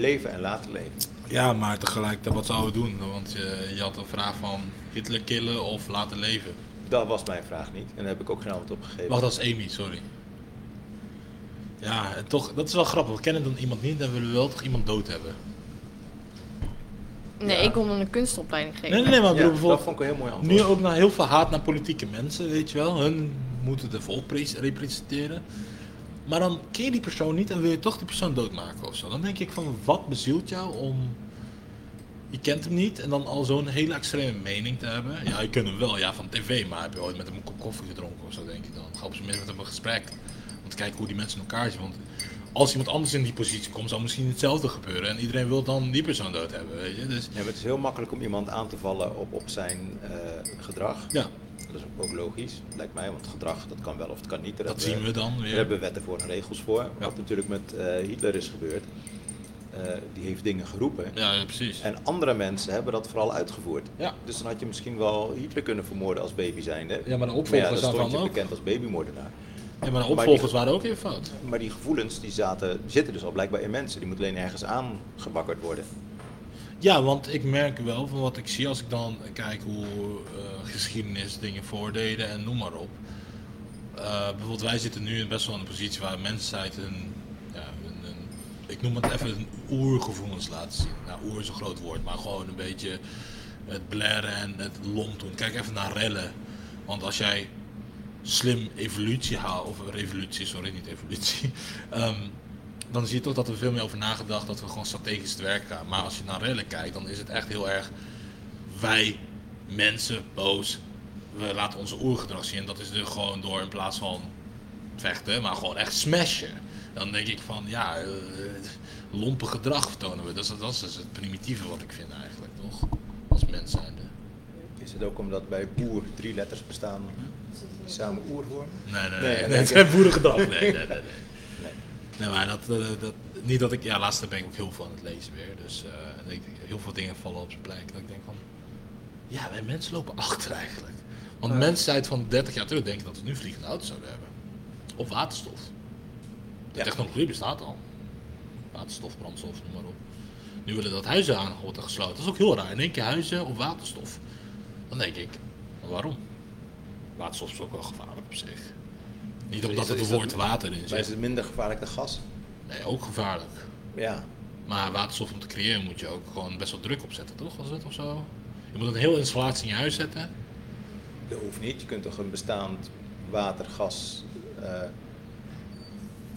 Leven en laten leven. Ja, maar tegelijkertijd, wat zouden we doen? Want eh, je, je had een vraag van Hitler killen of laten leven. Dat was mijn vraag niet. En daar heb ik ook geen antwoord op gegeven. Wacht, dat is Amy, sorry. Ja, en toch, dat is wel grappig. We kennen dan iemand niet en willen we wel toch iemand dood hebben. Nee, ik kon hem een kunstopleiding geven. Nee, nee, nee, maar ja, ik bedoel, dat bijvoorbeeld... vond ik een heel mooi antwoord. Nu ook naar heel veel haat naar politieke mensen, weet je wel. Hun moeten de volk pres- representeren. Maar dan keer die persoon niet en wil je toch die persoon doodmaken of zo. Dan denk ik van, wat bezielt jou om... Je kent hem niet en dan al zo'n hele extreme mening te hebben. Ja, je kent hem wel, ja, van tv. Maar heb je ooit met hem een kop koffie gedronken of zo, denk ik dan. Ga op zijn minst met hem een gesprek. Om te kijken hoe die mensen in elkaar zitten. Want als iemand anders in die positie komt, zal misschien hetzelfde gebeuren. En iedereen wil dan die persoon dood hebben, weet je. Dus Ja, maar het is heel makkelijk om iemand aan te vallen op, op zijn eh, gedrag. ja, Dat is ook logisch, lijkt mij, want gedrag dat kan wel of het kan niet. Daar dat hebben zien we dan Daar weer. hebben eh, we wetten voor en regels voor. Wat natuurlijk met eh, Hitler is gebeurd. Eh, die heeft dingen geroepen. Ja, ja, precies. En andere mensen hebben dat vooral uitgevoerd. Ja. Dus dan had je misschien wel Hitler kunnen vermoorden als baby zijnde. Ja, maar Maar ja, de opvolgers dan daarvan stond je ook. bekend als babymoordenaar. Ja, maar de opvolgers waren ook heel fout. Maar die gevoelens die zaten, zitten dus al blijkbaar in mensen. Die moeten alleen ergens aangebakkerd worden. Ja, want ik merk wel van wat ik zie als ik dan kijk hoe eh, geschiedenis dingen voordeden en noem maar op. Eh, bijvoorbeeld wij zitten nu in best wel een positie waar mensheid een, ja, een, een- ik noem het even een oergevoelens laat zien. Nou, oer is een groot woord, maar gewoon een beetje het blaren en het lomp doen. Kijk even naar rellen. Want als jij slim evolutie haalt, of revolutie, sorry, niet evolutie, <laughs> ehm, dan zie je toch dat er veel meer over nagedacht dat we gewoon strategisch te werk gaan. Maar als je naar rellen kijkt, dan is het echt heel erg wij, mensen, boos. We laten onze oergedrag zien. En dat is dus gewoon door in plaats van vechten, maar gewoon echt smashen. Dan denk ik van, ja, eh, lompe gedrag vertonen we. Dat is, dat is dus het primitieve wat ik vind eigenlijk, toch? Als mens zijnde. Is het ook omdat bij boer drie letters bestaan Mhm. die samen oer vormen? Nee, nee, Nee, nee. nee, nee, het nee. zijn boerengedrag. Nee, nee, nee. nee. Nee, maar dat, dat, dat, niet dat ik, ja, laatste ben ik ook heel veel aan het lezen weer. Dus eh, en ik, denk, heel veel dingen vallen op zijn plek. Dat ik denk van, ja, wij mensen lopen achter eigenlijk. Want mensheid van 30 jaar terug denken dat we nu vliegende auto's zouden hebben. Of waterstof. De Ja. technologie bestaat al. Waterstof, brandstof, noem maar op. Nu willen dat huizen aan worden gesloten. Dat is ook heel raar. In één keer huizen op waterstof. Dan denk ik, waarom? Waterstof is ook wel gevaarlijk op zich. Niet omdat Is dat- het is dat- woord water in Maar is zit. het minder gevaarlijk dan gas? Nee, ook gevaarlijk. Ja. Maar waterstof om te creëren moet je ook gewoon best wel druk opzetten, toch? Was het of zo? Je moet een hele installatie in je huis zetten. Dat hoeft niet. Je kunt toch een bestaand water, gas, eh,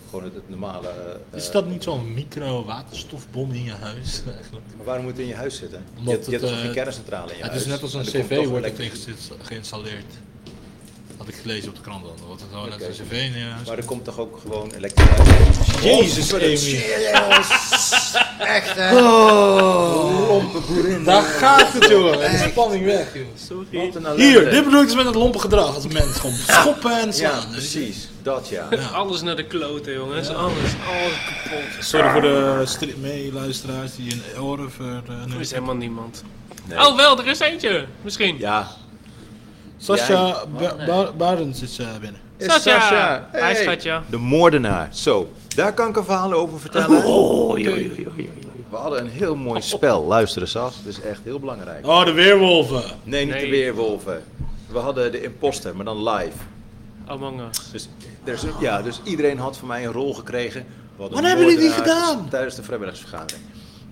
gewoon het, het normale. eh, Is dat niet zo'n micro-waterstofbom in je huis? <laughs> eigenlijk? Maar waarom moet het in je huis zitten? Omdat je hebt, je hebt het, toch geen eh, kerncentrale in je het huis? is net als een En er komt cv toch wordt het elektri- ingezet- geïnstalleerd. Had ik gelezen op de krant dan. Wordt het gewoon net Oké. een cv in je huis. Maar er komt toch ook gewoon elektriciteit? Jezus, Amy. <laughs> Echt hè? Oh, lompe boerin. eh. Daar gaat het, jongen. De spanning weg, jongen. Wat een Hier, ellende. dit bedoel ik dus met het lompe gedrag. Als mensen gewoon schoppen en slaan. Dus Ja, precies. Dat ja. Alles naar de kloten, jongens. Alles, alles kapot. Sorry voor de strip meeluisteraars die in oren ver... Er is helemaal niemand. Nee. Oh, wel, er is eentje. Misschien. Ja. Sascha Ba- Ba- Barends is eh, binnen. Is Sascha. Sascha. Hi, Hey. schatje. De moordenaar. Zo, daar kan ik een verhaal over vertellen. Oh, We hadden een heel mooi spel. Luisteren, Sas. Dat is echt heel belangrijk. Oh, de weerwolven. Nee, niet de Nee. weerwolven. We hadden de imposter, maar dan live. Among Us. Dus, er is een- ja, dus iedereen had van mij een rol gekregen. Wat hebben jullie gedaan? Tijdens de vrijwilligersvergadering.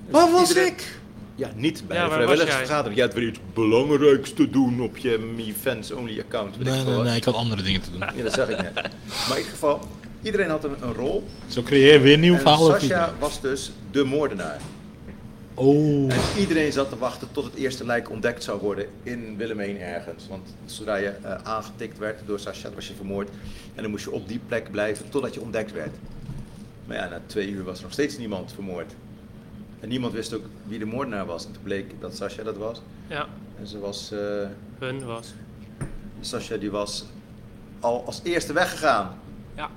Waar was Iedereen- ik? Ja, niet bij Ja, de waar was vrijwilligersvergadering. Jij had weer iets belangrijks te doen op je Me Fans Only account. weet ik Nee, veel nee, wat. nee, ik had andere dingen te doen. Ja, dat zag ik net. Maar in ieder geval, iedereen had een, een rol. Zo creëer je weer een nieuw En verhaal. over Sasha was dus de moordenaar. iedereen. Oh. En iedereen zat te wachten tot het eerste lijk ontdekt zou worden in Willemijn ergens. Want zodra je eh, aangetikt werd door Sascha, was je vermoord. En dan moest je op die plek blijven totdat je ontdekt werd. Maar ja, na twee uur was er nog steeds niemand vermoord. En niemand wist ook wie de moordenaar was. En toen bleek dat Sascha dat was. Ja, En ze was, eh hun was. Sascha die was al als eerste weggegaan. Ja.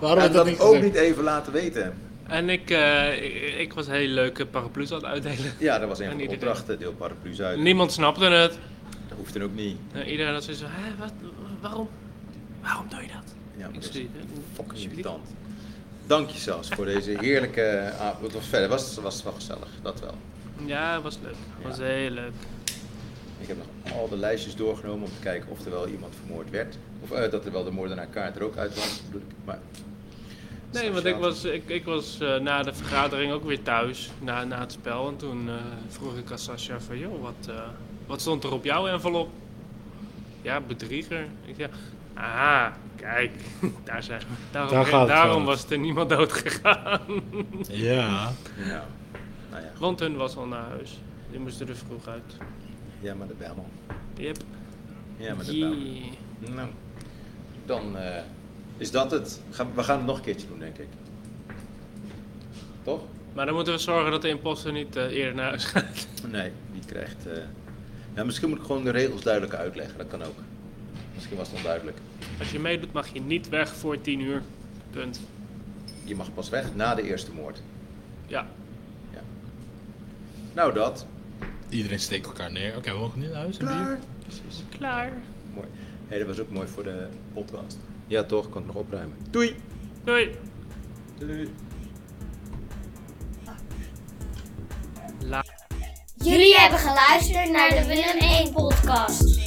Waarom en heb ik dat dat niet ook gezegd? niet even laten weten. En ik, eh, ik, ik was hele leuke paraplu's aan het uitdelen. Ja, dat was een En van de iedereen. opdrachten. Deel paraplu's uit. Niemand snapte het. Dat hoeft dan ook niet. Eh, iedereen had zoiets van, hè, wat, waarom? Waarom doe je dat? Ja, maar Ik dat is- stuur Fucking irritant. Dank je zelfs voor deze heerlijke avond. Het was verder, was, was wel gezellig, dat wel. Ja, was leuk. Was heel leuk. Ik heb nog al de lijstjes doorgenomen om te kijken of er wel iemand vermoord werd. Of eh, dat er wel de moordenaar kaart er ook uit was, bedoel ik. Maar, Nee, want ik was, ik, ik was eh, na de vergadering ook weer thuis, na, na het spel. En toen eh, vroeg ik aan Sascha van, joh, wat, eh, wat stond er op jouw envelop? Ja, bedrieger. Ik zei, ah, kijk, <laughs> daar zijn we. Daarom, Daar gaat het daarom fout. was er niemand dood gegaan. <laughs> Ja. Nou, nou ja, Want hun was al naar huis. Die moesten er vroeg uit. ja, maar de bel. Yep. Ja, maar de bel. Jee. Nou, dan eh, Is dat het? Ga- We gaan het nog een keertje doen, denk ik. Toch? Maar dan moeten we zorgen dat de imposter niet eh, eerder naar huis gaat. Nee, die krijgt. eh, Ja, misschien moet ik gewoon de regels duidelijker uitleggen. Dat kan ook. Misschien was het onduidelijk. Als je meedoet mag je niet weg voor 10 uur. Punt. Je mag pas weg na de eerste moord. Ja. Nou, dat. Iedereen steekt elkaar neer. Oké, we mogen nu naar huis. een bier? Klaar. Mooi. Hé, dat was ook mooi voor de podcast. Ja, toch? Kan ik nog opruimen. Doei! Doei. Jullie hebben geluisterd naar de Willem 1 podcast.